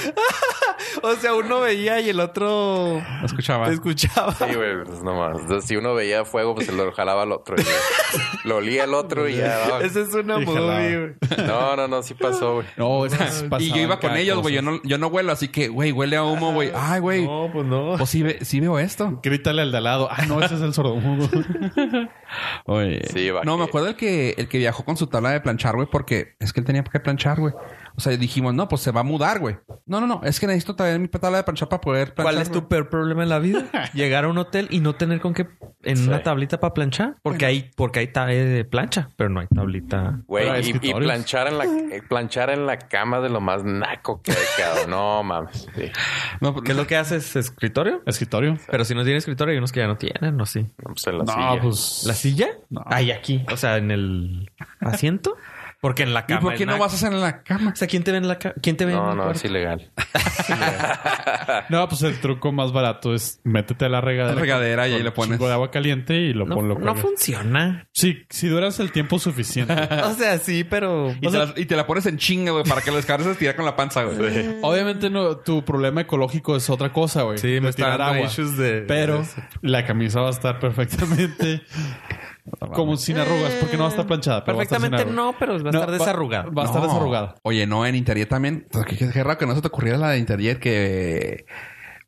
S1: O sea, uno veía y el otro
S5: Lo escuchaba.
S1: escuchaba.
S4: Sí, güey, pues nomás. Entonces, si uno veía fuego, pues se lo jalaba al otro. y lo olía al otro y ya. va.
S1: Esa es una
S3: Y jalaba.
S1: movie, güey.
S4: No, no, no, sí pasó, güey.
S3: No, esas
S5: Y
S3: pasaban
S5: yo iba con
S3: cada
S5: ellos, güey. Yo
S3: cosa.
S5: no, yo no huelo, así que, güey, huele a humo, güey. Ay, güey.
S1: No, pues no.
S5: Pues sí, ve- sí veo esto.
S3: Grítale al de al lado. Ah, no, ese es el sordomudo. Oye.
S4: Sí, va.
S5: No, me
S4: que-
S5: acuerdo el que, el que viajó con su tabla de planchar, güey, porque es que él tenía que planchar, güey. O sea, dijimos, no, pues se va a mudar, güey. No, no, no, es que necesito traer mi tabla de planchar para poder planchar.
S1: ¿Cuál es
S5: güey.
S1: tu peor problema en la vida? Llegar a un hotel y no tener con qué en una tablita para planchar, porque hay porque hay ta- eh, plancha, pero no hay tablita.
S3: Pero hay
S4: Güey, y- y,
S3: escritorios.
S4: planchar en la eh, planchar en la cama de lo más naco que he quedado. No mames. Sí.
S5: No, pues,
S1: ¿Qué es lo que haces? ¿Escritorio?
S3: Escritorio.
S1: Pero si no tiene escritorio, hay unos que ya no tienen, ¿o sí?
S4: No, pues en la
S3: No,
S4: silla.
S3: pues.
S1: ¿La silla?
S3: No.
S1: Ay, aquí. O sea, en el asiento. Porque en la
S5: ¿Y
S1: cama.
S5: por qué no vas a hacer en la cama?
S1: O sea, ¿quién te ve en la cama? ¿Quién te ve en
S4: No,
S1: el
S4: no,
S1: cuarto?
S4: es ilegal.
S3: No, pues el truco más barato es métete a la regadera.
S5: La regadera y ahí
S3: con
S5: le
S3: un chingo
S5: pones.
S3: de agua caliente y lo
S1: No,
S3: pon- lo
S1: no
S3: cuelgas.
S1: funciona.
S3: Sí, si duras el tiempo suficiente.
S1: O sea, sí, pero.
S5: Y, te la, y te la pones en chinga, güey, para que los cabros se tirar con la panza, güey.
S3: Obviamente no, tu problema ecológico es otra cosa, güey.
S1: Sí,
S3: De
S1: me está
S3: tirar
S1: dando
S3: agua.
S1: issues de-
S3: Pero
S1: de eso.
S3: Eh, la camisa va a estar perfectamente como sin arrugas, porque no va a estar planchada. pero va a estar sin
S1: Eh, Perfectamente
S3: arrugas.
S1: no, pero va a
S3: No,
S1: estar desarrugada.
S3: Va a estar
S5: No.
S3: desarrugada.
S5: Oye, no, en Interior también. Qué, qué- qué raro que no se te ocurriera la de Interjet que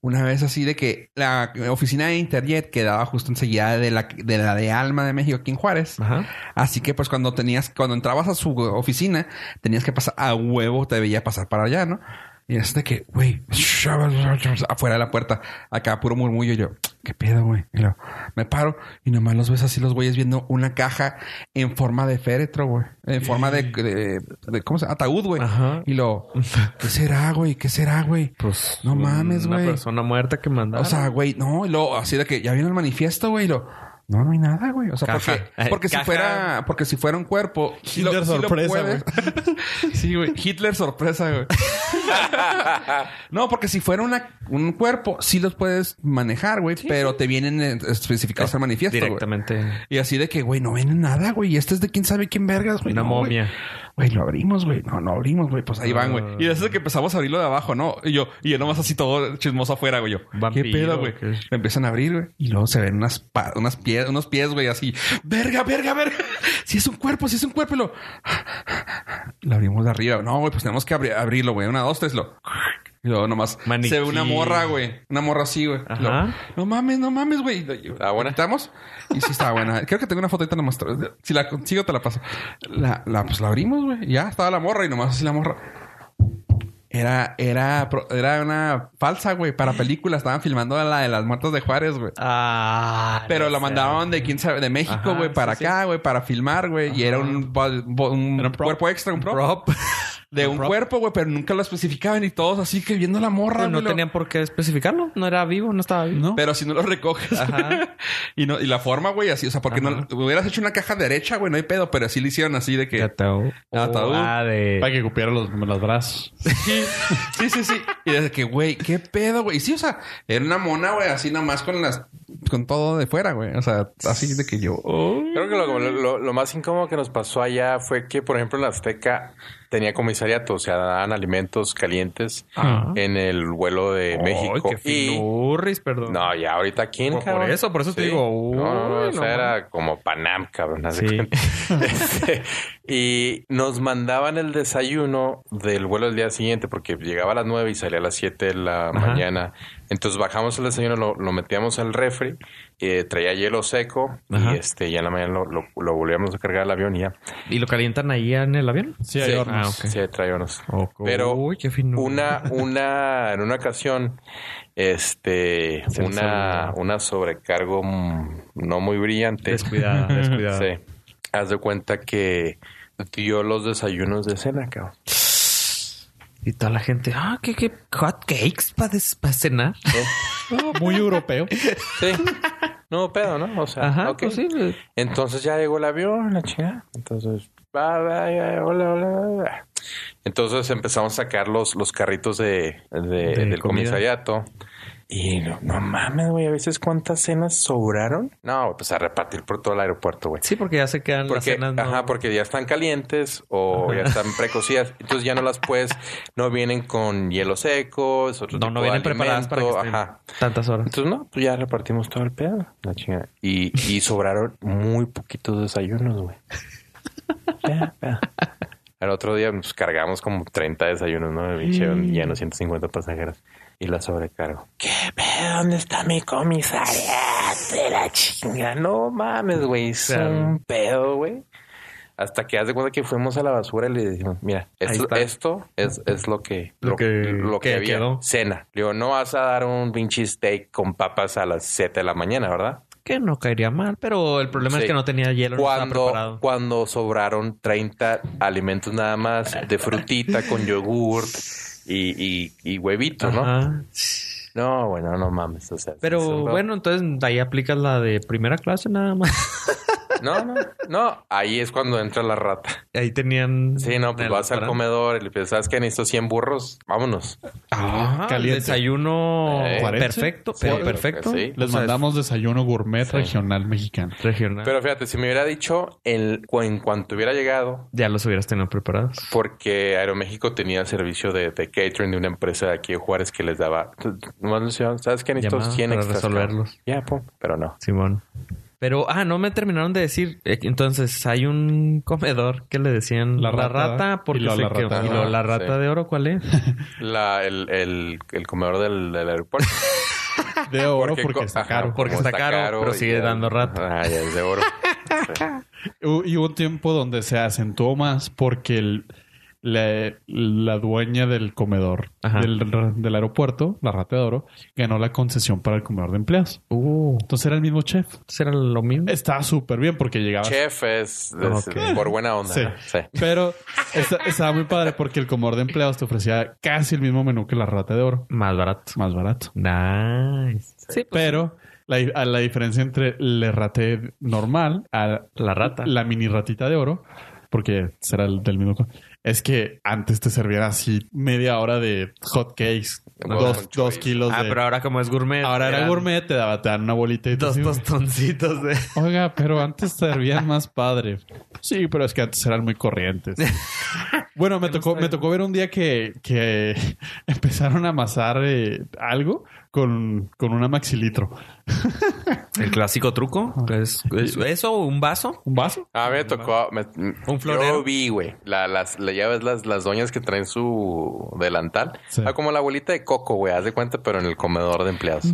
S5: una vez así de que la oficina de Interjet quedaba justo enseguida de la de la de Alma de México aquí en Juárez.
S1: Ajá.
S5: Así que pues cuando tenías cuando entrabas a su oficina tenías que pasar a huevo te veía pasar para allá, ¿no? Y es de que, güey, afuera de la puerta, acá puro murmullo. y Yo, ¿qué pedo, güey? Y luego, me paro y nomás los ves así, los güeyes viendo una caja en forma de féretro, güey. En forma de, de- de- ¿cómo se llama? Ataúd, güey.
S1: Ajá.
S5: Y lo, ¿qué será, güey? ¿Qué será, güey?
S1: Pues.
S5: No mames,
S1: Una
S5: güey.
S1: persona muerta que mandaron.
S5: O sea, güey, no, y luego así de que ya viene el manifiesto, güey, y lo no, no hay nada, güey. O sea,
S1: Caja. Eh,
S5: porque, porque si
S1: Caja.
S5: fuera, porque si fuera un cuerpo, sí lo-
S3: Hitler
S5: sí lo
S3: sorpresa,
S5: puedes- sí, güey, Hitler sorpresa, güey. no, porque si fuera una, un cuerpo, sí los puedes manejar, güey, pero te vienen eh, especificados al manifiesto, güey.
S1: Directamente.
S5: Y así de que, güey, no viene nada, güey. Y este es de quién sabe quién vergas, güey.
S1: Una
S5: No, güey.
S1: momia. Ah.
S5: Güey, lo abrimos, güey. No, no abrimos, güey. Pues ahí van, güey. Y eso es que empezamos a abrirlo de abajo, ¿no? Y yo, y yo nomás así todo chismoso afuera, güey. Yo,
S1: Vampiro,
S5: ¿qué pedo, güey?
S1: ¿qué es?
S5: Lo empiezan a abrir, güey. Y luego se ven unas, pa- unas pies, unos pies, güey, así. Verga, verga, verga. Si es un cuerpo, si es un cuerpo. Y lo, lo abrimos de arriba. No, güey, pues tenemos que abri- abrirlo, güey. Una, dos, tres, lo. Y luego nomás
S1: Maniquí.
S5: se ve una morra, güey. Una morra así, güey.
S1: Ajá.
S5: Lo- No mames, no mames, güey. ¿Está
S4: buena?
S5: ¿Estamos? Y sí estaba buena. Creo que tengo una foto ahorita nomás. Si la consigo, te la paso. La, la- pues la abrimos, güey. Ya estaba la morra y nomás así la morra. Era, era, pro- era una falsa, güey, para película. Estaban filmando la de las muertas de Juárez, güey.
S1: Ah.
S5: Pero
S1: no
S5: la
S1: sé.
S5: mandaron de quién sabe, de México,
S1: Ajá,
S5: güey, para
S1: sí, sí.
S5: acá, güey, para filmar, güey. Y era un, bo- bo- un
S3: Era un prop.
S5: cuerpo extra, un prop.
S1: Prop.
S5: De un cuerpo, güey, pero nunca lo especificaban y todos así que viendo la morra,
S1: Pues no
S5: güey, lo-
S1: tenían por qué especificarlo. No era vivo, no estaba vivo.
S3: ¿No?
S5: Pero si no lo recoges.
S1: Ajá.
S5: y, no, y la forma, güey, así. O sea, porque no
S1: Ajá.
S5: hubieras hecho una caja derecha, güey, no hay pedo, pero así le hicieron así de
S1: De
S5: que.
S1: ataúd.
S5: Ataúd.
S1: Ah, de.
S3: Para que cupiera los, los brazos.
S5: Sí, sí, sí. Y desde que, güey, qué pedo, güey. Y sí, o sea, era una mona, güey, así nomás con las. con todo de fuera, güey. O sea, así de que yo. oh.
S4: Creo que lo, lo- lo más incómodo que nos pasó allá fue que, por ejemplo, en la Azteca tenía comisariato, o sea, daban alimentos calientes
S1: Ah.
S4: en el vuelo de México.
S1: Ay, qué
S4: Y-
S1: finurris, perdón.
S4: No, ya ahorita quién,
S1: Por- por
S4: cabrón?
S1: eso, por eso te digo, uy,
S4: no, no, no,
S1: no
S4: esa
S1: mames.
S4: era como Panam, cabrón. haz de
S1: Sí.
S4: cuenta. Este, y nos mandaban el desayuno del vuelo del día siguiente, porque llegaba a las 9 y salía a las 7 de la mañana. Entonces bajamos el desayuno, lo, lo metíamos al refri, eh, traía hielo seco
S1: Ajá.
S4: y este ya en la mañana lo, lo, lo volvíamos a cargar al avión y ya.
S1: ¿Y lo calientan ahí en el avión?
S3: Sí, hay
S4: Sí.
S3: hornos.
S1: Ah, ok.
S4: Sí, traía unos.
S1: Ok.
S4: Pero
S1: Uy, qué finurris.
S4: una, una, en una ocasión, este,
S1: Se nos
S4: una,
S1: olvidó.
S4: una sobrecargo mm, no muy brillante.
S1: Descuidada, descuidada.
S4: Sí. haz de cuenta que dio los desayunos de cena, cabrón.
S1: Y toda la gente, ah, qué, qué hot cakes para cenar.
S3: Muy europeo.
S4: Sí. No, pedo, ¿no? O sea,
S1: Ajá,
S4: Ah, ok.
S1: pues sí. pues,
S4: Entonces ya llegó el avión, la chingada. Entonces, va, va, ya, hola, hola, hola. Entonces empezamos a sacar los, los carritos de, de- del
S1: comida.
S4: comisariato. Y no, no mames, güey, a veces cuántas cenas sobraron. No, pues a repartir por todo el aeropuerto, güey.
S1: Sí, porque ya se quedan las
S4: Porque,
S1: cenas. no-
S4: ajá, porque ya están calientes o ya están precocidas. Entonces ya no las puedes, no vienen con hielo seco, es otro
S1: no,
S4: tipo
S1: no
S4: de
S1: vienen preparadas para que
S4: alimento,
S1: estén
S4: Ajá.
S1: tantas horas.
S4: Entonces, no, pues ya repartimos todo el pedo. La chingada. Y, y sobraron muy poquitos desayunos, güey. Ya, ya. Al otro día nos cargamos como 30 desayunos, ¿no? El pinche lleno, 150 pasajeros. Y la sobrecargo. ¿Qué pedo? ¿Dónde está mi comisaria? De la chinga. No mames, güey. Es
S1: Claro.
S4: un pedo, güey. Hasta que haz de cuenta que fuimos a la basura y le dijimos, mira,
S1: Ahí
S4: esto,
S1: está.
S4: esto es, es lo que
S1: Lo
S4: lo
S1: que-
S4: que, lo que
S1: que
S4: había.
S1: quedó.
S4: Cena. Le digo, no vas a dar un pinche steak con papas a las 7 de la mañana, ¿verdad?
S1: Que no caería mal, pero el problema es
S4: Sí.
S1: que no tenía hielo, no estaba
S4: Cuando,
S1: preparado.
S4: cuando sobraron 30 alimentos nada más de frutita con yogurt y, y, y huevito, ¿no?
S1: Ajá.
S4: No, bueno, no mames. O sea,
S1: Pero
S4: es un-
S1: bueno, entonces ahí aplicas la de primera clase nada más.
S4: No, no, no. Ahí es cuando entra la rata.
S1: Ahí tenían.
S4: Sí, no, pues
S1: el
S4: vas al
S1: restaurante.
S4: comedor y le piensas, ¿sabes qué? Necesito 100 burros. Vámonos.
S1: Ah,
S3: Caliente.
S1: El desayuno
S4: Eh,
S3: ¿cuarenta?
S1: perfecto,
S3: Sí,
S1: pero
S4: creo
S1: perfecto.
S4: que sí.
S3: Les
S1: O sea,
S3: mandamos desayuno gourmet regional mexicano.
S1: es Regional.
S4: Pero fíjate, si me hubiera dicho en, en cuanto hubiera llegado,
S1: ya los hubieras tenido preparados.
S4: porque Aeroméxico tenía servicio de, de catering de una empresa de aquí de Juárez que les daba. Nomás les decían, ¿sabes qué? Necesito
S1: Llamadas
S4: 100
S1: para
S4: extras. cabrón".
S1: resolverlos.
S4: Ya, pum, pero no.
S1: Simón. Pero, ah, no me terminaron de decir. Eh, Entonces, hay un comedor que le decían la
S3: La
S1: rata,
S3: rata,
S1: porque
S3: y luego
S1: se
S3: la
S1: quedó-
S3: rata
S1: y
S3: de
S1: luego
S4: oro.
S1: la rata
S4: Sí.
S1: de oro, ¿cuál es?
S4: La, el, el, el comedor del, del aeropuerto.
S3: De oro porque,
S4: co-
S3: está
S4: ajá,
S3: caro.
S1: Porque
S4: como
S1: está caro, pero
S4: y
S1: sigue dando rata.
S4: Ah, ya es de oro. Sí.
S3: Hu- Y hubo un tiempo donde se acentuó más porque el- la, la dueña del comedor
S1: Ajá.
S3: del, del aeropuerto, la rata de oro, ganó la concesión para el comedor de empleados.
S1: Uh,
S3: Entonces era el mismo chef.
S1: ¿entonces era lo mismo?
S3: Estaba súper bien porque llegaba.
S4: Chef es, es
S1: Ah, Ok.
S4: por buena onda.
S3: Sí.
S4: ¿no? Sí.
S3: Pero esta- estaba muy padre porque el comedor de empleados te ofrecía casi el mismo menú que la rata de oro,
S1: Más barato.
S3: más barato.
S1: Nice. Sí, pues,
S3: Pero la, di- a la diferencia entre le rate normal a
S1: la rata.
S3: la mini ratita de oro, porque será el del mismo. co- Es que antes te servían así media hora de hot cakes,
S4: Huevo con
S3: dos,
S4: chorizo.
S3: dos kilos
S1: ah,
S3: de.
S1: pero ahora como es gourmet.
S3: ahora era
S1: eran
S3: gourmet, te daba, te daban una bolita y tú
S1: Dos
S3: así,
S1: tostoncitos de...
S3: Oiga, pero antes te servían más padre. Sí, pero es que antes eran muy corrientes. Bueno, me tocó, me tocó ver un día que, que empezaron a amasar eh, algo con, con una maxilitro.
S1: El clásico truco. que es- es- eso, o un vaso.
S3: ¿Un vaso?
S4: A mí me tocó. me-
S1: Un florero.
S4: Yo vi, güey. La, las, la- ya ves las, las doñas que traen su delantal.
S3: Sí.
S4: Ah, como la abuelita de Coco, güey. Haz de cuenta, pero en el comedor de empleados.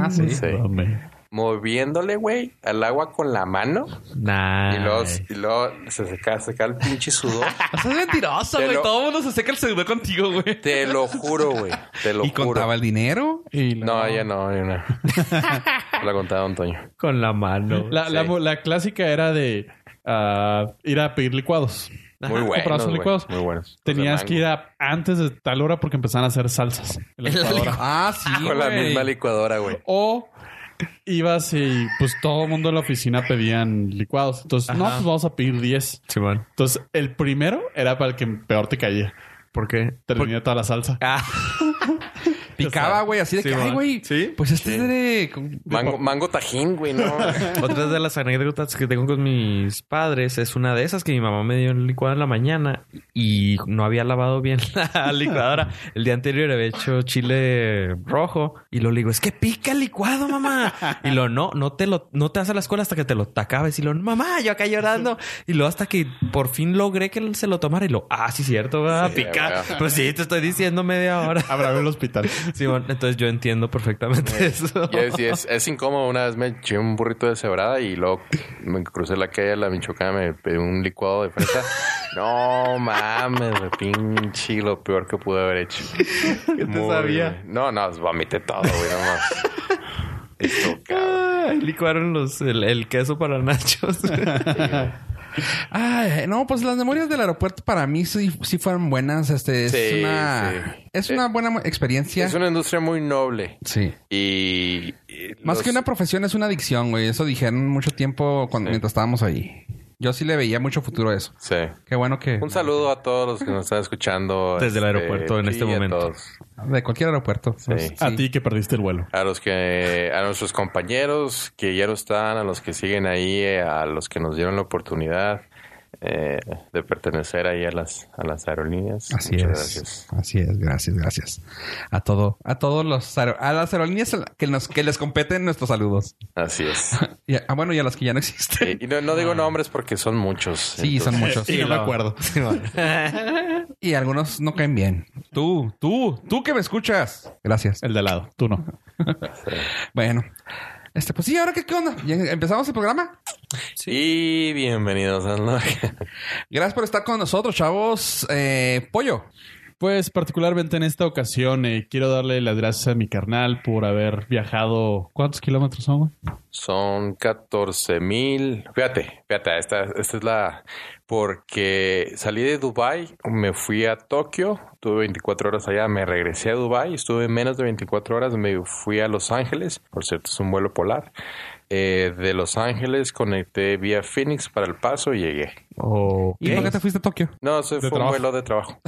S1: Ah,
S4: Sí.
S3: Dame.
S4: Moviéndole, güey, al agua con la mano.
S1: Nice.
S4: Y luego, y luego se seca, seca el pinche sudor.
S1: Estás mentiroso,
S4: Te
S1: güey.
S4: lo-
S1: Todo el mundo se seca el segundo contigo, güey.
S4: Te lo juro, güey. Te lo
S5: ¿Y
S4: juro.
S5: contaba el dinero?
S3: Y la-
S4: No, ya no, ya no. la contaba Antonio.
S1: Con la mano.
S3: La, la
S4: Sí.
S3: mo- la clásica era de ah, ir a pedir licuados.
S4: Muy
S3: Comprabas
S4: buenos,
S3: los
S4: güey.
S3: licuados.
S4: Muy buenos.
S3: Tenías que ir a, antes de tal hora porque empezaban a hacer salsas. en la licuadora.
S5: Ah, sí,
S4: Con la
S5: güey.
S4: misma licuadora, güey.
S3: O ibas y pues todo el mundo en la oficina pedían licuados. Entonces, no,
S1: Ajá.
S3: pues vamos a pedir 10.
S1: Simón.
S3: Entonces, el primero era para el que peor te caía.
S1: ¿Por qué?
S3: Te venía toda la salsa.
S1: Ah,
S5: Picaba, güey, así de
S1: Sí,
S5: que, ay,
S1: man.
S5: güey.
S1: Sí.
S5: Pues este es de. con-
S4: Mango, mango tajín, güey, no.
S1: otra de las anécdotas que tengo con mis padres es una de esas que mi mamá me dio el licuado en la mañana y no había lavado bien la licuadora. El día anterior había hecho chile rojo y lo le digo, es que pica el licuado, mamá. Y lo no, no te lo, no te vas a la escuela hasta que te lo te acabes. Y lo, mamá, yo acá llorando. Y lo hasta que por fin logré que él se lo tomara y lo, ah, sí, cierto, va a
S4: Sí,
S1: picar.
S4: güey.
S1: Pues sí, te estoy diciendo media hora.
S3: Habrá en el hospital.
S1: Simón, entonces yo entiendo perfectamente eso.
S4: Y es, y es, es incómodo. Una vez me eché un burrito de cebrada y luego me crucé la calle de la Michoacán, me pedí un licuado de fresa. No mames, güey, pinche lo peor que pude haber hecho.
S1: te
S4: Muy,
S1: sabía?
S4: güey. No, no, vomité todo, güey, nomás. Esto, cabrón.
S1: Ah, licuaron los, el, el queso para nachos.
S5: Ay, no, pues las memorias del aeropuerto para mí sí, sí fueron buenas. Este es
S4: Sí,
S5: una
S4: sí.
S5: es una buena mo- experiencia.
S4: Es una industria muy noble.
S5: Sí.
S4: Y. y
S5: Más
S4: los-
S5: que una profesión es una adicción, güey. Eso dijeron mucho tiempo cuando, mientras estábamos ahí. Yo sí le veía mucho futuro a eso.
S4: Sí.
S5: Qué bueno que
S4: Un saludo a todos los que nos están escuchando.
S1: Desde el aeropuerto en este
S4: y a
S1: momento.
S4: todos.
S5: de cualquier aeropuerto. Pues,
S4: Sí.
S3: A ti que perdiste el vuelo.
S4: A los que, a nuestros compañeros que ya no están, a los que siguen ahí, eh, a los que nos dieron la oportunidad eh, de pertenecer ahí a las, a las aerolíneas.
S5: Así
S4: Muchas
S5: es. Así es, gracias, gracias. A todo, a todos los aer- a las aerolíneas que nos que les competen nuestros saludos.
S4: Así es.
S5: Y a- ah, bueno, y a las que ya no existen.
S4: Y, y no, no digo nombres porque son muchos.
S5: Ah. Sí, son muchos.
S3: Sí, no me acuerdo.
S5: Y algunos no caen bien. Tú, tú, tú que me escuchas. Gracias.
S3: El de al lado, tú no.
S5: Bueno. Este, pues sí, ahora qué, qué onda. ¿Ya empezamos el programa.
S4: Y bienvenidos a la...
S5: Gracias por estar con nosotros, chavos. Eh, Pollo.
S3: Pues particularmente en esta ocasión eh, quiero darle las gracias a mi carnal por haber viajado. ¿Cuántos kilómetros son? güey?
S4: Son 14 mil. Fíjate, fíjate, esta, esta es la. Porque salí de Dubai, me fui a Tokio, tuve 24 horas allá, me regresé a Dubai, estuve menos de 24 horas, me fui a Los Ángeles, por cierto, es un vuelo polar. Eh, de Los Ángeles conecté vía Phoenix para El Paso y llegué.
S5: ¿Y por qué te fuiste a Tokio?
S4: No, se fue
S3: trabajo.
S4: un vuelo de trabajo.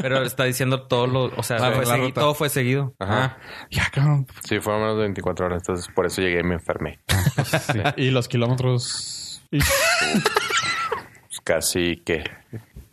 S1: Pero está diciendo todo lo, o sea,
S5: La-
S1: fue
S5: la
S1: segui-
S5: ruta.
S1: todo fue seguido.
S4: Ajá.
S5: Ah, ya, cabrón.
S4: Sí, fueron menos de 24 horas, entonces por eso llegué y me enfermé.
S3: Y los kilómetros. y-
S4: Pues Casi que.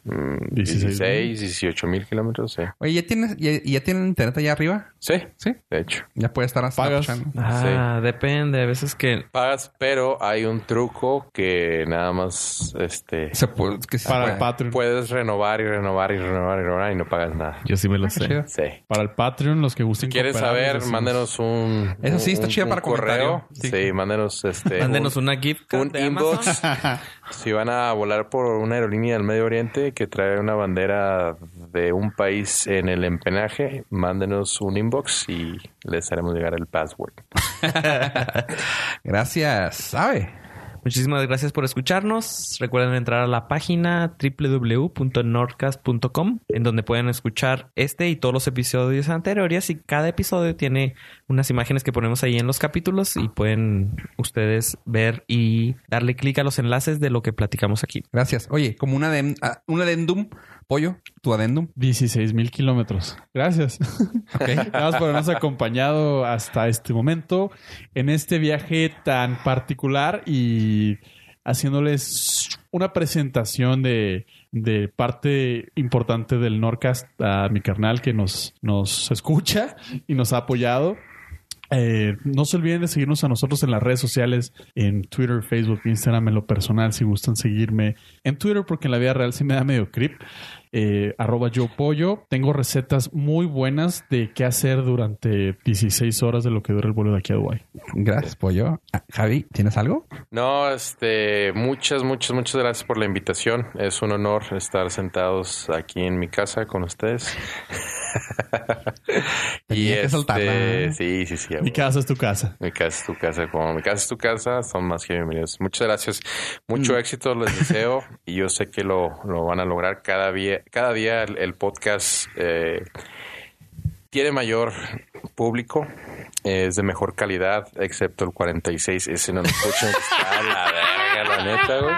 S4: mm,
S3: 16,000.
S4: 16, 18 mil kilómetros, sí.
S5: Oye, ¿ya tienes, ya, ya tienen internet allá arriba?
S4: Sí,
S5: Sí.
S4: de hecho.
S5: Ya puede estar hasta
S3: Pagas.
S5: escuchando.
S1: Ah, depende. A veces que
S4: pagas, pero hay un truco que nada más este
S5: Se puede, que sí se
S3: para el
S1: Pues,
S5: puede.
S3: Patreon.
S4: puedes renovar y renovar y renovar y renovar y no pagas nada.
S1: yo sí me lo sé.
S5: Chido.
S4: Sí.
S3: Para el Patreon, los que gusten.
S4: ¿Quieres
S3: cooperar, les
S4: saber?
S3: decimos.
S4: Mándenos un
S5: Eso sí, está
S4: un-
S5: chida
S4: un
S5: para
S4: correo.
S5: comentario.
S4: Sí, mándenos este
S1: Mándenos
S4: un,
S1: una gift card
S4: un
S1: de
S4: inbox.
S1: Amazon.
S4: si van a volar por una aerolínea del Medio Oriente que trae una bandera de un país en el empenaje, mándenos un inbox y les haremos llegar el password.
S5: Gracias. ¿Sabe?
S1: Muchísimas gracias por escucharnos. Recuerden entrar a la página www.nordcast.com en donde pueden escuchar este y todos los episodios anteriores y cada episodio tiene unas imágenes que ponemos ahí en los capítulos y pueden ustedes ver y darle clic a los enlaces de lo que platicamos aquí.
S5: Gracias. Oye, como una de un adendum, pollo, tu adendum.
S3: 16 mil kilómetros. Gracias. Gracias por habernos acompañado hasta este momento en este viaje tan particular y haciéndoles una presentación de, de parte importante del Norcast a mi carnal que nos, nos escucha y nos ha apoyado. Eh, no se olviden de seguirnos a nosotros en las redes sociales, en Twitter, Facebook, Instagram, en lo personal, si gustan seguirme en Twitter, porque en la vida real sí me da medio creep. Eh, arroba yo pollo. Tengo recetas muy buenas de qué hacer durante 16 horas de lo que dura el vuelo de aquí a Dubai.
S5: Gracias, pollo. Ah, Javi, ¿tienes algo?
S4: No, este, muchas, muchas, muchas gracias por la invitación. Es un honor estar sentados aquí en mi casa con ustedes.
S5: Tenía que soltarla.
S4: este,
S5: ¿eh?
S4: sí, sí, sí.
S3: Mi casa es tu casa.
S4: Mi casa es tu casa. Como mi casa es tu casa, son más que bienvenidos. Muchas gracias. Mucho
S1: Mm.
S4: éxito les deseo. Y yo sé que lo, lo van a lograr cada día. Cada día el, el podcast eh, tiene mayor público. Es de mejor calidad, excepto el 46. Ese no lo escuchan. que Está a la verga, la neta, güey.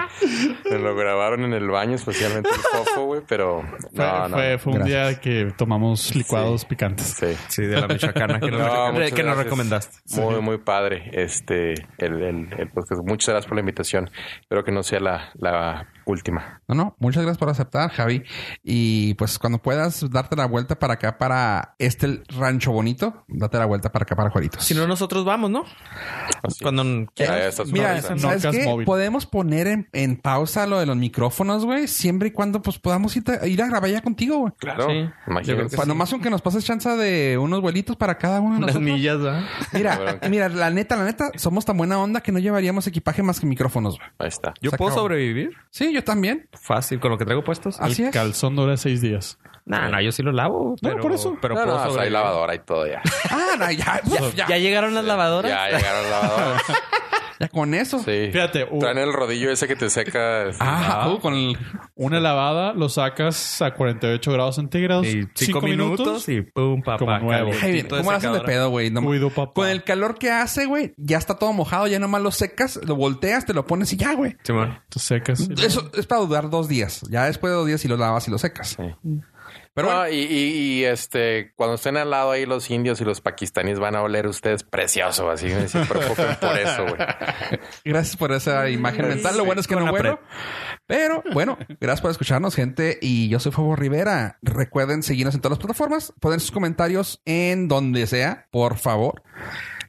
S4: Me Lo grabaron en el baño, especialmente el fofo, güey. Pero
S3: Fue,
S4: no, no.
S3: fue- fue un
S5: Gracias.
S3: día que tomamos licuados picantes.
S4: Sí.
S1: Sí, de la Michoacana que nos,
S4: No,
S1: re-
S4: muchas
S1: que nos
S4: gracias.
S1: recomendaste.
S4: Muy, muy padre este el, el, el podcast. Muchas gracias por la invitación. Espero que no sea la, la última.
S5: No, no. Muchas gracias por aceptar, Javi. Y pues cuando puedas darte la vuelta para acá, para este rancho bonito, date la vuelta para acá, para Juaritos.
S1: Si no, nosotros vamos, ¿no? Cuando
S4: Ah,
S1: quieras.
S4: esa es una
S5: Mira,
S4: risa.
S5: ¿sabes
S3: Norcas
S5: qué?
S3: móvil.
S5: Podemos poner en, en pausa lo de los micrófonos, güey, siempre y cuando pues podamos ir a, ir a grabar ya contigo, güey.
S4: Claro,
S1: Sí.
S4: imagínate.
S5: Pa- Nomás aunque nos pases chance de unos vuelitos para cada uno de
S1: Unas
S5: nosotros.
S1: millas, ¿verdad?
S5: Mira, mira, la neta, la neta, somos tan buena onda que no llevaríamos equipaje más que micrófonos, güey.
S4: Ahí está.
S1: ¿Yo
S5: Se
S1: puedo
S5: acabó.
S1: sobrevivir?
S5: Sí, yo también.
S1: Fácil, con lo que traigo puestos.
S5: Así
S3: El
S5: es.
S3: calzón dura 6 días.
S1: No, no, yo sí lo lavo. Pero,
S3: por eso.
S1: Pero
S4: No,
S1: puedo
S4: no, o sea, hay
S1: sobrevivir.
S4: lavadora y todo ya.
S5: Ah, no, ya, ya, ya.
S1: ¿Ya llegaron las lavadoras?
S4: Ya llegaron lavadoras.
S5: Ya con eso.
S4: Sí.
S3: Fíjate, u-
S4: Traen el rodillo ese que te seca.
S5: Ah,
S3: Ah.
S5: uh, con el-
S3: una lavada lo sacas a 48 grados centígrados.
S1: Y cinco,
S3: 5
S1: minutos, y pum, papá.
S3: Como nuevo.
S1: calientito
S5: Ay, bien,
S1: de
S5: ¿Cómo lo hacen de
S1: secadora.
S5: pedo, güey? No-
S3: Cuido, papá.
S5: con el calor que hace, güey, ya está todo mojado, ya nomás lo secas, lo volteas, te lo pones y ya, güey.
S1: Simón.
S3: Te secas. y luego-
S5: Eso es para durar dos días. Ya después de dos días si lo lavas y lo secas. Pero
S4: No,
S5: bueno,
S4: y, y- y, este, cuando estén al lado ahí los indios y los pakistaníes van a oler ustedes precioso, así me se preocupen por eso, güey.
S5: gracias por esa imagen mental. Lo bueno es que
S1: Con la
S5: no vuelo. Pero bueno, gracias por escucharnos, gente. Y yo soy Fabo Rivera. Recuerden seguirnos en todas las plataformas, poner sus comentarios en donde sea, por favor.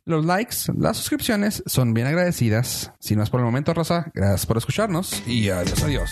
S5: Los likes, las suscripciones son bien agradecidas. Sin más por el momento, Rosa, gracias por escucharnos y adiós, adiós.